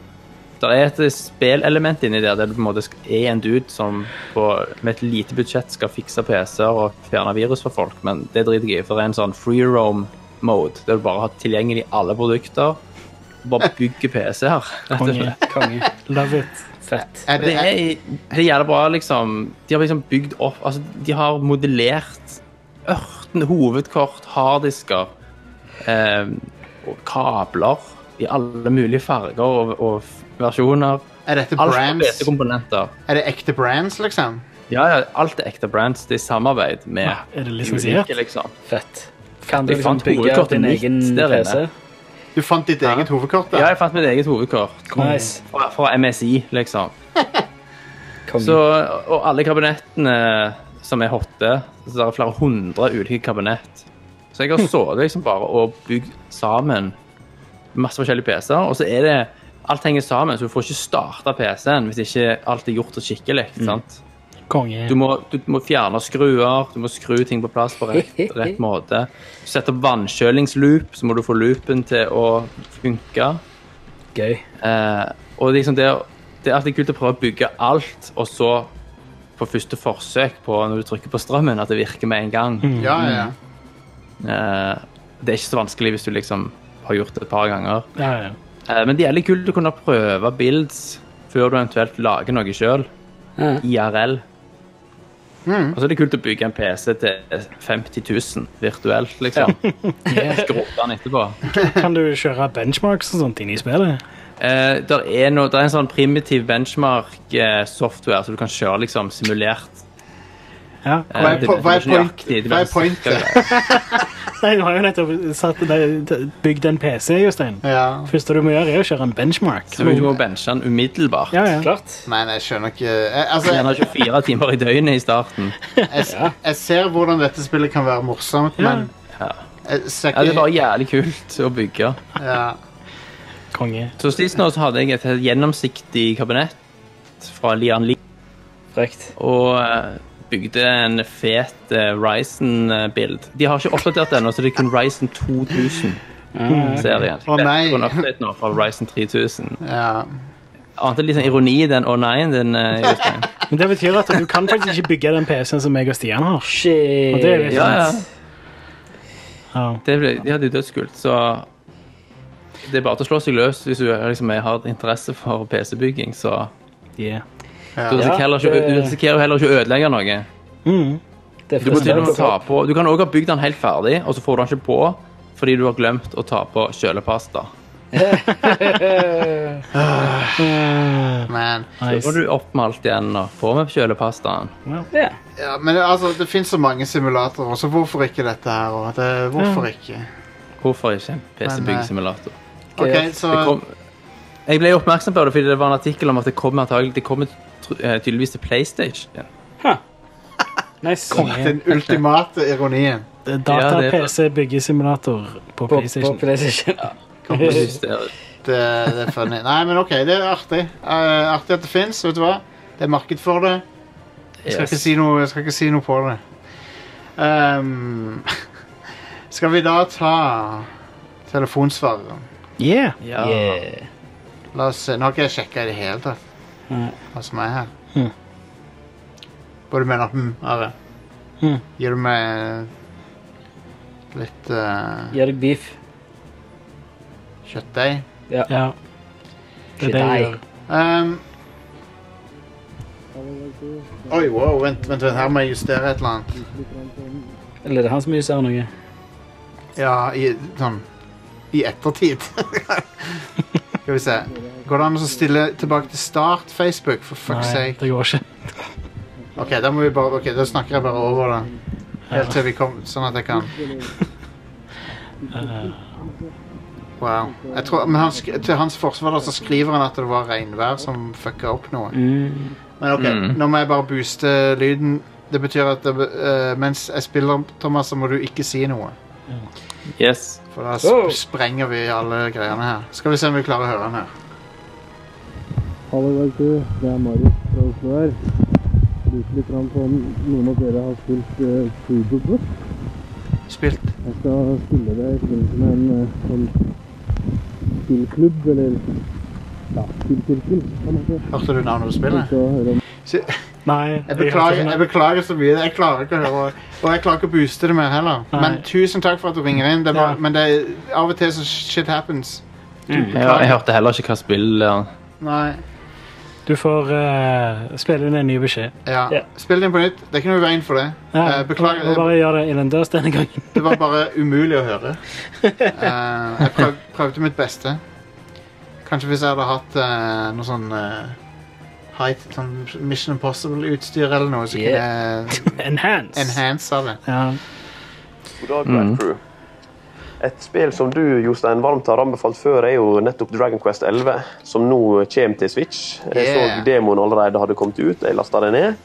Speaker 4: Det er et eh, spillelement inni der der du på en måte sk- er en dude som på, med et lite budsjett skal fikse PC-er og fjerne virus for folk, men det driter jeg i, for det er en sånn free roam-mode der du bare har tilgjengelig alle produkter. Du Bare bygger PC-er. rett og slett.
Speaker 3: Konge. Love it.
Speaker 2: Fett.
Speaker 1: Er det,
Speaker 4: Det
Speaker 1: er,
Speaker 4: er, det er jævla bra, liksom. De har liksom bygd opp Altså, de har modellert ørten, hovedkort, harddisker, eh, og kabler i alle mulige farger og, og f- versjoner.
Speaker 1: er dette
Speaker 4: Alt er
Speaker 1: brands?
Speaker 4: beste komponenter.
Speaker 1: Er det ekte brands, liksom?
Speaker 4: Ja, ja, alt er ekte brands. Det er samarbeid med
Speaker 3: Ah, er det lisensiert?
Speaker 4: ulike, liksom.
Speaker 2: Fett. Kan du
Speaker 4: Jeg
Speaker 2: liksom
Speaker 4: fant
Speaker 2: bygge
Speaker 4: hovedkortet
Speaker 2: din
Speaker 4: mitt
Speaker 2: egen
Speaker 4: der inne.
Speaker 2: PC?
Speaker 1: Du fant ditt eget hovedkort?
Speaker 4: Ja,
Speaker 1: da?
Speaker 4: jeg fant mitt eget hovedkort
Speaker 2: Nice.
Speaker 4: fra, fra MSI, liksom.
Speaker 2: Konge.
Speaker 4: Så, og alle kabinettene som er hotte, så det er flere hundre ulike kabinett. Så jeg har sittet liksom bare og bygd sammen masse forskjellige PC-er, og så er det Alt henger sammen, så du får ikke starta PC-en hvis ikke alt er gjort og skikkelig. sant?
Speaker 3: Konge.
Speaker 4: Du må, du må fjerne skruer, du må skru ting på plass på rett, rett måte. Du setter opp vannkjølingsloop, så må du få loopen til å funke.
Speaker 2: Gøy.
Speaker 4: Eh, og liksom det, det er alltid kult å prøve å bygge alt, og så på første forsøk på når du trykker på strømmen, at det virker med en gang.
Speaker 1: Ja, ja, ja.
Speaker 4: Eh, det er ikke så vanskelig hvis du liksom har gjort det et par ganger.
Speaker 3: Ja, ja.
Speaker 4: Eh, men det er litt kult å kunne prøve builds før du eventuelt lager noe sjøl.
Speaker 2: Ja.
Speaker 4: IRL.
Speaker 1: Mm.
Speaker 4: Og så er det kult å bygge en PC til 50 000 virtuelt, liksom. Skrote den etterpå.
Speaker 3: Kan du kjøre benchmarks og sånt inn i spillet?
Speaker 4: Eh, der, er noe, der er en sånn primitiv benchmark-software, så du kan kjøre liksom simulert.
Speaker 3: Ja.
Speaker 4: eh,
Speaker 1: Hva er
Speaker 4: det-
Speaker 1: po- hva er
Speaker 4: det nøyaktig,
Speaker 1: point-
Speaker 4: det
Speaker 1: hva er
Speaker 4: meste-
Speaker 1: pointet?
Speaker 3: Nei, du har jo nettopp satt, nei, bygd en PC, Jostein.
Speaker 1: ja.
Speaker 3: Første du må gjøre, er å kjøre en benchmark.
Speaker 4: Så du må benche den umiddelbart.
Speaker 3: Ja, ja.
Speaker 2: Klart.
Speaker 1: Men jeg skjønner ikke jeg, Altså,
Speaker 4: Gjerne
Speaker 1: jeg,
Speaker 4: 24 timer i døgnet i starten.
Speaker 1: jeg, jeg ser hvordan dette spillet kan være morsomt, men
Speaker 4: Ja.
Speaker 1: jeg ser
Speaker 4: Ja, det var
Speaker 1: ikke
Speaker 4: jævlig kult å bygge.
Speaker 1: ja.
Speaker 3: Konge.
Speaker 4: Så sist nå så hadde jeg et helt gjennomsiktig kabinett fra Lian Li,
Speaker 2: Frekt.
Speaker 4: og eh, bygde en fet eh, Ryzen-bild. De har ikke oppdatert ennå, så det er kun Ryzen 2000-serien.
Speaker 1: Å, nei.
Speaker 4: Det er en update nå fra Ryzen 3000.
Speaker 1: ja.
Speaker 4: Ante litt sånn ironi i den 'å nei-en din, eh, Jostein.
Speaker 3: Men det betyr at du kan faktisk ikke bygge den PC-en som jeg og Stian har.
Speaker 2: Shit.
Speaker 3: Og det er liksom- litt
Speaker 4: Ja, ja.
Speaker 3: Ja.
Speaker 4: Det ble, de hadde jo dødskult, så det er bare til å slå seg løs hvis du liksom, har interesse for PC-bygging, så
Speaker 3: Yeah.
Speaker 4: du risikerer, heller ikke, du risikerer jo heller ikke å ødelegge noe.
Speaker 3: Mm.
Speaker 2: Det er
Speaker 4: Du må til og med
Speaker 2: frustrerende.
Speaker 4: ta på Du kan òg ha bygd den helt ferdig, og så får du den ikke på fordi du har glemt å ta på kjølepasta.
Speaker 1: Man.
Speaker 4: Så
Speaker 3: Nice.
Speaker 4: får du oppmalt igjen og får med kjølepastaen.
Speaker 2: Ja.
Speaker 1: ja. Men altså, det fins så mange simulatorer, så hvorfor ikke dette her? Og det, hvorfor ikke?
Speaker 4: Hvorfor ikke en PC-byggesimulator?
Speaker 1: Ok, så
Speaker 4: Det kom, jeg ble oppmerksom på det fordi det var en artikkel om at det kommer antagelig, det kommer tr- eh, tydeligvis til PlayStation.
Speaker 2: Nice.
Speaker 1: Den ultimate ironien.
Speaker 3: eh,
Speaker 4: Ja, det er-
Speaker 3: Data-PC-byggesimulator på
Speaker 2: På, på
Speaker 3: PlayStation.
Speaker 2: PlayStation. Ja.
Speaker 4: Jeg synes det er-
Speaker 1: Det, det er funny. Nei, men OK, det er artig. Eh, artig at det fins. Vet du hva? Det er marked for det. Jeg skal, ikke,
Speaker 4: yes.
Speaker 1: si noe, jeg skal ikke si noe på det. Ehm, skal vi da ta telefonsvareren?
Speaker 3: Yeah.
Speaker 4: Ja.
Speaker 2: Yeah.
Speaker 1: La oss se. Nå har ikke jeg sjekka i det hele tatt.
Speaker 2: Nei.
Speaker 1: hva som er her.
Speaker 3: Mhm.
Speaker 1: Hva du mener hm, Are?
Speaker 3: Mhm.
Speaker 1: Gir du meg litt eh,
Speaker 2: Gir deg beef.
Speaker 1: kjøttdeig?
Speaker 3: Ja. Det er det jeg gjør.
Speaker 1: Ehm. Oi, wow, vent, vent, vent, her må jeg justere et eller annet.
Speaker 2: Eller er det han som justerer noe?
Speaker 1: Ja, i, sånn i ettertid. Skal vi se. Går det an å stille tilbake til start, Facebook? For fuck's
Speaker 3: Nei,
Speaker 1: sake.
Speaker 3: det går ikke.
Speaker 1: Ok, da må vi bare, ok, da snakker jeg bare over det. Helt til vi kommer, sånn at jeg kan. Wow. Jeg tror, men han, sk- til hans forsvar da, så skriver han at det var regnvær som fucka opp noe. Men ok,
Speaker 4: Mm.
Speaker 1: nå må jeg bare booste lyden. Det betyr at det, be- eh, mens jeg spiller, Thomas, så må du ikke si noe.
Speaker 4: Yes.
Speaker 1: For da
Speaker 2: Oh.
Speaker 1: sp sprenger vi alle greiene her. Skal vi se om vi klarer å høre den her.
Speaker 9: Hallo, dag to. Det er Marius fra Oslo her. Lurte litt grann på om noen av dere har spilt uh, Superbook.
Speaker 1: Spilt.
Speaker 9: Jeg skal spille det i forbindelse med en eh, sånn spillklubb, eller ja, spillsirkel, kan man si.
Speaker 1: Hørte du navnet på spillet?
Speaker 9: Så høre om
Speaker 3: Nei.
Speaker 1: Jeg
Speaker 3: jeg gjør
Speaker 1: beklager,
Speaker 3: ikke
Speaker 1: jeg
Speaker 3: det.
Speaker 1: beklager så mye. Jeg klarer ikke å høre Og jeg klarer ikke å booste det mer heller. Men
Speaker 3: Nei.
Speaker 1: tusen takk for at du ringer inn. Det er bare,
Speaker 3: Ja.
Speaker 1: Men det er, av og til så shit happens.
Speaker 4: Ja, jeg hørte heller ikke hva spill eh,
Speaker 1: Nei.
Speaker 3: Du får eh, spille inn en ny beskjed.
Speaker 1: Ja.
Speaker 2: Ja.
Speaker 1: Spill den på nytt. Det er ikke noe i veien for det.
Speaker 3: Ja,
Speaker 1: Eh, beklager.
Speaker 3: må Bare gjør det innendørs denne gangen.
Speaker 1: Det var bare umulig å høre. Eh, jeg prøv, prøvde mitt beste. Kanskje hvis jeg hadde hatt eh, noe sånn eh, height, sånn Mission Impossible-utstyr eller noe, så kunne
Speaker 3: Enhance.
Speaker 1: jeg enhansa det.
Speaker 3: Ja.
Speaker 10: God dag, Black Crew. Et spill som du Jostein, varmt har anbefalt før, er jo nettopp Dragon Quest 11, som nå kommer til Switch. Jeg
Speaker 1: Yeah.
Speaker 10: så demoen allerede hadde kommet ut, jeg lasta den ned.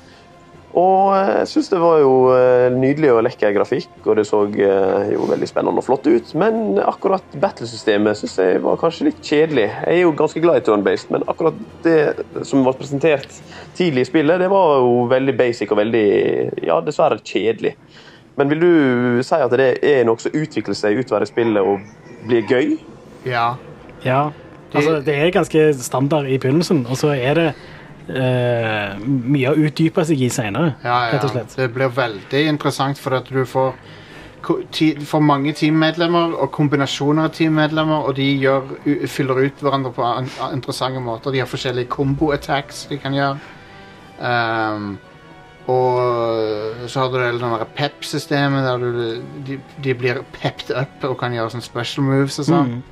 Speaker 10: Og eh, jeg syns det var jo eh, nydelig og lekker grafikk, og det så eh, jo veldig spennende og flott ut. Men akkurat battlesystemet syns jeg var kanskje litt kjedelig. Jeg er jo ganske glad i turn-based, men akkurat det som var presentert tidlig i spillet, det var jo veldig basic og veldig, ja, dessverre kjedelig. Men vil du si at det er noe som utvikler seg utover i spillet og blir gøy?
Speaker 1: Ja.
Speaker 3: ja. Altså, det er ganske standard i begynnelsen, og så er det eh, mye å utdype seg i senere,
Speaker 1: Ja, ja,
Speaker 3: rett og
Speaker 1: ja.
Speaker 3: slett.
Speaker 1: Det blir veldig interessant fordi at du får ko- ti- får mange teammedlemmer og kombinasjoner av teammedlemmer, og de gjør, u- fyller ut hverandre på an, an- interessante måter. De har forskjellige combo-attacks de kan gjøre. Ehm, og så har du det der pep-systemet, der du, de, de blir pepped up og kan gjøre sånne special moves og sånn.
Speaker 3: Mm.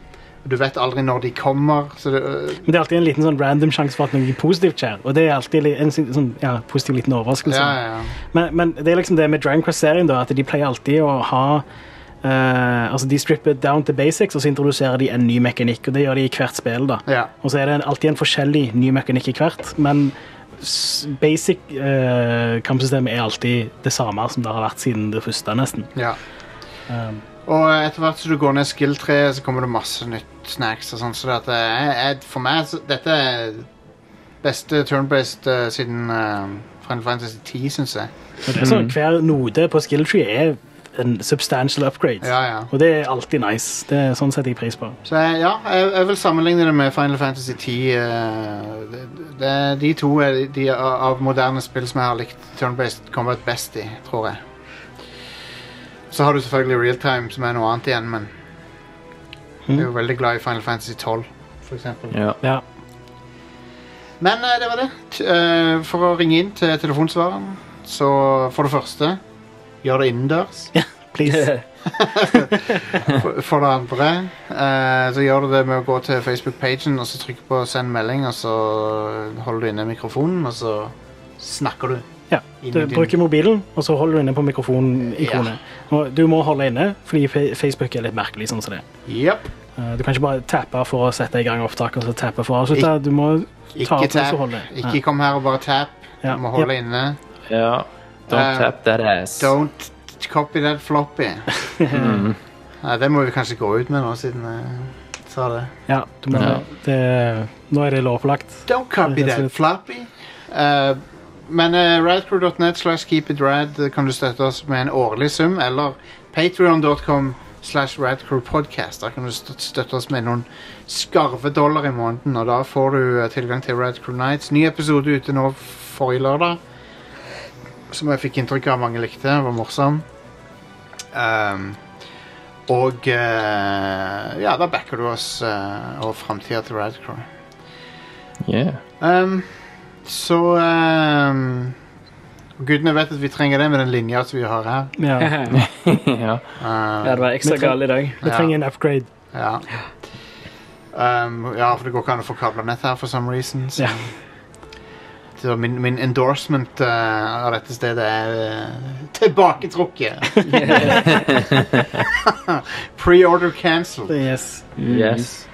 Speaker 1: Du vet aldri når de kommer, så det, øh,
Speaker 3: Men det er alltid en liten sånn random sjanse for at noe positivt skjer. Og det er alltid li- en sin- sånn, ja, positiv liten overraskelse.
Speaker 1: ja, ja, ja.
Speaker 3: Men, men det er liksom det med Dragon Quest-serien, da, at de pleier alltid å ha eh, altså De stripper down to basics, og så introduserer de en ny mekanikk. Og det gjør de i hvert spill. da.
Speaker 1: Ja.
Speaker 3: Og så er det en, alltid en forskjellig ny mekanikk i hvert, men s- basic eh, kampsystemet er alltid det samme som det har vært siden det første, nesten.
Speaker 1: Ja.
Speaker 3: Um.
Speaker 1: og etter hvert som du går ned skill-treet, så kommer det masse nytt snacks og sånn, så dette er, er- for meg så, dette er beste turn-based eh, siden uh, Final Fantasy 10, syns jeg.
Speaker 3: Og det er
Speaker 1: Mm.
Speaker 3: sånn, Hver node på skill tree er en substantial upgrade,
Speaker 1: Ja, ja.
Speaker 3: og det er alltid nice. Det er Sånn setter jeg pris på.
Speaker 1: Så jeg, ja, jeg, jeg vil sammenligne det med Final Fantasy 10. eh, det, det, de to er de, de av av moderne spill som jeg har likt turn-based combat best i, tror jeg. Så har du selvfølgelig real-time, som er noe annet igjen, men jeg er jo veldig glad i Final Fantasy 12, for eksempel.
Speaker 4: ja.
Speaker 3: Ja.
Speaker 1: Men eh, det var det. T eh, for å ringe inn til telefonsvareren, så for det første Gjør det innendørs.
Speaker 3: Please.
Speaker 1: For, for det andre eh, så gjør du det med å gå til Facebook-pagen og så trykke på 'send melding', og så holder du inne mikrofonen, og så snakker du.
Speaker 3: Ja,
Speaker 1: Inn i
Speaker 3: du
Speaker 1: din-
Speaker 3: bruker mobilen, og så holder du inne på mikrofonikonet. Og Du må holde inne, fordi Fe- Facebook er litt merkelig sånn som det. er.
Speaker 1: Jepp.
Speaker 3: Eh, Du kan ikke bare tappe for å sette i gang opptak, og så tappe for å avslutte. Du må ta
Speaker 1: Ikke
Speaker 3: opp mens
Speaker 1: tap.
Speaker 3: du holder.
Speaker 1: Ikke kom her og bare tap.
Speaker 3: Ja.
Speaker 1: Du må holde inne.
Speaker 4: ja. Don't
Speaker 1: Eh,
Speaker 4: tap that ass.
Speaker 1: Don't t- copy that floppy.
Speaker 4: Mm.
Speaker 1: Nei, det må vi kanskje gå ut med nå, siden jeg sa det.
Speaker 3: Ja, du må,
Speaker 4: Ja.
Speaker 3: Det, nå er det lovpålagt.
Speaker 1: Don't copy
Speaker 3: Rett og
Speaker 1: that
Speaker 3: slett.
Speaker 1: floppy. Eh, men uh, eh, radcrew.net slash keepitrad kan du støtte oss med en årlig sum, eller patreon.com slash Radcrew Podcast. Der kan du støt- støtte oss med noen skarve dollar i måneden, og da får du eh, tilgang til Radcrew Nights. Ny episode ute nå forrige lørdag, som jeg fikk inntrykk av mange likte. Det var morsom. Ehm, og eh, ja, da backer du oss eh, og framtida til Radcrew.
Speaker 4: Yeah.
Speaker 1: Ehm, så ehm, Gudene vet at vi trenger det med den linja som vi har her. Ehm,
Speaker 3: Ja.
Speaker 4: ja.
Speaker 2: Ja, det var ekstra
Speaker 3: Vi treng-
Speaker 2: gal i dag.
Speaker 3: Vi trenger en upgrade.
Speaker 1: Ja. Ehm, ja, for det går ikke an å få kablenett her for some reason. Så.
Speaker 3: Ja.
Speaker 1: Så min, min endorsement eh, av dette stedet er eh, tilbaketrukket. Pre-order cancelled. Eh,
Speaker 3: Yes.
Speaker 4: Mm. Yes.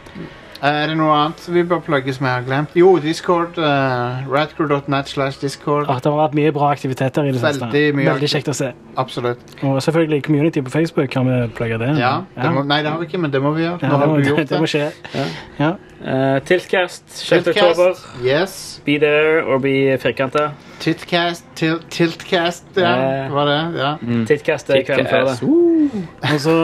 Speaker 1: Er det noe annet vi bør plugge som jeg har glemt? Jo, Discord. Uh, Radcrew.net slash Discord.
Speaker 3: At det har vært mye bra aktiviteter i det siste.
Speaker 1: Veldig mye
Speaker 3: Veldig kjekt å se.
Speaker 1: Absolutt.
Speaker 3: Og selvfølgelig community på Facebook. Kan vi plugge det?
Speaker 1: Ja, det må, nei, det har vi ikke, men det må vi gjøre.
Speaker 3: Ja,
Speaker 1: Nå
Speaker 3: det,
Speaker 1: har
Speaker 3: må,
Speaker 1: du gjort
Speaker 3: det må
Speaker 1: det.
Speaker 3: skje. Ja.
Speaker 2: Eh, Tiltcast 6.
Speaker 1: Tiltcast.
Speaker 2: oktober.
Speaker 1: Yes.
Speaker 2: Be there or be firkanta.
Speaker 1: Tiltcast. Til, tiltcast, ja.
Speaker 2: Ja.
Speaker 1: Var det? Ja.
Speaker 2: Tiltcast er kvelden før det.
Speaker 3: Og så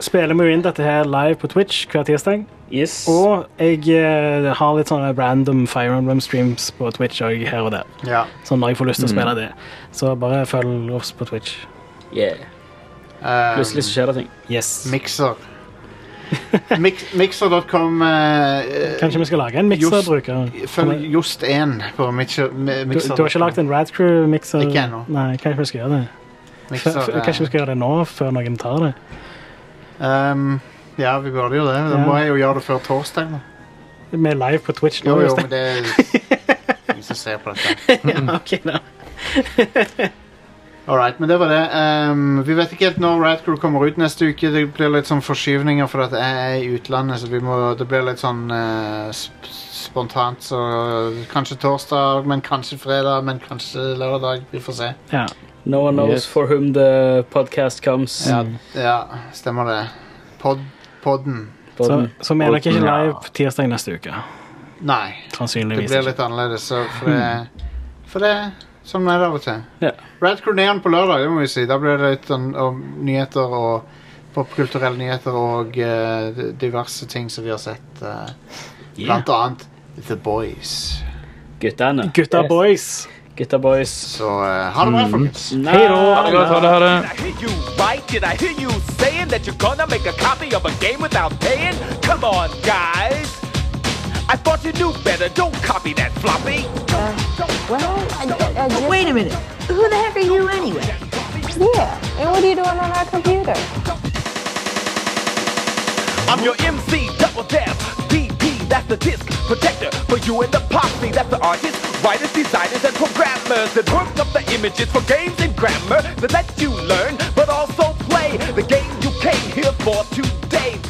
Speaker 3: spiller vi jo inn dette her live på Twitch hver tirsdag.
Speaker 2: Yes.
Speaker 3: Og jeg eh, har litt sånne random Fire Emblem streams på Twitch og her og der.
Speaker 1: ja.
Speaker 3: Sånn når jeg får lyst til å
Speaker 4: Mm.
Speaker 3: spille det. Så bare følg oss på Twitch.
Speaker 2: Yeah.
Speaker 1: Ehm,
Speaker 2: Plutselig så skjer det ting.
Speaker 3: Yes.
Speaker 1: Mixer. Mix- Mixer.com eh,
Speaker 3: Kanskje vi skal lage en
Speaker 1: Just-
Speaker 3: mikserbruker?
Speaker 1: Følg Jost1 på Mixer. mi-
Speaker 3: Du,
Speaker 1: mixer.
Speaker 3: du har ikke lagd en Radcrew-mikser?
Speaker 1: Ikke ennå.
Speaker 3: Nei, kanskje vi skal gjøre det?
Speaker 1: Mixer,
Speaker 3: Før,
Speaker 1: eh,
Speaker 3: kanskje vi skal gjøre det nå, før noen tar det?
Speaker 1: ehm, ja, vi burde jo det. Da
Speaker 3: Ja.
Speaker 1: må jeg jo gjøre det før torsdag. da.
Speaker 3: Vi er live på Twitch nå.
Speaker 1: Jo, jo, men
Speaker 3: Jostein.
Speaker 1: det er ingen som ser på dette.
Speaker 3: Ja, ok, da.
Speaker 1: All right, men det var det. Ehm, vi vet ikke helt når Radcrew kommer ut neste uke. Det blir litt sånn forskyvninger fordi at jeg er i utlandet, så vi må, det blir litt sånn eh, sp spontant. Så kanskje torsdag, men kanskje fredag, men kanskje lørdag. Vi får se.
Speaker 3: Ja.
Speaker 2: No one knows
Speaker 4: Yes.
Speaker 2: for whom the podcast comes.
Speaker 1: Ja, ja stemmer det. Pod, podden.
Speaker 3: Så,
Speaker 2: Podden.
Speaker 3: så vi er nok ikke
Speaker 4: Ja.
Speaker 3: live på tirsdag neste uke.
Speaker 1: Nei, det
Speaker 3: Sannsynligvis.
Speaker 1: blir
Speaker 3: ikke.
Speaker 1: litt annerledes. så For det, for det sånn er det av og til.
Speaker 2: Ja.
Speaker 1: Radcrew Neon på lørdag, det må vi si. Da blir det litt sånn om nyheter og popkulturelle nyheter og eh, d- diverse ting som vi har sett. eh, Blant annet The Boys.
Speaker 2: Guttene.
Speaker 3: Gutta boys!
Speaker 2: Gutta boys.
Speaker 1: Så eh, ha det bra, folkens.
Speaker 2: Hei
Speaker 4: Ha det godt. Ha det. Ha det.
Speaker 11: I hear you right? Did I hear you saying that you're gonna make a copy of a game without paying? Come on, guys. I thought you knew better. Don't copy that floppy.
Speaker 12: Wait a minute. Who the heck are you anyway?
Speaker 13: Yeah, and what are you doing on our computer?
Speaker 11: I'm your MC, double tap, DP, that's the disc protector for you and the posse. That's the artists, writers, designers, and programmers that work up the images for games and grammar that let you learn, but also play the game you came here for today.